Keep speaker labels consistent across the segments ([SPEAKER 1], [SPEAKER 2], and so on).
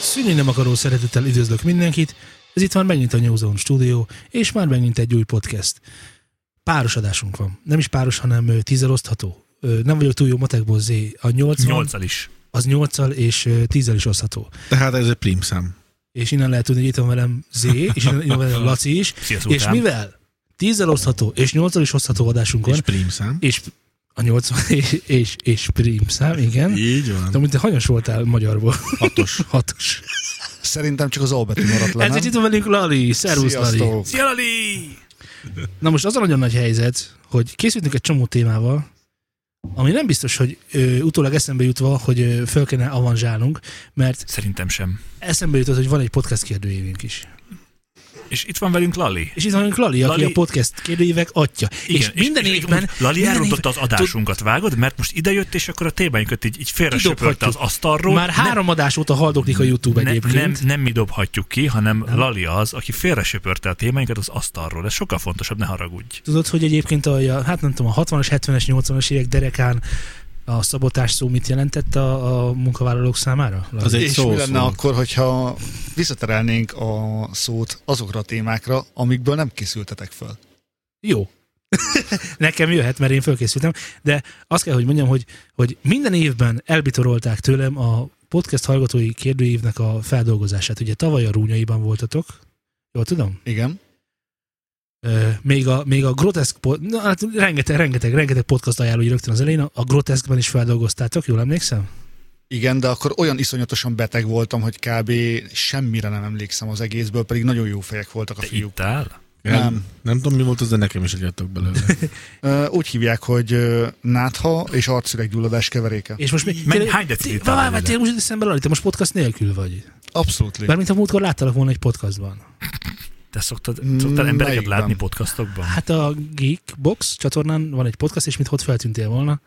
[SPEAKER 1] Semmi nem akaró szeretettel üdvözlök mindenkit, ez itt van megint a New Zone stúdió, és már megint egy új podcast. Páros adásunk van. Nem is páros, hanem ö, tízzel osztható. Ö, Nem vagyok túl jó matekból, Zé. A nyolc van,
[SPEAKER 2] Nyolccal is.
[SPEAKER 1] az nyolccal és ö, tízzel is osztható.
[SPEAKER 3] Tehát ez egy prímszám.
[SPEAKER 1] És innen lehet tudni, hogy itt van velem Z, és innen, innen van velem Laci is.
[SPEAKER 2] Szia,
[SPEAKER 1] És
[SPEAKER 2] Zoltán.
[SPEAKER 1] mivel tízzel osztható és nyolccal is osztható adásunkon,
[SPEAKER 3] És prímszám.
[SPEAKER 1] és a 80 és, és, és prim szám, igen.
[SPEAKER 3] Így
[SPEAKER 1] De
[SPEAKER 3] van.
[SPEAKER 1] mint te hanyas voltál magyarból? Hatos. Hatos.
[SPEAKER 4] Szerintem csak az albetű maradt le,
[SPEAKER 1] Ezért
[SPEAKER 4] nem?
[SPEAKER 1] itt van velünk Lali. Szervusz, Lali.
[SPEAKER 4] Sziasztok!
[SPEAKER 2] Szia, Lali!
[SPEAKER 1] Na most az a nagyon nagy helyzet, hogy készültünk egy csomó témával, ami nem biztos, hogy ö, utólag eszembe jutva, hogy ö, föl kellene avanzsálnunk, mert
[SPEAKER 2] Szerintem sem.
[SPEAKER 1] eszembe jutott, hogy van egy podcast kérdőjévünk is.
[SPEAKER 2] És itt van velünk Lali.
[SPEAKER 1] És itt van velünk Lali, Lali, aki
[SPEAKER 2] Lali-
[SPEAKER 1] a podcast kérdőjévek atya.
[SPEAKER 2] Igen,
[SPEAKER 1] és minden évben...
[SPEAKER 2] úgy Lali
[SPEAKER 1] minden
[SPEAKER 2] elrontotta az adásunkat, vágod? Mert most idejött, és akkor a témáinkat így, így félre söpörte az
[SPEAKER 1] Kidobhatjuk.
[SPEAKER 2] asztalról.
[SPEAKER 1] Már három adás óta haldoklik a YouTube
[SPEAKER 2] ne,
[SPEAKER 1] egyébként.
[SPEAKER 2] nem, nem mi dobhatjuk ki, hanem nem. Lali az, aki félre söpörte a témáinkat az asztalról. Ez sokkal fontosabb, ne haragudj.
[SPEAKER 1] Tudod, hogy egyébként a, a- hát nem tudom, a 60-as, 70-es, 80-as évek derekán a szabotás szó mit jelentett a, a munkavállalók számára? Laci?
[SPEAKER 3] Az egy
[SPEAKER 4] És
[SPEAKER 3] szó
[SPEAKER 4] mi lenne
[SPEAKER 3] szó.
[SPEAKER 4] akkor, hogyha visszaterelnénk a szót azokra a témákra, amikből nem készültetek fel?
[SPEAKER 1] Jó. Nekem jöhet, mert én fölkészültem, de azt kell, hogy mondjam, hogy, hogy minden évben elbitorolták tőlem a podcast hallgatói kérdőívnek a feldolgozását. Ugye tavaly a rúnyaiban voltatok, jól tudom?
[SPEAKER 4] Igen?
[SPEAKER 1] Ö, még a, még a groteszk, po- na, hát rengeteg, rengeteg, rengeteg podcast ajánló, hogy rögtön az elején, a, a groteszkben is feldolgoztátok, jól emlékszem?
[SPEAKER 4] Igen, de akkor olyan iszonyatosan beteg voltam, hogy kb. semmire nem emlékszem az egészből, pedig nagyon jó fejek voltak a
[SPEAKER 2] Te
[SPEAKER 4] fiúk.
[SPEAKER 2] itt áll?
[SPEAKER 3] Nem.
[SPEAKER 4] Nem.
[SPEAKER 3] nem tudom, mi volt az, de nekem is egyettek belőle.
[SPEAKER 4] Ö, Úgy hívják, hogy ö, nátha és arcüreggyulladás keveréke.
[SPEAKER 1] És most mi...
[SPEAKER 2] Menj,
[SPEAKER 1] tényleg-
[SPEAKER 2] hány decibel
[SPEAKER 1] Várj, várj,
[SPEAKER 2] távol
[SPEAKER 1] tényleg most jut eszembe, Lali, te most podcast nélkül vagy.
[SPEAKER 4] Abszolút. lé-
[SPEAKER 1] Bármint a múltkor láttalak volna egy podcastban.
[SPEAKER 2] Te szoktad,
[SPEAKER 4] Mm,
[SPEAKER 2] szoktál embereket
[SPEAKER 4] melyikben?
[SPEAKER 2] látni podcastokban?
[SPEAKER 1] Hát a Geekbox csatornán van egy podcast, és mit ott feltűntél volna.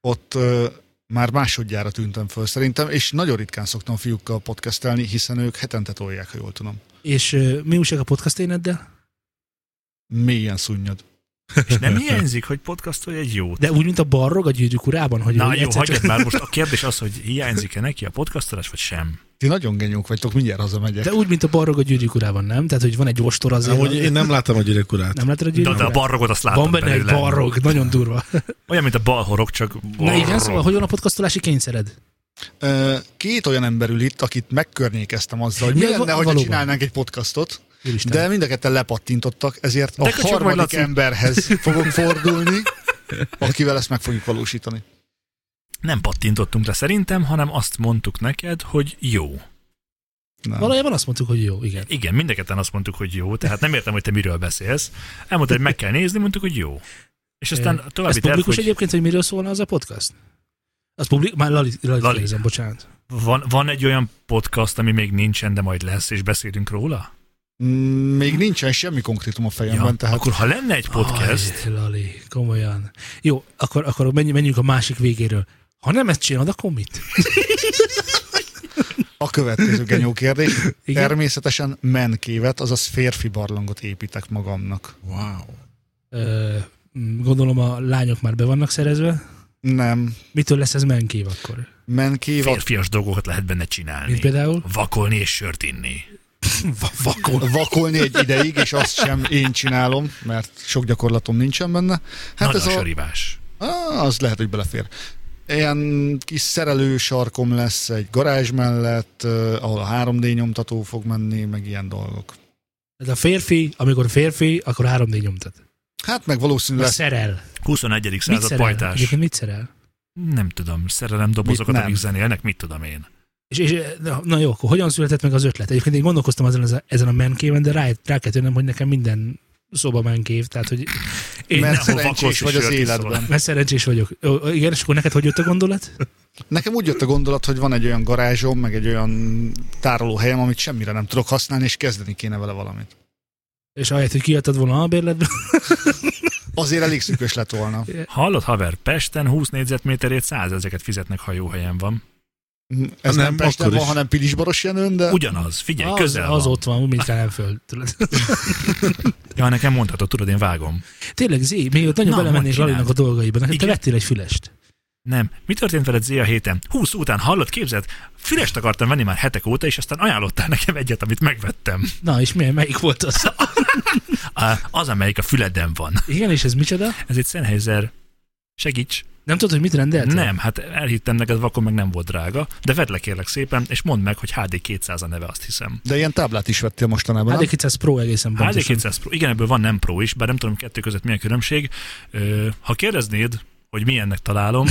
[SPEAKER 4] Ott ö, már másodjára tűntem föl szerintem, és nagyon ritkán szoktam fiúkkal podcastelni, hiszen ők hetente tolják, ha jól tudom.
[SPEAKER 1] És ö, mi újság a podcast éneddel?
[SPEAKER 4] Mélyen szunnyad.
[SPEAKER 2] És nem hiányzik, hogy podcastolj egy jót?
[SPEAKER 1] De úgy, mint a barrog a gyűrűk urában, hogy
[SPEAKER 2] Na
[SPEAKER 1] hogy
[SPEAKER 2] jó,
[SPEAKER 1] egyszer
[SPEAKER 2] hagyjad már most. A kérdés az, hogy hiányzik-e neki a podcastolás, vagy sem.
[SPEAKER 4] Ti nagyon genyók vagytok, mindjárt hazamegyek.
[SPEAKER 1] De úgy, mint a barrog a gyűrűk urában, nem? Tehát, hogy van egy ostor azért.
[SPEAKER 3] Amúgy én nem láttam a gyerekkorát.
[SPEAKER 1] nem látod a
[SPEAKER 2] De,
[SPEAKER 1] gyűrűk
[SPEAKER 2] de a barrogot azt látom
[SPEAKER 1] Van benne
[SPEAKER 2] belőle.
[SPEAKER 1] egy barrog, nagyon durva.
[SPEAKER 2] Olyan, mint a balhorog, csak
[SPEAKER 1] Na igen, szóval,
[SPEAKER 2] barrog.
[SPEAKER 1] hogy van a podcastolási kényszered?
[SPEAKER 4] Ö, Két olyan ember ül itt, akit megkörnyékeztem azzal, hogy mi
[SPEAKER 1] Ja,
[SPEAKER 4] lenne,
[SPEAKER 1] va-
[SPEAKER 4] hogyha
[SPEAKER 1] valóban.
[SPEAKER 4] csinálnánk egy podcastot,
[SPEAKER 1] Úristen.
[SPEAKER 4] de mind a ketten lepattintottak, ezért
[SPEAKER 2] De
[SPEAKER 4] a
[SPEAKER 2] köcsög vagy,
[SPEAKER 4] harmadik
[SPEAKER 2] Laci.
[SPEAKER 4] emberhez fogok fordulni, akivel ezt meg fogjuk valósítani.
[SPEAKER 2] Nem pattintottunk le szerintem, hanem azt mondtuk neked, hogy jó.
[SPEAKER 4] Nem.
[SPEAKER 1] Valójában azt mondtuk, hogy jó, igen.
[SPEAKER 2] Igen, mind a ketten azt mondtuk, hogy jó, tehát nem értem, hogy te miről beszélsz. Elmondtad, hogy meg kell nézni, mondtuk, hogy jó. És aztán
[SPEAKER 1] Ez
[SPEAKER 2] további terv,
[SPEAKER 1] publikus
[SPEAKER 2] hogy
[SPEAKER 1] egyébként, hogy miről szólna az a podcast? Az publik... Már Lali, Lali,
[SPEAKER 2] Lali.
[SPEAKER 1] kérdezem, bocsánat.
[SPEAKER 2] van, van egy olyan podcast, ami még nincsen, de majd lesz, és beszélünk róla?
[SPEAKER 4] Mm, Még nincsen semmi konkrétum a fejemben,
[SPEAKER 2] Ja,
[SPEAKER 4] tehát
[SPEAKER 2] akkor ha lenne egy podcast,
[SPEAKER 1] Aj, Lali, komolyan. Jó, akkor, akkor menjünk, menjünk a másik végéről. Ha nem ezt csinálod, akkor mit?
[SPEAKER 4] a következő genyó kérdés.
[SPEAKER 1] Igen?
[SPEAKER 4] Természetesen menkévet, azaz férfi barlangot építek magamnak.
[SPEAKER 3] Wow.
[SPEAKER 1] Ö, m, gondolom a lányok már be vannak szerezve.
[SPEAKER 4] Nem,
[SPEAKER 1] Mitől lesz ez menkév akkor?
[SPEAKER 4] menkév a
[SPEAKER 2] férfias dolgokat lehet benne
[SPEAKER 1] Mint
[SPEAKER 2] csinálni.
[SPEAKER 1] például?
[SPEAKER 2] Vakolni és sört inni.
[SPEAKER 1] Vakon.
[SPEAKER 4] vakolni egy ideig, és azt sem én csinálom, mert sok gyakorlatom nincsen benne.
[SPEAKER 2] Hát
[SPEAKER 4] Hát
[SPEAKER 2] Nagyon
[SPEAKER 4] ez
[SPEAKER 2] a
[SPEAKER 4] a,
[SPEAKER 2] sörivás.
[SPEAKER 4] Á, az lehet, hogy belefér. Ilyen kis szerelő sarkom lesz egy garázs mellett, eh, ahol a 3D nyomtató fog menni, meg ilyen dolgok.
[SPEAKER 1] Ez a férfi, amikor férfi, akkor 3D nyomtat.
[SPEAKER 4] Hát meg valószínűleg
[SPEAKER 1] Lesz.
[SPEAKER 4] lesz,
[SPEAKER 1] Szerel.
[SPEAKER 2] 21.
[SPEAKER 1] Mit
[SPEAKER 2] század
[SPEAKER 1] szerel?
[SPEAKER 2] pajtás.
[SPEAKER 1] Egyébként mit szerel?
[SPEAKER 2] Nem tudom, szerelem dobozokat,
[SPEAKER 4] Mit nem?
[SPEAKER 2] amik zenélnek, mit tudom én.
[SPEAKER 1] És, és, na, na jó, akkor hogyan született meg az ötlet? Egyébként én gondolkoztam ezen, az- ezen a menkéven, de rá, rá kell tűnnem, hogy nekem minden szoba menkév, tehát hogy én
[SPEAKER 4] mert
[SPEAKER 2] nem, ahol vakolsz
[SPEAKER 4] szerencsés
[SPEAKER 2] és
[SPEAKER 4] vagy az
[SPEAKER 2] sört szóval. iszol.
[SPEAKER 4] életben.
[SPEAKER 1] Mert szerencsés vagyok. Ö, igen, és akkor neked hogy jött a gondolat?
[SPEAKER 4] Nekem úgy jött a gondolat, hogy van egy olyan garázsom, meg egy olyan tárolóhelyem, amit semmire nem tudok használni, és kezdeni kéne vele valamit.
[SPEAKER 1] És ahelyett, hogy kiadtad volna a bérletbe,
[SPEAKER 4] Azért elég szűkös lett volna.
[SPEAKER 2] Hallod, haver, Pesten 20 négyzetméterért 100 ezeket fizetnek, ha jó helyen van.
[SPEAKER 4] Ez
[SPEAKER 3] nem,
[SPEAKER 4] nem, nem Pesten
[SPEAKER 3] akkor
[SPEAKER 4] van,
[SPEAKER 3] is.
[SPEAKER 4] hanem Pilisbaros Jenőn, de
[SPEAKER 2] Ugyanaz, figyelj,
[SPEAKER 1] az,
[SPEAKER 2] közel az
[SPEAKER 1] az
[SPEAKER 2] van.
[SPEAKER 1] ott van, mint Kálánföld. Tudod?
[SPEAKER 2] Ja, nekem mondhatod, tudod, én vágom.
[SPEAKER 1] Tényleg, Zé, még ott nagyon
[SPEAKER 2] Na,
[SPEAKER 1] belemennék
[SPEAKER 2] mondd, csináld.
[SPEAKER 1] Lalinak a dolgaiba. Neked te
[SPEAKER 2] Igen.
[SPEAKER 1] vettél egy fülest.
[SPEAKER 2] Nem. Mi történt veled Zé a héten? Húsz után hallott, képzeld? Fülest akartam venni már hetek óta, és aztán ajánlottál nekem egyet, amit megvettem.
[SPEAKER 1] Na, és milyen, melyik volt az?
[SPEAKER 2] Á, Az, amelyik a füleden van.
[SPEAKER 1] Igen, és ez micsoda?
[SPEAKER 2] Ez egy Sennheiser. Segíts.
[SPEAKER 1] Nem tudod, hogy mit rendelt?
[SPEAKER 2] Nem, hát elhittem neked, vakon meg nem volt drága, de vedd le kérlek szépen, és mondd meg, hogy HD200 a neve, azt hiszem.
[SPEAKER 4] De ilyen táblát is vettél mostanában, nem?
[SPEAKER 1] HD200 Pro egészen pontosan.
[SPEAKER 2] HD200 Pro, igen, ebből van nem Pro is, bár nem tudom kettő között mi a különbség. Ö, ha kérdeznéd, hogy milyennek találom,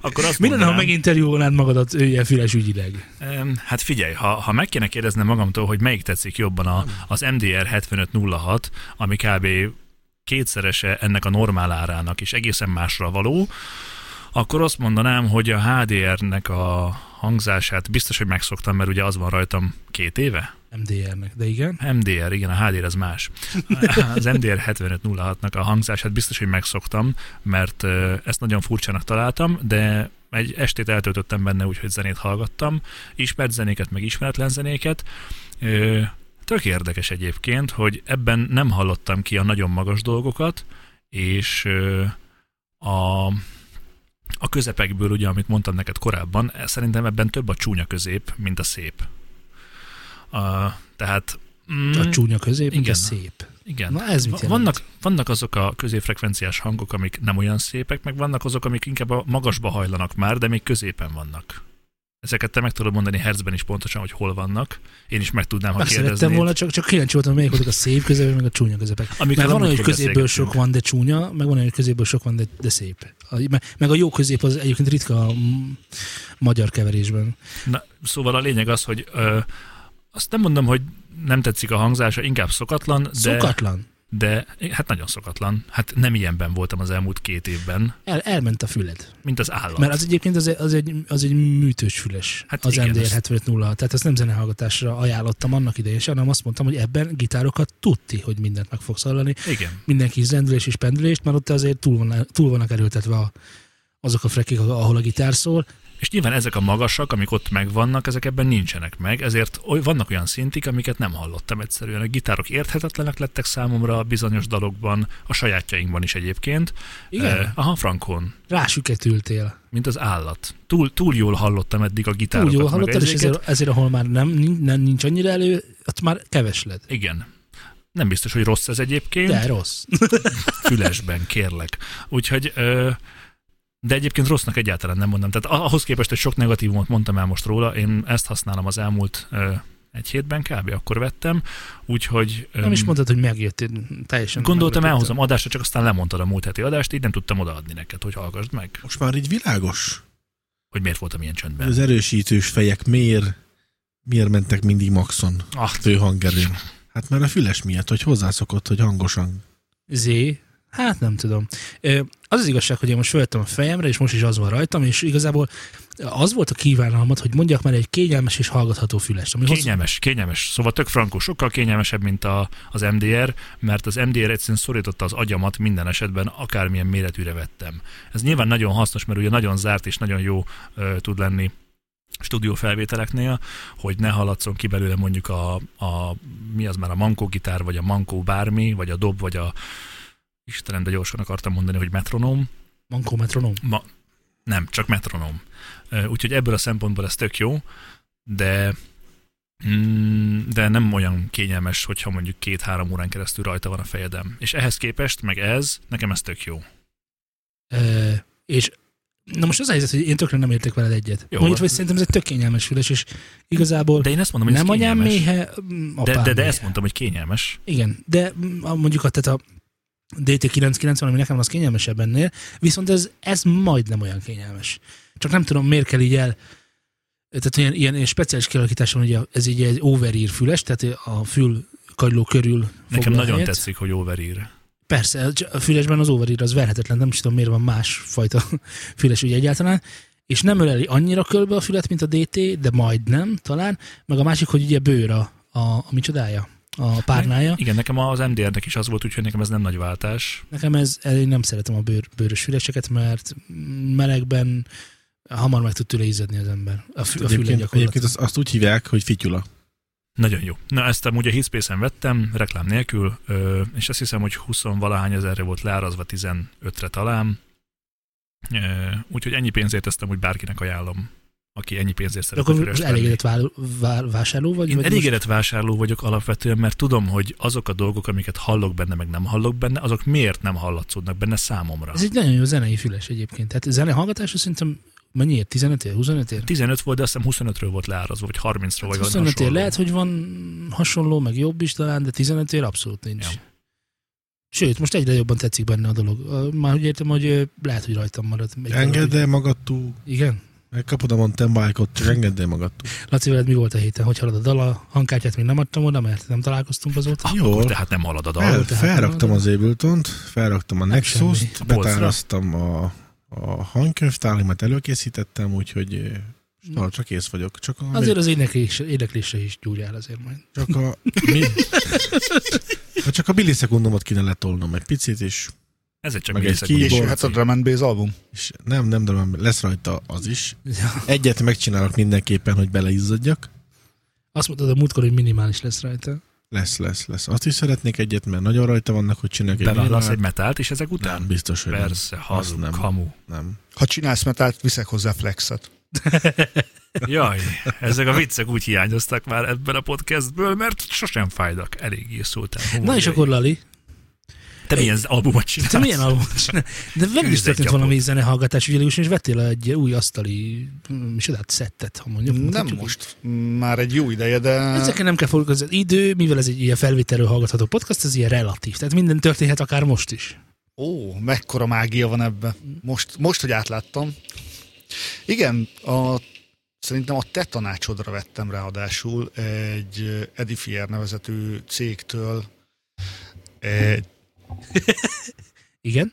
[SPEAKER 2] akkor azt
[SPEAKER 1] Mi lenne, ha
[SPEAKER 2] mondanám-
[SPEAKER 1] meginterjúolnád magadat ő ilyen füles ügyileg?
[SPEAKER 2] Em, Hát figyelj, ha, ha meg kéne kérdeznem magamtól, hogy melyik tetszik jobban a, az MDR 7506, ami kb. kétszerese ennek a normál árának, és egészen másra való, akkor azt mondanám, hogy a HDR-nek a hangzását biztos, hogy megszoktam, mert ugye az van rajtam két éve.
[SPEAKER 1] MDR-nek, de igen.
[SPEAKER 2] MDR, igen, a HDR az más. Az MDR 7506-nak a hangzását biztos, hogy megszoktam, mert ö, ezt nagyon furcsának találtam, de egy estét eltöltöttem benne úgy, hogy zenét hallgattam, ismert zenéket, meg ismeretlen zenéket. Ö, Tök érdekes egyébként, hogy ebben nem hallottam ki a nagyon magas dolgokat, és ö, a, a közepekből, ugye, amit mondtam neked korábban, e, szerintem ebben több a csúnya közép, mint a szép. A, tehát... Mm,
[SPEAKER 1] A csúnya közép, mint a
[SPEAKER 2] Igen.
[SPEAKER 1] szép.
[SPEAKER 2] igen.
[SPEAKER 1] Na ez mit
[SPEAKER 2] Va-
[SPEAKER 1] jelent?
[SPEAKER 2] Vannak, vannak azok a középfrekvenciás hangok, amik nem olyan szépek, meg vannak azok, amik inkább a magasba hajlanak már, de még középen vannak. Ezeket te meg tudod mondani hercben is pontosan, hogy hol vannak. Én is meg tudnám, ha
[SPEAKER 1] Meg
[SPEAKER 2] kérdeznéd.
[SPEAKER 1] szerettem volna, csak, csak kíváncsi voltam, melyik voltak a szép közepek, meg a csúnya közepek.
[SPEAKER 2] Amikről
[SPEAKER 1] Mert van olyan, hogy
[SPEAKER 2] amúgy
[SPEAKER 1] középből
[SPEAKER 2] beszélgettünk.
[SPEAKER 1] sok van, de csúnya, meg van olyan, hogy középből sok van, de, de szép. A, me- meg a jó közép az egyébként ritka a mm, magyar keverésben.
[SPEAKER 2] Na, szóval a lényeg az, hogy ö, azt nem mondom, hogy nem tetszik a hangzása, inkább szokatlan, de,
[SPEAKER 1] De... Szokatlan.
[SPEAKER 2] de hát nagyon szokatlan. Hát nem ilyenben voltam az elmúlt két évben,
[SPEAKER 1] El, elment a füled.
[SPEAKER 2] mint az állat.
[SPEAKER 1] Mert az egyébként az, egy- az, egy, az egy műtős füles,
[SPEAKER 2] Hát
[SPEAKER 1] hát az
[SPEAKER 2] igen,
[SPEAKER 1] MDR
[SPEAKER 2] azt-
[SPEAKER 1] 7506. Tehát ezt nem zenehallgatásra ajánlottam annak idején sem, hanem azt mondtam, hogy ebben gitárokat tudti, hogy mindent meg fogsz hallani.
[SPEAKER 2] Igen.
[SPEAKER 1] Mindenki is rendülés és pendülést, mert ott azért túl, van, túl vannak erőltetve a, azok a frekik, ahol a gitár szól.
[SPEAKER 2] És nyilván ezek a magasak, amik ott megvannak, ezek ebben nincsenek meg, ezért oly- vannak olyan szintik, amiket nem hallottam egyszerűen. A gitárok érthetetlenek lettek számomra bizonyos dalokban, a sajátjainkban is egyébként.
[SPEAKER 1] Igen,
[SPEAKER 2] Eh, aha, frankon,
[SPEAKER 1] rásüketültél.
[SPEAKER 2] mint az állat. Túl, túl jól hallottam eddig a
[SPEAKER 1] Túl
[SPEAKER 2] gitárokat.
[SPEAKER 1] jól
[SPEAKER 2] meg
[SPEAKER 1] hallottad, és
[SPEAKER 2] ezeket.
[SPEAKER 1] ezért, ezért, ahol már nem, nin- nem, nincs annyira elő, ott már kevesled.
[SPEAKER 2] Igen. Nem biztos, hogy rossz ez egyébként.
[SPEAKER 1] De rossz.
[SPEAKER 2] fülesben, kérlek. Úgyhogy, ö, de egyébként rossznak egyáltalán nem mondom. Tehát a- ahhoz képest, hogy sok negatívumot mondtam el most róla, én ezt használom az elmúlt ö, egy hétben kb. akkor vettem, úgyhogy...
[SPEAKER 1] Nem is
[SPEAKER 2] öm,
[SPEAKER 1] mondtad, hogy megjött teljesen.
[SPEAKER 2] Gondoltam,
[SPEAKER 1] meglepődtem.
[SPEAKER 2] elhozom adásra, csak aztán lemondtad a múlt heti adást, így nem tudtam odaadni neked, hogy hallgassd meg,
[SPEAKER 3] Most már így világos.
[SPEAKER 2] hogy miért voltam ilyen
[SPEAKER 3] Hogy
[SPEAKER 2] csöndben.
[SPEAKER 3] Az erősítős fejek miért, miért mentek mindig maxon
[SPEAKER 2] Ah,
[SPEAKER 3] fő hangerőn? Hát mert a füles miatt, hogy hozzászokott, hogy hangosan.
[SPEAKER 1] Z. Hát nem tudom. Ö, Az az igazság, hogy én most föltem a fejemre, és most is az van rajtam, és igazából az volt a kívánalmat, hogy mondjak már egy kényelmes és hallgatható fülest. Ami hozzá-
[SPEAKER 2] Kényelmes, kényelmes. Szóval tök frankó, sokkal kényelmesebb, mint a, az MDR, mert az MDR egyszerűen szorította az agyamat minden esetben, akármilyen méretűre vettem. Ez nyilván nagyon hasznos, mert ugye nagyon zárt és nagyon jó ö, tud lenni stúdió felvételeknél, hogy ne haladszon ki belőle mondjuk a, a mi az már a mankó gitár, vagy a mankó bármi, vagy a dob, vagy a Istenem, de gyorsan akartam mondani, hogy metronóm.
[SPEAKER 1] Mankó metronom.
[SPEAKER 2] Nem, csak metronóm. Ö, Úgyhogy ebből a szempontból ez tök jó, de mm, de nem olyan kényelmes, hogyha mondjuk két-három órán keresztül rajta van a fejedem. És ehhez képest, meg ez, nekem ez tök jó.
[SPEAKER 1] Ö, és na most az a helyzet, hogy én tökre nem értek veled egyet.
[SPEAKER 2] Jó.
[SPEAKER 1] Jó, Mondjuk, hogy szerintem ez egy tök kényelmes füles, és igazából
[SPEAKER 2] De én ezt mondom, hogy
[SPEAKER 1] nem
[SPEAKER 2] ez
[SPEAKER 1] anyám
[SPEAKER 2] kényelmes.
[SPEAKER 1] méhe, mm, apám
[SPEAKER 2] de, de, de
[SPEAKER 1] méhe.
[SPEAKER 2] ezt mondtam, hogy kényelmes.
[SPEAKER 1] Igen, de mm, a- mondjuk a, tehát a DT990, ami nekem az kényelmesebb ennél, viszont ez, ez majdnem olyan kényelmes. Csak nem tudom, miért kell így el tehát ilyen, ilyen, ilyen speciális kialakításon, ugye ez így egy overír füles, tehát a fül kagyló körül
[SPEAKER 2] Nekem
[SPEAKER 1] foglal
[SPEAKER 2] nagyon
[SPEAKER 1] helyet.
[SPEAKER 2] tetszik, hogy overír.
[SPEAKER 1] Persze, a fülesben az overír az verhetetlen, nem is tudom miért van más fajta füles ugye egyáltalán, és nem öleli annyira körbe a fület, mint a DT, de majdnem talán, meg a másik, hogy ugye bőr a, a, a micsodája, a párnája.
[SPEAKER 2] Igen, nekem az MDR-nek is az volt, úgyhogy nekem ez nem nagy váltás.
[SPEAKER 1] Nekem ez, ez- én nem szeretem a bőr, bőrös füleseket, mert melegben hamar meg tud tőle izzadni az ember. A, fü, a füle
[SPEAKER 3] Egyébként,
[SPEAKER 1] gyakorlatilag.
[SPEAKER 3] egyébként azt, azt úgy hívják, hogy fityula.
[SPEAKER 2] Nagyon jó. Na ezt amúgy a Hitspace-en vettem, reklám nélkül, ö, és azt hiszem, hogy 20 valahány ezerre volt leárazva, 15-re talán. Ö, Úgyhogy ennyi pénzért ezt amúgy bárkinek ajánlom, aki ennyi pénzért
[SPEAKER 1] De
[SPEAKER 2] szeretne
[SPEAKER 1] akkor
[SPEAKER 2] fülest
[SPEAKER 1] most
[SPEAKER 2] venni.
[SPEAKER 1] elégedett vál, vá- vásárló vagy?
[SPEAKER 2] Én
[SPEAKER 1] vagy
[SPEAKER 2] elégedett vásárló vagyok alapvetően, mert tudom, hogy azok a dolgok, amiket hallok benne, meg nem hallok benne, azok miért nem hallatszódnak benne számomra.
[SPEAKER 1] Most, ez egy nagyon jó zenei füles egyébként. Tehát zene hallgatása szerintem mennyiért? 15 ér? 25 ér?
[SPEAKER 2] 15 volt, de azt hiszem 25-ről volt leárazva, vagy 30-ról, vagy valami
[SPEAKER 1] 25 ér.
[SPEAKER 2] hasonló.
[SPEAKER 1] Hát Lehet, hogy van hasonló, meg jobb is talán, de 15 ér abszolút nincs.
[SPEAKER 2] Ja.
[SPEAKER 1] Sőt, most egyre jobban tetszik benne a dolog. Ö, Már úgy értem, hogy ö, lehet, hogy rajtam marad. Egy
[SPEAKER 3] Engedd
[SPEAKER 1] valami.
[SPEAKER 3] el magad túl.
[SPEAKER 1] Igen?
[SPEAKER 3] Megkapod a mountain bike-ot, csak engedd el magad túl.
[SPEAKER 1] Laci, veled mi volt a héten? Hogy halad a dal? A hangkártyát még nem adtam oda, mert nem találkoztunk
[SPEAKER 4] Ah,
[SPEAKER 1] azóta.
[SPEAKER 3] Jól.
[SPEAKER 2] Akkor tehát nem halad a dal.
[SPEAKER 3] El,
[SPEAKER 1] tehát
[SPEAKER 3] felraktam
[SPEAKER 1] nem-
[SPEAKER 3] az Ableton-t, felraktam a
[SPEAKER 1] semmi.
[SPEAKER 3] Nexus-t,
[SPEAKER 2] A polcra.
[SPEAKER 3] betáraztam a, a hangkönyvtárimat, előkészítettem, úgyhogy eh, stal, csak ész vagyok. Csak a,
[SPEAKER 1] Azért Hm. az éneklésre, éneklésre is gyúrjál azért majd.
[SPEAKER 3] csak a, mi? Ha csak a millisekundumot kéne letolnom egy picit, és,
[SPEAKER 2] Ez egy csak
[SPEAKER 3] Meg egy
[SPEAKER 2] millisekund.
[SPEAKER 3] key-
[SPEAKER 4] És
[SPEAKER 3] Bolci.
[SPEAKER 4] hát a Drum and Bass album.
[SPEAKER 3] és nem, nem, nem, lesz rajta az is.
[SPEAKER 1] Ja.
[SPEAKER 3] Egyet megcsinálok mindenképpen, hogy beleizzadjak.
[SPEAKER 1] Azt mondtad a múltkor, hogy minimális lesz rajta.
[SPEAKER 3] Lesz, lesz, lesz. Azt is szeretnék egyet, mert nagyon rajta vannak, hogy csinálják egy
[SPEAKER 2] Beválasz egy
[SPEAKER 3] minimált.
[SPEAKER 2] metált, és ezek után?
[SPEAKER 3] Nem, biztos, hogy nem.
[SPEAKER 2] Persze, hazug,
[SPEAKER 3] nem.
[SPEAKER 2] kamu.
[SPEAKER 3] nem.
[SPEAKER 4] Ha csinálsz metált, viszek hozzá flexet.
[SPEAKER 2] Jaj, ezek a viccek úgy hiányoztak már ebben a podcastből, mert sosem fájdak. Eléggé szóltál.
[SPEAKER 1] Na és akkor Lali,
[SPEAKER 2] Te milyen albumot csinálsz?
[SPEAKER 4] Hát.
[SPEAKER 1] te milyen albumot csinál? De veled is
[SPEAKER 2] Küzdj egy
[SPEAKER 1] történt
[SPEAKER 2] gyapot.
[SPEAKER 1] valami zenehallgatás, ugye és vettél egy új asztali, mm, micsodát, szettet, ha mondjuk.
[SPEAKER 4] Nem
[SPEAKER 1] mondhatjuk így.
[SPEAKER 4] most, már egy jó ideje, de
[SPEAKER 1] Ezeken nem kell foglalkozni. Az idő, mivel ez egy ilyen felvételről hallgatható podcast, ez ilyen relatív. Tehát minden történhet akár most is.
[SPEAKER 4] ó, mekkora mágia van ebbe. Most, most hogy átláttam. Igen, a, szerintem a te tanácsodra vettem ráadásul egy Edifier nevezetű cégtől egy
[SPEAKER 1] Igen?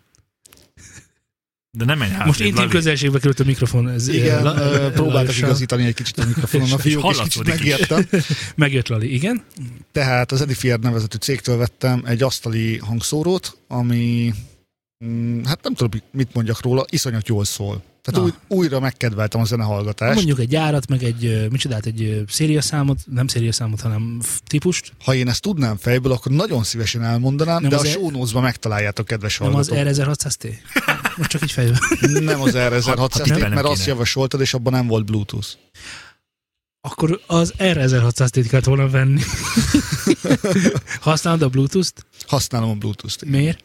[SPEAKER 2] De nem menj
[SPEAKER 1] most
[SPEAKER 2] hátrébb,
[SPEAKER 1] intim
[SPEAKER 2] Lali.
[SPEAKER 1] közelségbe került a mikrofon. Ez,
[SPEAKER 4] Hát,
[SPEAKER 1] eh,
[SPEAKER 4] Igen,
[SPEAKER 1] La-
[SPEAKER 4] ö, próbáltak
[SPEAKER 1] Lalissal.
[SPEAKER 4] igazítani egy kicsit a mikrofonon a fiók, és kicsit
[SPEAKER 2] hallatszódik is.
[SPEAKER 4] megijedtem.
[SPEAKER 1] Megjött Lali, igen?
[SPEAKER 4] Tehát az Edifier nevezetű cégtől vettem egy asztali hangszórót, ami, mm, hát nem tudom, mit mondjak róla, iszonyat jól szól. Tehát
[SPEAKER 1] Na.
[SPEAKER 4] új, újra megkedveltem a zenehallgatást.
[SPEAKER 1] Mondjuk egy gyárat, meg egy, ö, micsodát, egy ö, szériaszámot, nem szériaszámot, hanem f- típust.
[SPEAKER 4] Ha én ezt tudnám fejből, akkor nagyon szívesen elmondanám,
[SPEAKER 1] Nem
[SPEAKER 4] de a
[SPEAKER 1] az e-
[SPEAKER 4] show notes-ban megtaláljátok, kedves
[SPEAKER 1] Nem az
[SPEAKER 4] hallgatók.
[SPEAKER 1] R1600T? Most csak így fejben.
[SPEAKER 4] Nem az R1600,
[SPEAKER 2] Ha- ha
[SPEAKER 4] mert
[SPEAKER 2] tippelnem
[SPEAKER 4] azt
[SPEAKER 2] kéne.
[SPEAKER 4] javasoltad, és abban nem volt Bluetooth.
[SPEAKER 1] Akkor az R1600-t kellett volna venni. Használod a Bluetooth-t?
[SPEAKER 4] Használom a Bluetooth-t.
[SPEAKER 1] Miért?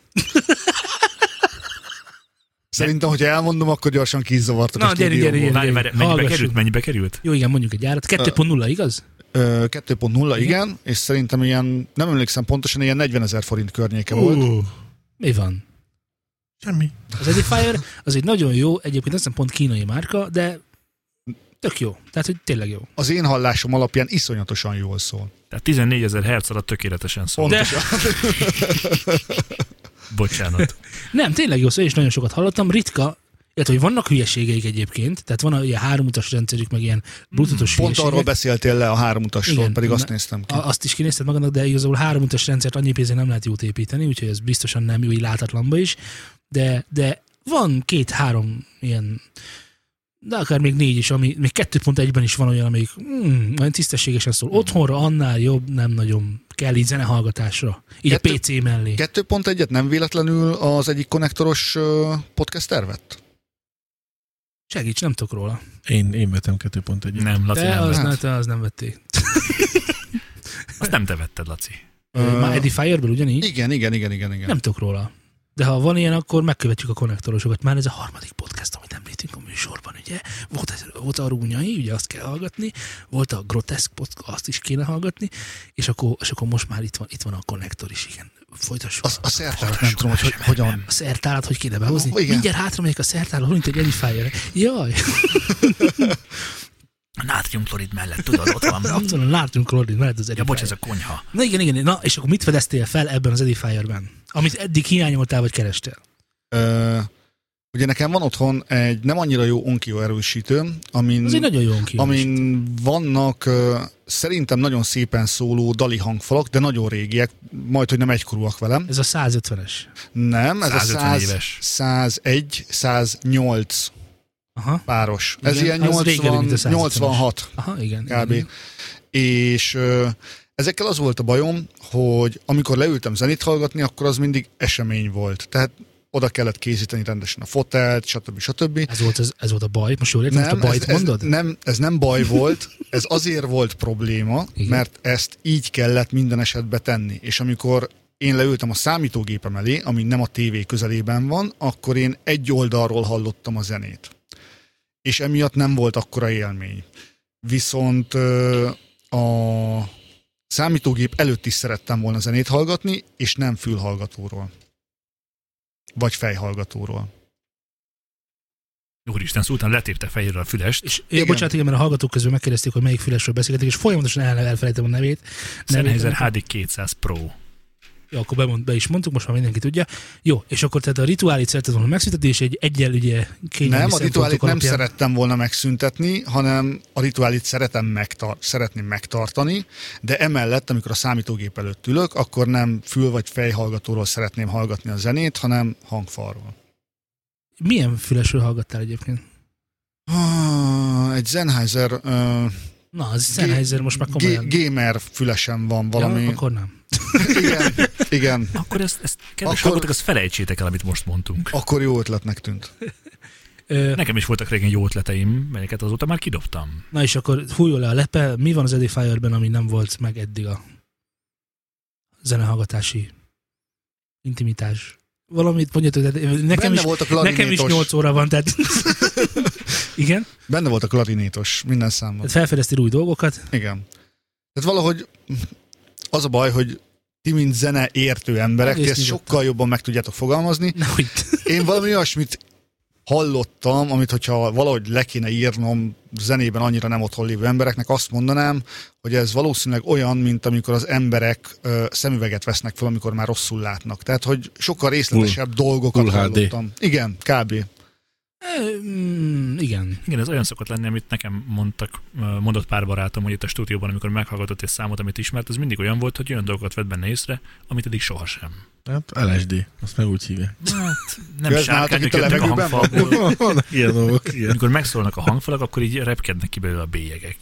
[SPEAKER 4] Szerintem, hogyha elmondom, akkor gyorsan kizzavartak
[SPEAKER 1] Na,
[SPEAKER 4] a
[SPEAKER 1] gyere,
[SPEAKER 4] stúdióból.
[SPEAKER 1] gyere,
[SPEAKER 2] Várj, várj, mennyibe
[SPEAKER 1] Hallgassuk.
[SPEAKER 2] került? Mennyibe került?
[SPEAKER 1] Jó, igen, mondjuk egy gyárat. 2.0, igaz?
[SPEAKER 4] Ö, 2.0, igen, és szerintem ilyen, nem emlékszem pontosan, ilyen 40 ezer forint környéke volt.
[SPEAKER 1] Mi van?
[SPEAKER 3] Semmi.
[SPEAKER 1] Az Edifier az egy nagyon jó, egyébként azt hiszem pont kínai márka, de tök jó. Tehát, hogy tényleg jó.
[SPEAKER 4] az én hallásom alapján iszonyatosan jól szól.
[SPEAKER 2] Tehát 14 ezer herc alatt tökéletesen szól.
[SPEAKER 1] De-
[SPEAKER 2] Bocsánat.
[SPEAKER 1] Nem, tényleg jó szó, és nagyon sokat hallottam. Ritka, illetve, hogy vannak hülyeségeik egyébként, tehát van ilyen háromutas rendszerük, meg ilyen bluetoothos
[SPEAKER 4] Pont
[SPEAKER 1] hülyeségek.
[SPEAKER 4] arról beszéltél le a háromutasról,
[SPEAKER 1] Igen,
[SPEAKER 4] Igen, pedig azt
[SPEAKER 1] na-
[SPEAKER 4] néztem ki.
[SPEAKER 1] A- azt is kinézted magadnak, de igazából háromutas rendszert annyi pénzért nem lehet jót építeni, úgyhogy ez biztosan nem jó, így látatlanba is. De, de van két-három ilyen, de akár még négy is, ami még 2.1-ben is van olyan, amelyik mm, olyan tisztességesen szól.
[SPEAKER 4] Hmm.
[SPEAKER 1] Otthonra annál jobb, nem nagyon kell így zenehallgatásra. Így
[SPEAKER 4] Kettő-
[SPEAKER 1] a PC mellé.
[SPEAKER 4] 2.1-et nem véletlenül az egyik konnektoros ö, podcast tervett?
[SPEAKER 1] Segíts, nem tudok róla.
[SPEAKER 3] Én, én vetem 2.1-et.
[SPEAKER 2] Nem,
[SPEAKER 4] Hát
[SPEAKER 2] Laci,
[SPEAKER 1] Te
[SPEAKER 2] nem
[SPEAKER 1] az,
[SPEAKER 2] vett.
[SPEAKER 1] ne, te az nem vették.
[SPEAKER 2] Azt nem te vetted, Laci.
[SPEAKER 4] Ö,
[SPEAKER 1] Már Edifierből ugyanígy?
[SPEAKER 4] Igen, igen, igen, igen, igen.
[SPEAKER 1] Nem tudok róla. De ha van ilyen, akkor megkövetjük a konnektorosokat. Már ez a harmadik podcast, amit említünk a műsorban, ugye? Volt, ez, volt a Rúnyai, ugye azt kell hallgatni, volt a Groteszk podcast, azt is kéne hallgatni, és akkor, és akkor most már itt van, itt van a konnektor is, igen. Folytassuk.
[SPEAKER 4] Az, a szertárt nem
[SPEAKER 1] Hallgassuk.
[SPEAKER 4] tudom, hogy hogyan.
[SPEAKER 1] A szertálat hogy kéne behozni?
[SPEAKER 4] Ó, igen.
[SPEAKER 1] Mindjárt hátra megyek a szertálat, mint egy Edifier. Jaj,
[SPEAKER 2] A nátriumklorid hát mellett, tudod, ott van.
[SPEAKER 1] ott van a látunk Rodin, mert az
[SPEAKER 2] Ja, bocs, ez
[SPEAKER 1] Edifier.
[SPEAKER 2] a konyha.
[SPEAKER 1] Na igen, igen, na és akkor mit fedeztél fel ebben az Edifierben? Amit eddig hiányoltál, vagy kerestél?
[SPEAKER 4] Ö, Ugye nekem van otthon egy nem annyira jó onkio erősítőm,
[SPEAKER 1] Ez egy
[SPEAKER 4] amin,
[SPEAKER 1] nagyon jó kínos.
[SPEAKER 4] amin vannak ö, szerintem nagyon szépen szóló dali hangfalak, de nagyon régiek, majd, hogy nem egykorúak velem.
[SPEAKER 1] Ez a 150-es.
[SPEAKER 4] Nem, ez
[SPEAKER 2] 150
[SPEAKER 4] a 100,
[SPEAKER 2] éves.
[SPEAKER 4] 101, 108
[SPEAKER 1] Aha,
[SPEAKER 4] páros.
[SPEAKER 1] Igen,
[SPEAKER 4] Ez ilyen
[SPEAKER 1] az régebbi,
[SPEAKER 4] 80,
[SPEAKER 1] mint a 150-es.
[SPEAKER 4] 86
[SPEAKER 1] aha, igen.
[SPEAKER 4] kb.
[SPEAKER 1] igen.
[SPEAKER 4] És ö, ezekkel az volt a bajom, hogy amikor leültem zenét hallgatni, akkor az mindig esemény volt. Tehát oda kellett készíteni rendesen a fotelt, stb. stb.
[SPEAKER 1] Ez volt, ez, ez volt a baj. Most jól értem, nem, a bajt
[SPEAKER 4] ez,
[SPEAKER 1] mondod?
[SPEAKER 4] Ez nem, ez nem baj volt, ez azért volt probléma,
[SPEAKER 1] Igen.
[SPEAKER 4] Igen. mert ezt így kellett minden esetben tenni. És amikor én leültem a számítógépem elé, ami nem a tévé közelében van, akkor én egy oldalról hallottam a zenét. És emiatt nem volt akkora élmény. Viszont ö, a számítógép előtt is szerettem volna zenét hallgatni, és nem fülhallgatóról. Vagy fejhallgatóról.
[SPEAKER 2] Úristen, szultán letépte fejéről a fülest. És
[SPEAKER 1] Ja,
[SPEAKER 4] Igen.
[SPEAKER 1] bocsánat, igen, mert a hallgatók közül megkérdezték, hogy melyik fülesről beszélgetik, és folyamatosan el, elfelejtem a nevét.
[SPEAKER 2] Sennheiser
[SPEAKER 1] Nevét-
[SPEAKER 2] HD 200 Pro.
[SPEAKER 1] Jó, akkor bemond, be is mondtuk, most már mindenki tudja. Jó, és akkor tehát a rituálit szeretett volna megszüntetni, és egy egyel ugye kényelmi
[SPEAKER 4] Nem, a
[SPEAKER 1] szempontok
[SPEAKER 4] rituálit nem
[SPEAKER 1] alapján-
[SPEAKER 4] szerettem volna megszüntetni, hanem a rituálit szeretem megtar- szeretném megtartani, de emellett, amikor a számítógép előtt ülök, akkor nem fül- vagy fejhallgatóról szeretném hallgatni a zenét, hanem hangfalról.
[SPEAKER 1] Milyen fülesről hallgattál egyébként?
[SPEAKER 4] Ah, Egy Sennheiser, uh,
[SPEAKER 1] Na, az Sennheiser most már komolyan.
[SPEAKER 4] g- gamer fülesem van valami.
[SPEAKER 1] Ja,
[SPEAKER 4] Ja,
[SPEAKER 1] akkor nem.
[SPEAKER 4] Igen, igen,
[SPEAKER 2] Akkor ezt, ezt kedves
[SPEAKER 4] Akkor-
[SPEAKER 2] Akkor... hallgatók, ezt felejtsétek el, amit most mondtunk.
[SPEAKER 4] akkor jó ötletnek tűnt.
[SPEAKER 1] Ö,
[SPEAKER 2] Nekem is voltak régen jó ötleteim, melyeket azóta már kidobtam.
[SPEAKER 1] na és akkor hújol le a lepe, mi van az Edifier-ben, ami nem volt meg eddig a zenehallgatási intimitás? Valamit mondjatok, de nekem
[SPEAKER 4] Benne
[SPEAKER 1] is,
[SPEAKER 4] volt a klarinétos,
[SPEAKER 1] nekem is 8 óra van, tehát... Igen?
[SPEAKER 4] benne volt a klarinétos minden számban.
[SPEAKER 1] Tehát felfedeztél új dolgokat.
[SPEAKER 4] Igen. Tehát valahogy az a baj, hogy ti, mint zene értő emberek, ti
[SPEAKER 1] Egész
[SPEAKER 4] ezt
[SPEAKER 1] nyugodtan.
[SPEAKER 4] sokkal jobban meg tudjátok fogalmazni.
[SPEAKER 1] Nehogy.
[SPEAKER 4] Én valami olyasmit hallottam, amit hogyha valahogy le kéne írnom zenében annyira nem otthon lévő embereknek, azt mondanám, hogy ez valószínűleg olyan, mint amikor az emberek ö, szemüveget vesznek fel, amikor már rosszul látnak. Tehát, hogy sokkal részletesebb dolgokat
[SPEAKER 3] Full HD.
[SPEAKER 4] hallottam. Igen, kb.
[SPEAKER 1] Ö, mm, igen.
[SPEAKER 2] Igen, ez olyan szokott lenni, amit nekem mondtak, mondott pár barátom, hogy itt a stúdióban, amikor meghallgatott egy számot, amit ismert, az mindig olyan volt, hogy olyan dolgokat vett benne észre, amit eddig sohasem.
[SPEAKER 3] Hát LSD, azt meg úgy hívják.
[SPEAKER 2] Hát, nem
[SPEAKER 4] Közben álltak
[SPEAKER 2] sárkányok
[SPEAKER 4] itt a
[SPEAKER 2] jönnek a
[SPEAKER 4] levegőben?
[SPEAKER 2] hangfalból.
[SPEAKER 3] Vannak ilyen dolgok, igen.
[SPEAKER 2] Amikor megszólnak a hangfalak, akkor így repkednek ki belőle a bélyegek.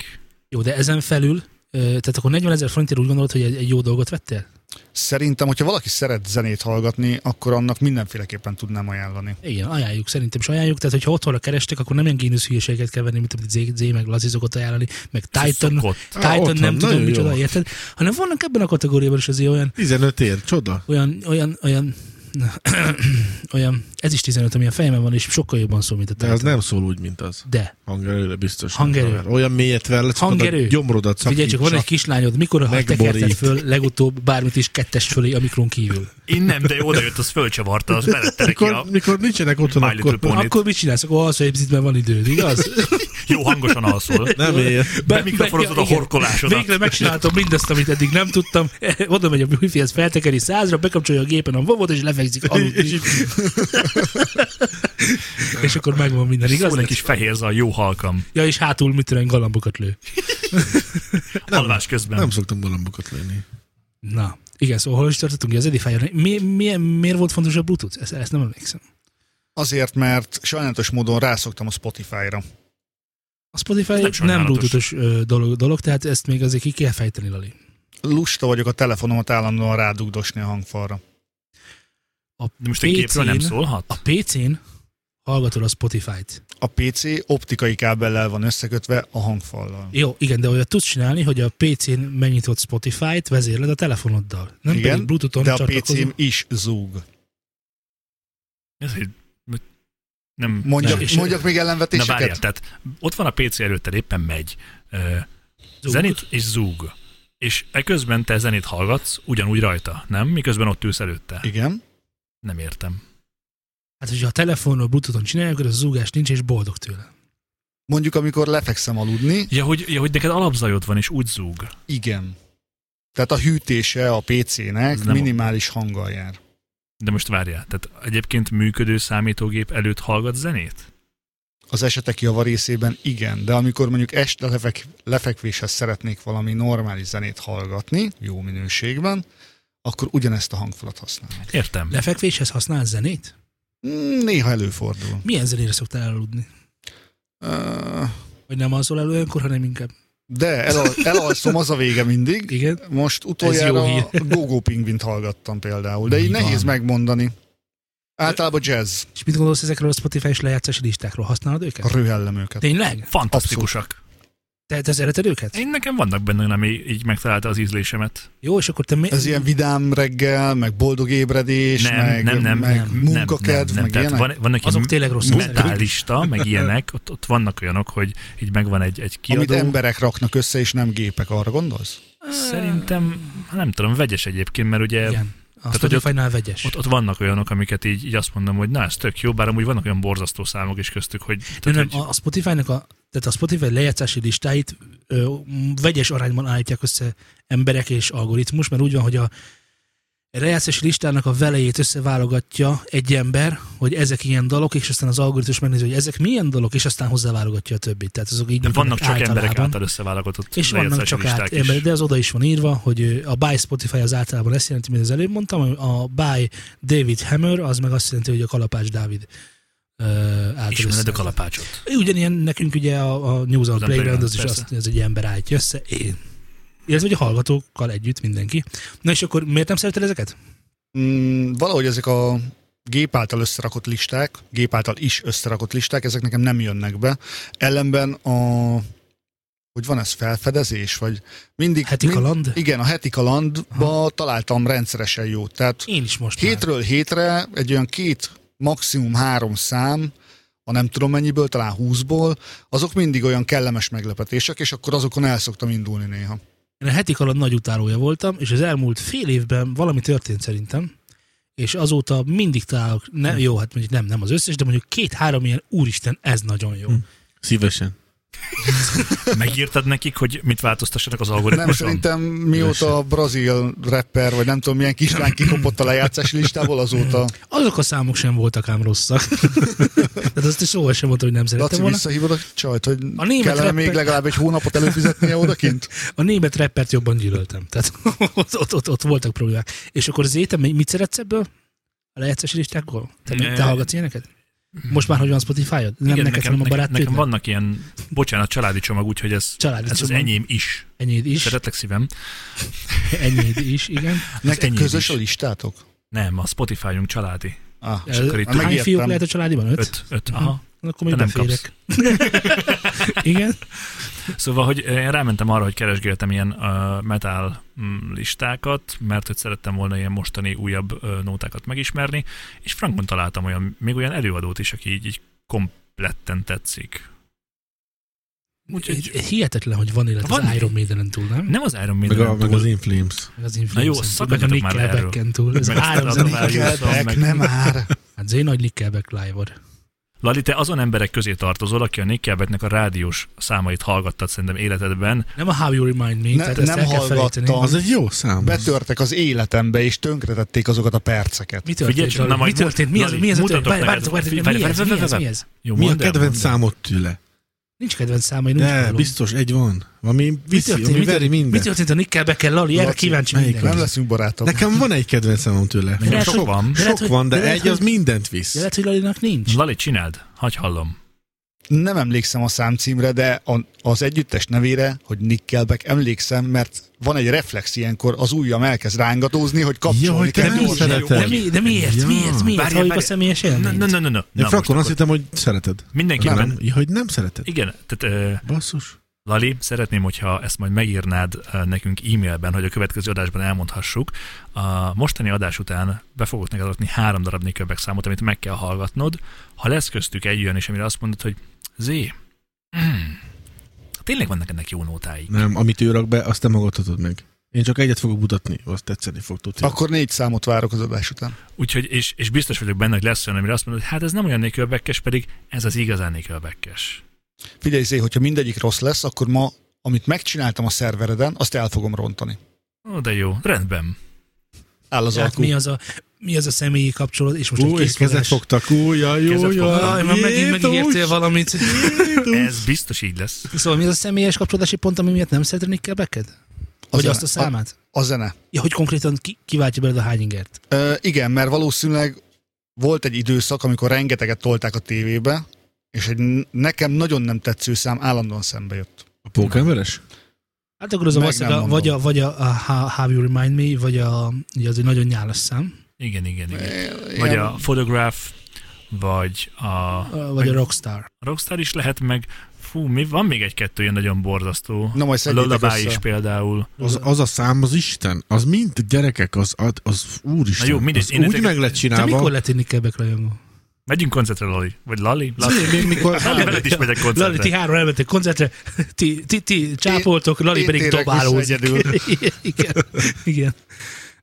[SPEAKER 1] Jó, de ezen felül, ö, tehát akkor 40 ezer forintért úgy gondolod, hogy egy, egy jó dolgot vettél?
[SPEAKER 4] Szerintem, hogyha valaki szeret zenét hallgatni, akkor annak mindenféleképpen tudnám ajánlani.
[SPEAKER 1] Igen, ajánljuk, szerintem is ajánljuk. Tehát, hogyha otthonra kerestek, akkor nem ilyen génusz hülyeséget kell venni, mint amit Z, Z meg Lazi szokott ajánlani, meg
[SPEAKER 4] Szóval
[SPEAKER 1] Titan,
[SPEAKER 2] Szokott.
[SPEAKER 3] Á,
[SPEAKER 1] Titan
[SPEAKER 3] otthon,
[SPEAKER 1] nem tudom,
[SPEAKER 3] nagyon
[SPEAKER 1] micsoda,
[SPEAKER 3] jó.
[SPEAKER 1] érted? Hanem vannak ebben a kategóriában is azért olyan,
[SPEAKER 3] 15 ér, csoda.
[SPEAKER 1] olyan, olyan, olyan, olyan, ez is 15, ami a fejemben van, és sokkal jobban szól, mint a
[SPEAKER 3] De
[SPEAKER 1] Titan.
[SPEAKER 3] az nem szól úgy, mint az.
[SPEAKER 1] De,
[SPEAKER 3] Hangerőre biztos.
[SPEAKER 1] Hangerő.
[SPEAKER 3] nem. Olyan mélyet verlet,
[SPEAKER 1] Hangerő.
[SPEAKER 3] a gyomrodat
[SPEAKER 1] figyelj csak, van egy kislányod, mikor ha
[SPEAKER 3] Megborít.
[SPEAKER 1] tekerted föl legutóbb bármit is kettes fölé a mikron kívül?
[SPEAKER 2] Én nem, de oda jött, az fölcsavarta, az belette neki a
[SPEAKER 3] mikor, mikor nincsenek otthon,
[SPEAKER 2] My Little
[SPEAKER 3] akkor
[SPEAKER 2] Pony. Pont.
[SPEAKER 1] Akkor mit csinálsz? Akkor alszol egy picit, mert van időd, igaz?
[SPEAKER 2] jó hangosan alszol.
[SPEAKER 3] nem ér.
[SPEAKER 2] Bemikrofonozod a
[SPEAKER 1] igen.
[SPEAKER 2] horkolásodat.
[SPEAKER 1] Végre megcsináltam mindazt, amit eddig nem tudtam. Eh, Oda megy a wifi-hez, feltekeri százra, bekapcsolja a gépen a vovot, és lefekszik aludni. és akkor megvan minden, igaz?
[SPEAKER 2] Szól egy kis fehér zal, jó halkam.
[SPEAKER 1] Ja, és hátul mit tudom, én, galambokat lő.
[SPEAKER 2] Alvás közben.
[SPEAKER 3] Nem szoktam galambokat lenni.
[SPEAKER 1] Na, igen, szóval hol is tartottunk az Edifier? Mi, mi, miért volt fontos a Bluetooth? Ezt, ezt nem emlékszem.
[SPEAKER 4] Azért, mert sajnálatos módon rászoktam a Spotify-ra.
[SPEAKER 1] A Spotify
[SPEAKER 2] nem
[SPEAKER 1] nem, nem
[SPEAKER 2] sajnálatos.
[SPEAKER 1] Bluetooth-os ö, dolog, dolog, tehát ezt még azért ki kell fejteni, Lali.
[SPEAKER 4] Lusta vagyok a telefonomat állandóan rádugdosni a hangfalra.
[SPEAKER 1] A
[SPEAKER 2] De most egy képről nem szólhat?
[SPEAKER 1] A PC-n hallgatod a Spotify-t.
[SPEAKER 4] A PC optikai kábellel van összekötve a hangfallal.
[SPEAKER 1] Jó, igen, de olyat tudsz csinálni, hogy a PC-n megnyitod Spotify-t, vezérled a telefonoddal. Nem igen,
[SPEAKER 4] Igen,
[SPEAKER 1] pedig Bluetooth-on
[SPEAKER 4] De a
[SPEAKER 1] csatlakozom.
[SPEAKER 4] PC-m is zúg.
[SPEAKER 2] Ez egy... Nem...
[SPEAKER 4] Mondjak,
[SPEAKER 1] És-
[SPEAKER 4] mondjak még
[SPEAKER 2] Na várjál,
[SPEAKER 4] ellenvetéseket?
[SPEAKER 2] tehát ott van a PC előtted, éppen megy. Ö,
[SPEAKER 1] Zúg.
[SPEAKER 2] Zenit és zúg. És eközben te zenét hallgatsz, ugyanúgy rajta, nem? Miközben ott ülsz előtte.
[SPEAKER 4] Igen.
[SPEAKER 2] Nem értem.
[SPEAKER 1] Hát, hogyha a telefonról Bluetooth-on csinálják, akkor az zúgás nincs, és boldog tőle.
[SPEAKER 4] Mondjuk, amikor lefekszem aludni,
[SPEAKER 2] Ja, hogy, ja, hogy neked alapzajod van, és úgy zúg.
[SPEAKER 4] igen. Tehát a hűtése a
[SPEAKER 2] Ez
[SPEAKER 4] PC-nek
[SPEAKER 2] nem-
[SPEAKER 4] minimális hanggal jár.
[SPEAKER 2] De most várjál, tehát egyébként működő számítógép előtt hallgat zenét?
[SPEAKER 4] Az esetek javarészében igen, de amikor mondjuk este lefek, lefekvéshez szeretnék valami normális zenét hallgatni, jó minőségben, akkor ugyanezt a hangfalat használom.
[SPEAKER 2] Értem.
[SPEAKER 1] Lefekvéshez használsz zenét?
[SPEAKER 4] Mm, Néha előfordul.
[SPEAKER 1] Milyen zenére szoktál elaludni?
[SPEAKER 4] Ö,
[SPEAKER 1] Vagy nem alszol el olyankor, hanem inkább.
[SPEAKER 4] De elal, elalszom, az a vége mindig.
[SPEAKER 1] Igen.
[SPEAKER 4] Most
[SPEAKER 1] jó
[SPEAKER 4] utoljára
[SPEAKER 1] hír.
[SPEAKER 4] a Gogo Pingvint hallgattam például, de
[SPEAKER 1] Mi
[SPEAKER 4] így nehéz
[SPEAKER 1] van?
[SPEAKER 4] megmondani. Általában jazz.
[SPEAKER 1] És mit gondolsz ezekről a Spotify és lejátszási listákról? Használod őket?
[SPEAKER 4] Röhellem őket.
[SPEAKER 1] Tényleg?
[SPEAKER 2] Fantasztikusak.
[SPEAKER 1] Te, te szereted őket?
[SPEAKER 2] Én nekem vannak benne, ami így megtalálta az ízlésemet.
[SPEAKER 1] Jó, és akkor te mi...
[SPEAKER 4] Ez ilyen vidám reggel, meg boldog ébredés,
[SPEAKER 2] Nem,
[SPEAKER 4] meg,
[SPEAKER 2] nem, nem,
[SPEAKER 4] meg
[SPEAKER 1] nem, nem,
[SPEAKER 4] munkakedv,
[SPEAKER 2] nem, nem,
[SPEAKER 4] meg
[SPEAKER 2] tehát
[SPEAKER 4] ilyenek.
[SPEAKER 2] van, vannak
[SPEAKER 1] Azok
[SPEAKER 2] ilyen
[SPEAKER 1] tényleg rossz emberek.
[SPEAKER 2] metálista, meg ilyenek, ott, ott, vannak olyanok, hogy így megvan egy, egy
[SPEAKER 4] Amit
[SPEAKER 2] kiadó.
[SPEAKER 4] emberek raknak össze, és nem gépek, arra gondolsz?
[SPEAKER 2] Szerintem, nem tudom, vegyes egyébként, mert ugye
[SPEAKER 1] Igen. A
[SPEAKER 2] Tehát, hogy ott-
[SPEAKER 1] Spotify-nál vegyes.
[SPEAKER 2] Ott, ott vannak olyanok, amiket így, így azt mondom, hogy na, ez tök jó, bár amúgy vannak olyan borzasztó számok is köztük, hogy...
[SPEAKER 1] Tehát,
[SPEAKER 2] Tehát,
[SPEAKER 1] nem,
[SPEAKER 2] hogy
[SPEAKER 1] a, a Spotify-nak a, tehát a Spotify lejátszási listáit ö, m- vegyes arányban állítják össze emberek és algoritmus, mert úgy van, hogy a lejátszási listának a velejét összeválogatja egy ember, hogy ezek ilyen dalok, és aztán az algoritmus megnézi, hogy ezek milyen dalok, és aztán hozzáválogatja a többit. Tehát azok így
[SPEAKER 2] de
[SPEAKER 1] működnek
[SPEAKER 2] vannak csak
[SPEAKER 1] általában.
[SPEAKER 2] emberek által összeválogatott
[SPEAKER 1] És vannak
[SPEAKER 2] lejátszási
[SPEAKER 1] csak át,
[SPEAKER 2] listák is.
[SPEAKER 1] ember, de az oda is van írva, hogy ö, a by Spotify az általában ezt jelenti, mint az előbb mondtam, a by David Hammer az meg azt jelenti, hogy a kalapács Dávid ö, által
[SPEAKER 2] Ismered a
[SPEAKER 1] összeállított.
[SPEAKER 2] kalapácsot.
[SPEAKER 1] Ugyanilyen nekünk ugye a, a News on
[SPEAKER 2] a
[SPEAKER 1] Playground, az
[SPEAKER 2] Playground,
[SPEAKER 1] is
[SPEAKER 2] persze.
[SPEAKER 1] azt, hogy ez egy ember állítja össze, én. Illetve hogy a hallgatókkal együtt mindenki. Na és akkor miért nem szereted ezeket?
[SPEAKER 4] Mm, valahogy ezek a gép által összerakott listák, gép által is összerakott listák, ezek nekem nem jönnek be. Ellenben a... Hogy van ez felfedezés, vagy mindig...
[SPEAKER 1] Heti
[SPEAKER 4] mind-
[SPEAKER 1] kaland?
[SPEAKER 4] Igen, a heti kalandba találtam rendszeresen jót. Tehát
[SPEAKER 1] Én is most már.
[SPEAKER 4] hétről hétre egy olyan két, maximum három szám, ha nem tudom mennyiből, talán húszból, azok mindig olyan kellemes meglepetések, és akkor azokon el szoktam indulni néha.
[SPEAKER 1] Én a heti kaland nagy utálója voltam, és az elmúlt fél évben valami történt szerintem, és azóta mindig találok,
[SPEAKER 4] Hm.
[SPEAKER 1] ne, jó, hát mondjuk nem, nem az összes, de mondjuk két-három ilyen, úristen, ez nagyon
[SPEAKER 4] Hm.
[SPEAKER 1] jó.
[SPEAKER 3] Szívesen.
[SPEAKER 2] Megírtad nekik, hogy mit változtassanak az
[SPEAKER 4] Nem,
[SPEAKER 2] algoritmuson?
[SPEAKER 4] szerintem mióta a brazil rapper, vagy nem tudom milyen kislány kikopott a lejátszási listából, azóta
[SPEAKER 1] Azok a számok sem voltak ám rosszak. Tehát azt is soha sem mondtam, hogy nem szerettem
[SPEAKER 4] Laci
[SPEAKER 1] volna.
[SPEAKER 4] visszahívod a csajt, hogy
[SPEAKER 1] A német
[SPEAKER 4] kellene még
[SPEAKER 1] rapper-
[SPEAKER 4] legalább egy hónapot előfizetnie odakint.
[SPEAKER 1] A német rappert jobban gyűlöltem. Tehát ott, ott, ott, ott voltak problémák. És akkor Zéte, mi- mit szeretsz ebből? A lejátszási listákból? Te,
[SPEAKER 2] Ne. Hmm.
[SPEAKER 1] te hallgatsz ilyeneket? Most már, hogy van Spotify-od? Nem neked, hanem a
[SPEAKER 2] nekem, nekem
[SPEAKER 1] barátnőknek? Van...
[SPEAKER 2] vannak ilyen, bocsánat, családi csomag, úgyhogy ez,
[SPEAKER 1] Családi
[SPEAKER 2] ez az
[SPEAKER 1] csomag.
[SPEAKER 2] enyém is.
[SPEAKER 1] Enyéd is,
[SPEAKER 2] Szeretlek szívem.
[SPEAKER 1] enyéd is, igen.
[SPEAKER 4] Nektek
[SPEAKER 2] enyém
[SPEAKER 4] közös
[SPEAKER 2] is.
[SPEAKER 4] a listátok?
[SPEAKER 2] Nem, a Spotify-unk családi.
[SPEAKER 4] Ah,
[SPEAKER 2] És akkor itt-
[SPEAKER 1] Hány
[SPEAKER 4] megijedtem.
[SPEAKER 1] fiúk lehet a családiban? Öt?
[SPEAKER 2] Öt, öt, aha.
[SPEAKER 1] Na, Akkor még
[SPEAKER 2] Te
[SPEAKER 1] nem
[SPEAKER 2] nem
[SPEAKER 1] félek. igen.
[SPEAKER 2] Szóval, hogy én rámentem arra, hogy keresgéltem ilyen uh, metal mm, listákat, mert hogy szerettem volna ilyen mostani újabb uh, nótákat megismerni, és frankon találtam olyan, még olyan előadót is, aki így, így kompletten tetszik. Úgyhogy
[SPEAKER 1] Hihetetlen, hogy van élet
[SPEAKER 2] Van
[SPEAKER 1] az
[SPEAKER 2] egy-
[SPEAKER 1] Iron Maiden-en túl, nem?
[SPEAKER 2] nem az Iron
[SPEAKER 3] Meg, a,
[SPEAKER 2] Maiden
[SPEAKER 3] meg az Inflames.
[SPEAKER 1] Meg az
[SPEAKER 2] Na
[SPEAKER 1] Influencer-en
[SPEAKER 2] jó,
[SPEAKER 1] túl, meg a
[SPEAKER 2] szakadjatok már erről.
[SPEAKER 1] Nickelback-en túl. Ez
[SPEAKER 2] Meg aztán
[SPEAKER 1] három
[SPEAKER 2] a
[SPEAKER 1] zenét.
[SPEAKER 2] Nickelback.
[SPEAKER 4] Nickelback, nem már.
[SPEAKER 1] Hát Zé nagy Nickelback live
[SPEAKER 2] Lali, te azon emberek közé tartozol, aki a Nickelbacknek a rádiós számait hallgattad szerintem életedben.
[SPEAKER 1] Nem a How You Remind Me,
[SPEAKER 4] Ne-
[SPEAKER 1] tehát ezt
[SPEAKER 4] nem
[SPEAKER 1] el kell felejteni.
[SPEAKER 4] hallgattam.
[SPEAKER 3] Az egy jó szám.
[SPEAKER 4] Betörtek az életembe, és tönkretették azokat a perceket.
[SPEAKER 1] Mi történt?
[SPEAKER 2] Figyelj csak,
[SPEAKER 1] Dali?
[SPEAKER 2] na
[SPEAKER 1] mi
[SPEAKER 2] majd
[SPEAKER 1] történt? Mi ez?
[SPEAKER 2] Dali,
[SPEAKER 1] Mi ez? a történet?
[SPEAKER 2] mutatok
[SPEAKER 1] Várj,
[SPEAKER 2] neked.
[SPEAKER 1] Várjatok, várjatok, mi ez? Mi ez? Mi ez?
[SPEAKER 2] Jó,
[SPEAKER 3] Mi a
[SPEAKER 2] mondd el,
[SPEAKER 3] kedvenc
[SPEAKER 2] mondd el.
[SPEAKER 3] számot tőle?
[SPEAKER 1] Nincs kedvenc száma, én úgy
[SPEAKER 3] De,
[SPEAKER 1] hallom.
[SPEAKER 3] biztos egy van. Valami
[SPEAKER 1] Mi
[SPEAKER 3] viszi,
[SPEAKER 1] történt? Mi
[SPEAKER 3] ami veri
[SPEAKER 1] történt? Mi
[SPEAKER 3] mindent.
[SPEAKER 1] történt a Nickelback-el, Lali? Erre
[SPEAKER 4] Laci,
[SPEAKER 1] kíváncsi
[SPEAKER 3] melyik
[SPEAKER 1] mindenki.
[SPEAKER 4] Nem leszünk barátok.
[SPEAKER 3] Nekem van egy kedvenc számom tőle.
[SPEAKER 2] Nekem
[SPEAKER 1] lehet,
[SPEAKER 2] sok
[SPEAKER 1] hogy-
[SPEAKER 2] van.
[SPEAKER 1] De lehet,
[SPEAKER 3] Sok
[SPEAKER 1] hogy-
[SPEAKER 3] van, de
[SPEAKER 1] lehet,
[SPEAKER 3] egy az
[SPEAKER 1] hogy-
[SPEAKER 3] mindent
[SPEAKER 1] De
[SPEAKER 3] visz.
[SPEAKER 1] lehet, hogy Lalinak nincs.
[SPEAKER 2] Lali, csináld, hagy hallom.
[SPEAKER 4] Nem emlékszem a számcímre, de a, az együttes nevére, hogy Nickelback, emlékszem, mert van egy reflex ilyenkor, az ujjam elkezd rángatózni, hogy
[SPEAKER 3] Ja,
[SPEAKER 4] kapcsolni
[SPEAKER 3] hogy te
[SPEAKER 4] kell.
[SPEAKER 3] nem
[SPEAKER 4] gyorsan.
[SPEAKER 3] szereted.
[SPEAKER 1] De, mi, de miért?
[SPEAKER 3] Ja.
[SPEAKER 1] Miért? Miért?
[SPEAKER 2] Várjál,
[SPEAKER 1] Halljuk a
[SPEAKER 2] várjál.
[SPEAKER 1] személyes
[SPEAKER 2] Na, na,
[SPEAKER 1] élményt?
[SPEAKER 2] na, na, na.
[SPEAKER 3] Én
[SPEAKER 2] Na, most
[SPEAKER 3] frankon azt
[SPEAKER 2] akkor
[SPEAKER 3] hittem, hogy szereted.
[SPEAKER 2] Mindenképpen
[SPEAKER 3] Nem, hogy nem szereted.
[SPEAKER 2] Igen, tehát eh, ö,
[SPEAKER 3] Basszus.
[SPEAKER 2] Lali, szeretném, hogyha ezt majd megírnád ö, nekünk e-mailben, hogy a következő adásban elmondhassuk. A mostani adás után be fogok neked adni három darab Nickelback számot, amit meg kell hallgatnod. Ha lesz köztük egy olyan is, amire azt mondod, hogy Zé, mm, tényleg vannak ennek jó nótái.
[SPEAKER 3] Nem, amit ő rak be, azt te magadhatod meg. Én csak egyet fogok mutatni, azt tetszeni fog tudni.
[SPEAKER 4] Akkor négy számot várok az adás után.
[SPEAKER 2] Úgyhogy, és, és biztos vagyok benne, hogy lesz olyan, amire azt mondod, hogy hát ez nem olyan Nickelbackes, pedig ez az igazán Nickelbackes.
[SPEAKER 4] Figyelj, Zé, hogyha mindegyik rossz lesz, akkor ma, amit megcsináltam a szervereden, azt el fogom rontani.
[SPEAKER 2] Ó, de jó, rendben.
[SPEAKER 4] Áll az
[SPEAKER 1] Tehát
[SPEAKER 4] alkú.
[SPEAKER 1] Hát mi az a mi az a személyi kapcsolat, és most
[SPEAKER 3] Ú,
[SPEAKER 1] egy
[SPEAKER 3] és kezet
[SPEAKER 1] készfogás.
[SPEAKER 3] fogtak, ú, jaj, jó,
[SPEAKER 2] Kezet
[SPEAKER 3] jaj.
[SPEAKER 2] fogtak.
[SPEAKER 1] Jaj, már megint megígértél valamit.
[SPEAKER 2] Ez biztos így lesz.
[SPEAKER 1] Szóval mi az a személyes kapcsolódási pont, ami miatt nem szereted Nickelbacket? Vagy
[SPEAKER 4] zene.
[SPEAKER 1] azt a számát?
[SPEAKER 4] A, a zene.
[SPEAKER 1] Ja, hogy konkrétan ki, kiváltja belőle a hányingert?
[SPEAKER 4] Ö, igen, mert valószínűleg volt egy időszak, amikor rengeteget tolták a tévébe, és egy n- nekem nagyon nem tetsző szám állandóan szembe jött.
[SPEAKER 3] A pókemberes?
[SPEAKER 1] Hát akkor az a
[SPEAKER 4] Meg
[SPEAKER 1] valószínűleg
[SPEAKER 4] nem
[SPEAKER 1] a-
[SPEAKER 4] mondom.
[SPEAKER 1] vagy a, vagy a, a How- How You Remind Me, vagy a, ugye az egy nagyon nyálas szám.
[SPEAKER 2] Igen, igen, igen.
[SPEAKER 4] Igen.
[SPEAKER 2] Vagy a Photograph, vagy a
[SPEAKER 1] Vagy a Rockstar.
[SPEAKER 2] Rockstar is lehet, meg fú, mi, van még egy-kettő ilyen nagyon borzasztó.
[SPEAKER 4] Na majd
[SPEAKER 2] A
[SPEAKER 4] szedjétek
[SPEAKER 2] Lullaby
[SPEAKER 4] össze.
[SPEAKER 2] is például.
[SPEAKER 3] Az, az a szám, az Isten, az mind gyerekek, az, az, az úristen,
[SPEAKER 2] Na jó, mindegy,
[SPEAKER 3] az
[SPEAKER 2] én
[SPEAKER 3] úgy
[SPEAKER 2] ezeket-
[SPEAKER 3] meg lett
[SPEAKER 1] Te
[SPEAKER 3] csinálva.
[SPEAKER 1] mikor lettél Nickelback rajongó?
[SPEAKER 2] Megyünk koncertre, Lali. Vagy Lali? Lali,
[SPEAKER 1] Még mikor...
[SPEAKER 2] Lali veled is megyek koncertre.
[SPEAKER 1] Lali, ti három elmentek koncertre, ti, ti, ti csápoltok, Lali
[SPEAKER 4] én
[SPEAKER 1] pedig
[SPEAKER 4] térek vissza
[SPEAKER 1] dobálózik.
[SPEAKER 4] egyedül.
[SPEAKER 1] igen, igen.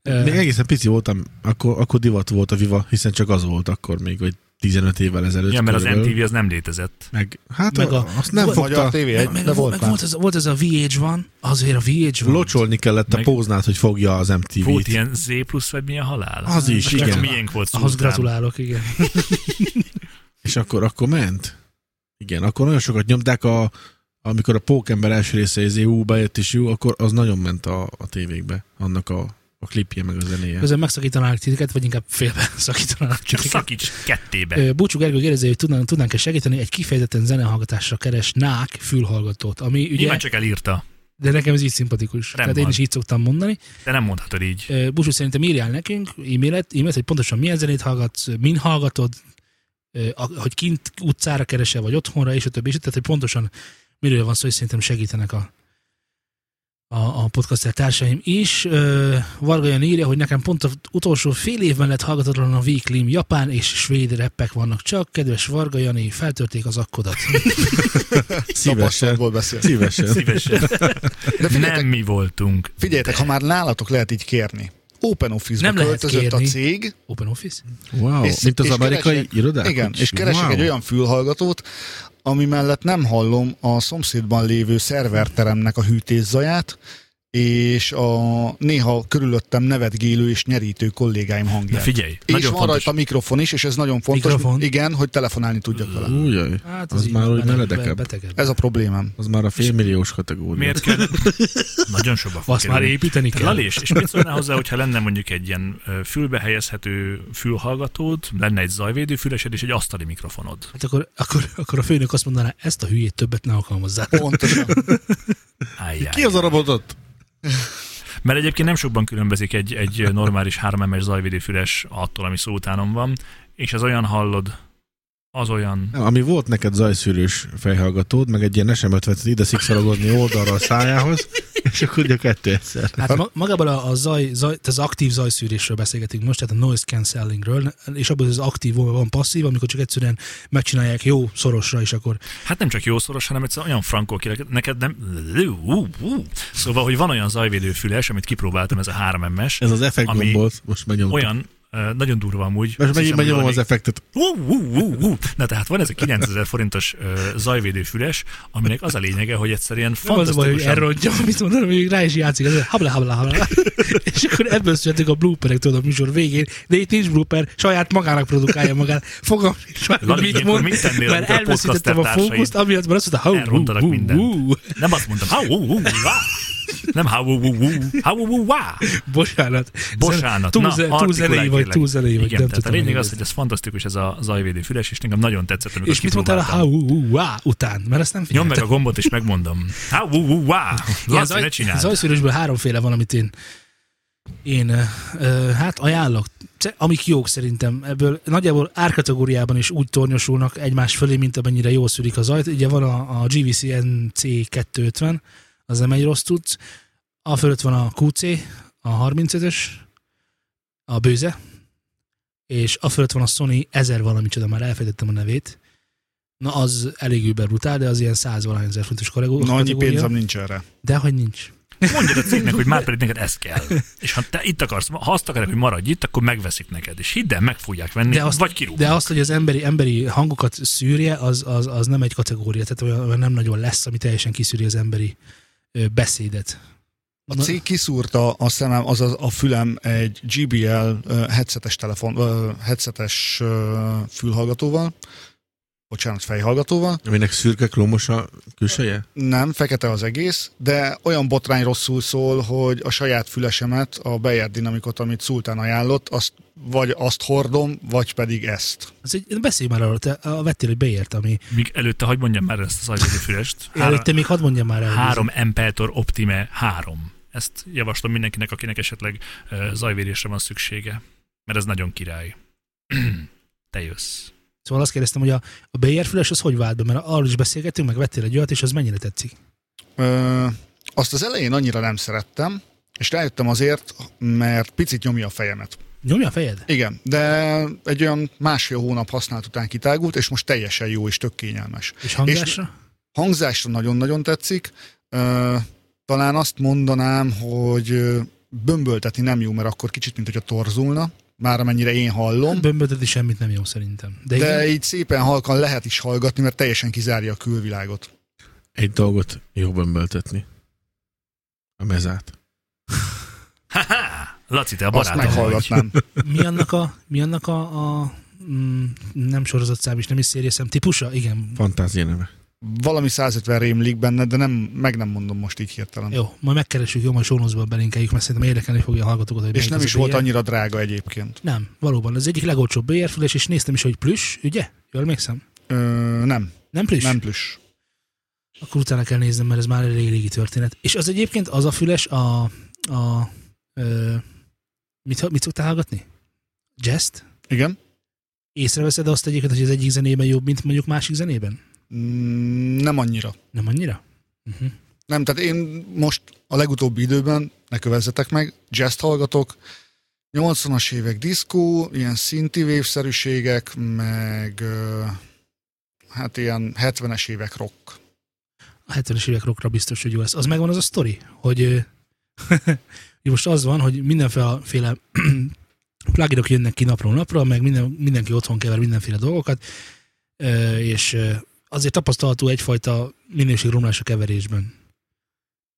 [SPEAKER 1] Ö,
[SPEAKER 3] Még egészen pici voltam, akkor, akkor divat volt a Viva, hiszen csak az volt akkor még, vagy 15 évvel ezelőtt.
[SPEAKER 2] Ja, mert az
[SPEAKER 3] körülbelül.
[SPEAKER 2] MTV az nem létezett.
[SPEAKER 3] Meg, hát
[SPEAKER 1] Meg
[SPEAKER 3] meg
[SPEAKER 1] a-
[SPEAKER 3] a, azt nem
[SPEAKER 1] volt-
[SPEAKER 3] fogta,
[SPEAKER 4] Magyar tévé, egy,
[SPEAKER 1] meg,
[SPEAKER 4] de
[SPEAKER 1] volt,
[SPEAKER 4] volt
[SPEAKER 1] meg
[SPEAKER 4] már.
[SPEAKER 1] volt, ez, volt ez a VH1, azért a VH1.
[SPEAKER 3] locsolni kellett
[SPEAKER 2] Meg-
[SPEAKER 3] a póznát, hogy fogja az
[SPEAKER 2] Volt
[SPEAKER 3] MTV-t.
[SPEAKER 2] ilyen Z plusz, vagy mi a halál?
[SPEAKER 3] Az is,
[SPEAKER 2] Csak a
[SPEAKER 3] igen.
[SPEAKER 2] miénk volt
[SPEAKER 1] Ahhoz
[SPEAKER 2] szultán.
[SPEAKER 1] gratulálok, igen.
[SPEAKER 3] És akkor, akkor ment. Igen, akkor nagyon sokat nyomták a amikor a pókember első része ez jó, bejött is jó, akkor az nagyon ment a, a tévékbe, annak a, a klipje meg a zenéje.
[SPEAKER 1] Közben megszakítanálak titeket, vagy inkább félben szakítanálak
[SPEAKER 2] Csak
[SPEAKER 1] titeket.
[SPEAKER 2] szakíts kettébe.
[SPEAKER 1] Ö, Búcsú Gergő kérdezi, hogy tudnánk, tudnánk-e segíteni, egy kifejezetten zenehallgatásra keresnák fülhallgatót, ami ugye,
[SPEAKER 2] Nyilván csak elírta,
[SPEAKER 1] de nekem ez így szimpatikus. Tehát én
[SPEAKER 2] van.
[SPEAKER 1] is így szoktam mondani.
[SPEAKER 2] de nem mondhatod így.
[SPEAKER 1] Ö, Busú szerintem írjál nekünk e-mailet, e-mailt, hogy pontosan milyen zenét hallgatsz, min hallgatod, ö, a- hogy kint utcára keresel, vagy otthonra, és a többi, és a többi. tehát hogy pontosan miről van szó, és szerintem segítenek a, a, a podcaster társaim is. Ö, Varga Jan írja, hogy nekem pont az utolsó fél évben lett hallgatatlan a Weeklim, japán és svéd reppek vannak csak. Kedves Varga Jani, feltörték az akkodat.
[SPEAKER 3] Szívesen.
[SPEAKER 4] Tapasztalatból beszél.
[SPEAKER 3] Szívesen.
[SPEAKER 2] Szívesen.
[SPEAKER 4] De figyeljetek,
[SPEAKER 2] Nem mi voltunk.
[SPEAKER 4] figyeljetek, ha már nálatok lehet így kérni. Open Office-ba
[SPEAKER 1] Nem lehet
[SPEAKER 4] költözött a
[SPEAKER 1] kérni.
[SPEAKER 4] cég,
[SPEAKER 1] Open Office?
[SPEAKER 3] Wow,
[SPEAKER 4] És-
[SPEAKER 3] mint az
[SPEAKER 4] és
[SPEAKER 3] amerikai
[SPEAKER 4] keresek-
[SPEAKER 3] irodák?
[SPEAKER 4] Igen, és keresek
[SPEAKER 3] wow.
[SPEAKER 4] egy olyan fülhallgatót, ami mellett nem hallom a szomszédban lévő szerverteremnek a hűtészaját, és a néha körülöttem nevetgélő és nyerítő kollégáim
[SPEAKER 2] De
[SPEAKER 4] hangját.
[SPEAKER 2] figyelj,
[SPEAKER 4] És
[SPEAKER 2] nagyon
[SPEAKER 4] van
[SPEAKER 2] fontos.
[SPEAKER 4] rajta mikrofon is, és ez nagyon fontos.
[SPEAKER 1] Mikrofon?
[SPEAKER 4] Igen, hogy telefonálni tudjak vele.
[SPEAKER 3] Újjaj,
[SPEAKER 1] Hát
[SPEAKER 3] Az
[SPEAKER 1] így
[SPEAKER 3] már úgy
[SPEAKER 1] beteg-
[SPEAKER 3] meredekebb.
[SPEAKER 1] betegebb.
[SPEAKER 4] Ez a problémám.
[SPEAKER 3] az már a félmilliós kategória.
[SPEAKER 2] Miért kell? Nagyon sokba fog
[SPEAKER 1] Azt már
[SPEAKER 2] kerülni.
[SPEAKER 1] építeni
[SPEAKER 2] Tehát
[SPEAKER 1] kell.
[SPEAKER 2] Lali, és, és mit szólnál hozzá, hogyha lenne mondjuk egy ilyen ö, fülbe helyezhető fülhallgatód, lenne egy zajvédő fülesed és egy asztali mikrofonod?
[SPEAKER 1] Hát akkor, akkor, akkor a főnök azt mondaná, ezt a hülyét többet ne alkalmazzál.
[SPEAKER 4] Pontosan.
[SPEAKER 2] Álljál.
[SPEAKER 3] Ki az a robotot?
[SPEAKER 2] Mert egyébként nem sokban különbözik egy, egy normális 3 es zajvédő füles attól, ami szó utánom van, és az olyan hallod, az olyan...
[SPEAKER 3] Nem, ami volt neked zajszűrős fejhallgatód, meg egy ilyen SM50-et ide szikszalagodni oldalra a szájához, és akkor ugye kettő egyszer.
[SPEAKER 1] Hát ma, magában a, a zaj, zaj, tehát az aktív zajszűrésről beszélgetünk most, tehát a noise cancellingről, és abban az aktív van passzív, amikor csak egyszerűen megcsinálják jó szorosra, és akkor
[SPEAKER 2] Hát nem csak jószoros, hanem egyszerűen olyan frankó kirek, neked nem... Ú, ú. Szóval, hogy van olyan zajvédő füles, amit kipróbáltam, ez a 3 es
[SPEAKER 3] Ez az effekt
[SPEAKER 2] Ami
[SPEAKER 3] gombot, most megnyomtam.
[SPEAKER 2] olyan ö, nagyon durva amúgy.
[SPEAKER 3] Most
[SPEAKER 2] Azt
[SPEAKER 3] megint
[SPEAKER 2] hiszem,
[SPEAKER 3] megnyomom
[SPEAKER 2] hogy
[SPEAKER 3] az effektet.
[SPEAKER 2] Ú, ú, ú, ú. Na tehát van ez a 9000 forintos ö, zajvédő füles, aminek az a lényege, hogy egyszerűen
[SPEAKER 1] nem az a baj, hogy
[SPEAKER 2] fantasztikusan...
[SPEAKER 1] elrontja, mit mondanom, még rá is játszik, ez habla, habla, habla. és akkor ebből születik a blooperek, tudod, a műsor végén, de itt nincs blooper, saját magának produkálja magát. Fogam is már,
[SPEAKER 2] Lali,
[SPEAKER 1] hogy mit
[SPEAKER 2] ilyenkor
[SPEAKER 1] mond,
[SPEAKER 2] mit tennél,
[SPEAKER 1] mert
[SPEAKER 2] amikor a
[SPEAKER 1] elveszítettem a
[SPEAKER 2] podcaster
[SPEAKER 1] fókuszt, amiatt már azt mondta, ha,
[SPEAKER 2] elrontanak mindent.
[SPEAKER 1] hú,
[SPEAKER 2] Nem azt mondtam, hau, ú, ú, vá. Nem hau, ú, ú, ú, hau, ú, ú, vá.
[SPEAKER 1] bocsánat.
[SPEAKER 2] Bocsánat.
[SPEAKER 1] Túl,
[SPEAKER 2] Na,
[SPEAKER 1] ze, túl
[SPEAKER 2] artikulálj,
[SPEAKER 1] zenei vagy,
[SPEAKER 2] kérlek.
[SPEAKER 1] túl zenei vagy,
[SPEAKER 2] Igen,
[SPEAKER 1] nem
[SPEAKER 2] tehát a
[SPEAKER 1] tudom.
[SPEAKER 2] lényeg
[SPEAKER 1] hogy
[SPEAKER 2] az, hogy ez fantasztikus, ez a zajvédő füles, és nekem nagyon tetszett, amikor
[SPEAKER 1] És mit mondtál a
[SPEAKER 2] kipróbáltam.
[SPEAKER 1] hau ú, wá után? Mert ezt nem
[SPEAKER 2] Nyomd
[SPEAKER 1] figyeltem.
[SPEAKER 2] meg a gombot, és megmondom. Hau, ú, ú, vá.
[SPEAKER 1] Ilyen
[SPEAKER 2] Laci, ne
[SPEAKER 1] zaj,
[SPEAKER 2] csináld.
[SPEAKER 1] zajszűrősből háromféle van, amit én, én ö, ö, hát ajánlok. Ce- Amik jók szerintem ebből. Nagyjából árkategóriában is úgy tornyosulnak egymás fölé, mint amennyire jól szűrik a zajt. Ugye van a, a GVC NC250, az nem egy rossz tudsz. A fölött van a QC, a 35-ös, a bőze, és a fölött van a Sony 1000 valami csoda, már elfejtettem a nevét. Na az elég über brutál, de az ilyen 100 valahány ezer fontos kategória.
[SPEAKER 4] Na, annyi pénzem nincs erre.
[SPEAKER 1] De hogy nincs.
[SPEAKER 2] Mondjad a cégnek, hogy már pedig neked ez kell. És ha te itt akarsz, ha azt akarják, hogy maradj itt, akkor megveszik neked. És hidd el, meg fogják venni,
[SPEAKER 1] De azt-
[SPEAKER 2] vagy kirúgják.
[SPEAKER 1] De azt, hogy az emberi, emberi hangokat szűrje, az, az, az nem egy kategória, tehát olyan, olyan nem nagyon lesz, ami teljesen kiszűri az emberi ö, beszédet.
[SPEAKER 4] A
[SPEAKER 1] Na-
[SPEAKER 4] cég kiszúrta a szemem, azaz a fülem egy GBL ö, headsetes, telefon, ö, headsetes ö, fülhallgatóval, bocsánat, fejhallgatóval.
[SPEAKER 3] Aminek szürke klómos a külseje?
[SPEAKER 4] Nem, fekete az egész, de olyan botrány rosszul szól, hogy a saját fülesemet, a Beyer dinamikot, amit Szultán ajánlott, azt vagy azt hordom, vagy pedig ezt.
[SPEAKER 1] Az egy, beszélj már arról, te a, vettél egy beért, ami
[SPEAKER 2] Míg előtte, hogy mondjam már ezt az ajvédő fülest.
[SPEAKER 1] előtte még hadd mondjam már el.
[SPEAKER 2] Három Empeltor Optime 3. Ezt javaslom mindenkinek, akinek esetleg ö, zajvérésre van szüksége. mert ez nagyon király. Te jössz.
[SPEAKER 1] Szóval azt kérdeztem, hogy a, a BR füles az hogy vált be, mert arról is beszélgettünk, meg vettél egy olyat, és az mennyire tetszik.
[SPEAKER 4] Ö, azt az elején annyira nem szerettem, és rájöttem azért, mert picit nyomja a fejemet.
[SPEAKER 1] Nyomja a fejed?
[SPEAKER 4] Igen, de egy olyan másfél hónap használt után kitágult, és most teljesen jó és tök kényelmes.
[SPEAKER 1] És hangzásra?
[SPEAKER 4] Hangzásra nagyon-nagyon tetszik. Ö, talán azt mondanám, hogy ö, bömböltetni nem jó, mert akkor kicsit, mint hogyha torzulna, már amennyire én hallom.
[SPEAKER 1] És... Bömböteti semmit nem jó szerintem. De,
[SPEAKER 4] De
[SPEAKER 1] igen,
[SPEAKER 4] így szépen halkan lehet is hallgatni, mert teljesen kizárja a külvilágot.
[SPEAKER 3] Egy dolgot jobban bömböltetni. A mezát.
[SPEAKER 2] Ha-ha! Laci, te a
[SPEAKER 4] Azt
[SPEAKER 2] barátom vagy.
[SPEAKER 4] meghallgatnám.
[SPEAKER 1] mi annak a, mi annak a, a mm, nem sorozatszám is, nem is szérieszem típusa? Igen.
[SPEAKER 3] Fantázia neve.
[SPEAKER 4] Valami 150 rémlik benne, de nem, meg nem mondom most így hirtelen.
[SPEAKER 1] Jó, majd megkeressük, jó, majd sónozban belinkeljük, mert szerintem érdekelni fogja a hallgatókat, hogy
[SPEAKER 4] És
[SPEAKER 1] melyik
[SPEAKER 4] nem
[SPEAKER 1] az a
[SPEAKER 4] is volt
[SPEAKER 1] BR.
[SPEAKER 4] annyira drága egyébként.
[SPEAKER 1] Nem, valóban. Ez egyik legolcsóbb BR füles, és néztem is, hogy plüss, ugye? Jól emlékszem?
[SPEAKER 4] Ö, nem,
[SPEAKER 1] Nem plüss?
[SPEAKER 4] nem plusz.
[SPEAKER 1] Akkor utána kell néznem, mert ez már elég régi történet. És az egyébként az a füles a... a ö, mit, mit szoktál hallgatni? Jazz-t?
[SPEAKER 4] Igen?
[SPEAKER 1] Észreveszed azt egyébként, hogy az egyik zenében jobb, mint mondjuk másik zenében?
[SPEAKER 4] Mm, Nem annyira.
[SPEAKER 1] Nem annyira? Uh-huh.
[SPEAKER 4] Nem, tehát én most a legutóbbi időben, ne kövezzetek meg, jazz hallgatok, 80-as évek diszkó, ilyen szinti wave-szerűségek, meg ö, hát ilyen 70-es évek rock.
[SPEAKER 1] A 70-es évek rockra biztos, hogy jó lesz. Az megvan az a sztori, hogy ö, hogy most az van, hogy mindenféle pluginok jönnek ki napról napra, meg minden, mindenki otthon kever mindenféle dolgokat, ö, és ö, azért tapasztalható egyfajta minőségromlás a keverésben.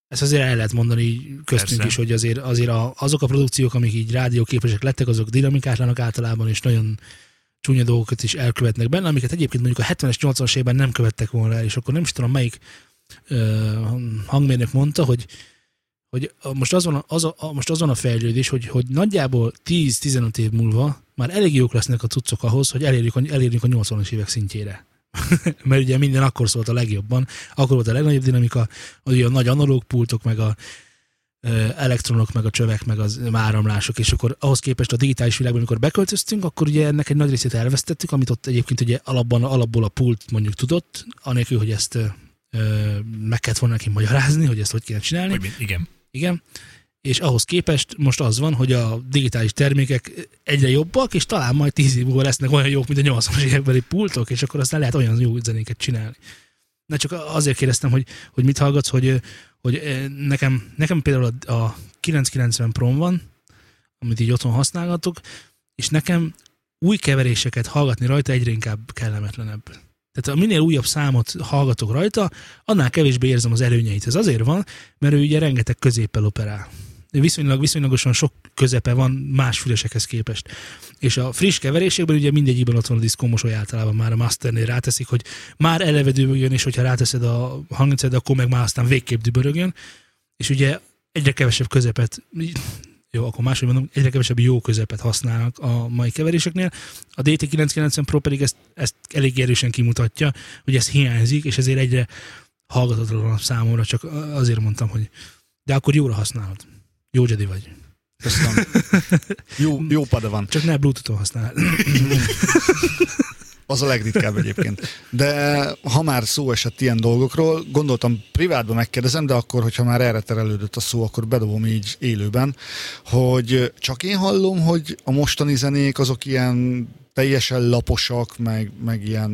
[SPEAKER 1] Ezt azért el lehet mondani így köztünk
[SPEAKER 2] Persze.
[SPEAKER 1] Persze. is, hogy azért, azért a, azok a produkciók, amik így rádióképesek lettek, azok dinamikátlanak általában, és nagyon csúnya dolgokat is elkövetnek benne, amiket egyébként mondjuk a 70-es, 80-as évben nem követtek volna el, és akkor nem is tudom, melyik ö, hangmérnök mondta, hogy hogy a- most az van a, az a, a, most az van a fejlődés, hogy, hogy nagyjából 10-15 év múlva már elég jók lesznek a cuccok ahhoz, hogy elérjük a, elérjük a 80-as évek szintjére. Mert ugye minden akkor szólt a legjobban, akkor volt a legnagyobb dinamika, ugye a nagy analóg pultok, meg a ö, elektronok, meg a csövek, meg az áramlások, és akkor ahhoz képest a digitális világban, amikor beköltöztünk, akkor ugye ennek egy nagy részét elvesztettük, amit ott egyébként ugye alapban, alapból a pult mondjuk tudott, anélkül, hogy ezt ö, ö, meg kellett volna neki magyarázni, hogy ezt hogy kéne csinálni.
[SPEAKER 2] Hogy mi- Igen.
[SPEAKER 1] Igen. És ahhoz képest most az van, hogy a digitális termékek egyre jobbak, és talán majd tíz év múlva lesznek olyan jók, mint a 80-as évekbeli pultok, és akkor aztán lehet olyan jó zenéket csinálni. Na csak azért kérdeztem, hogy, hogy mit hallgatsz, hogy, hogy eh, nekem, nekem például a, a 990 Prom van, amit így otthon használgatok, és nekem új keveréseket hallgatni rajta egyre inkább kellemetlenebb. Tehát a minél újabb számot hallgatok rajta, annál kevésbé érzem az előnyeit. Ez azért van, mert ő ugye rengeteg középpel operál. Viszonylag, viszonylagosan sok közepe van más fülesekhez képest. És a friss keverésekben ugye mindegyikben ott van a diszkó mosoly általában már a masternél ráteszik, hogy már elevedőbögjön, és hogyha ráteszed a hangrendszered, akkor meg már aztán végképp dübörögjön. És ugye egyre kevesebb közepet, jó, akkor máshogy mondom, egyre kevesebb jó közepet használnak a mai keveréseknél. A DT990 Pro pedig ezt, ezt elég erősen kimutatja, hogy ez hiányzik, és ezért egyre hallgatatlanabb számomra, csak azért mondtam, hogy de akkor jóra használod. Jó Jedi vagy.
[SPEAKER 4] Köszönöm. Jó, jó pada van.
[SPEAKER 1] Csak ne Bluetooth-on használod.
[SPEAKER 4] Az a legritkább egyébként. De ha már szó esett ilyen dolgokról, gondoltam privátban megkérdezem, de akkor, hogyha már erre terelődött a szó, akkor bedobom így élőben, hogy csak én hallom, hogy a mostani zenék azok ilyen teljesen laposak, meg, meg ilyen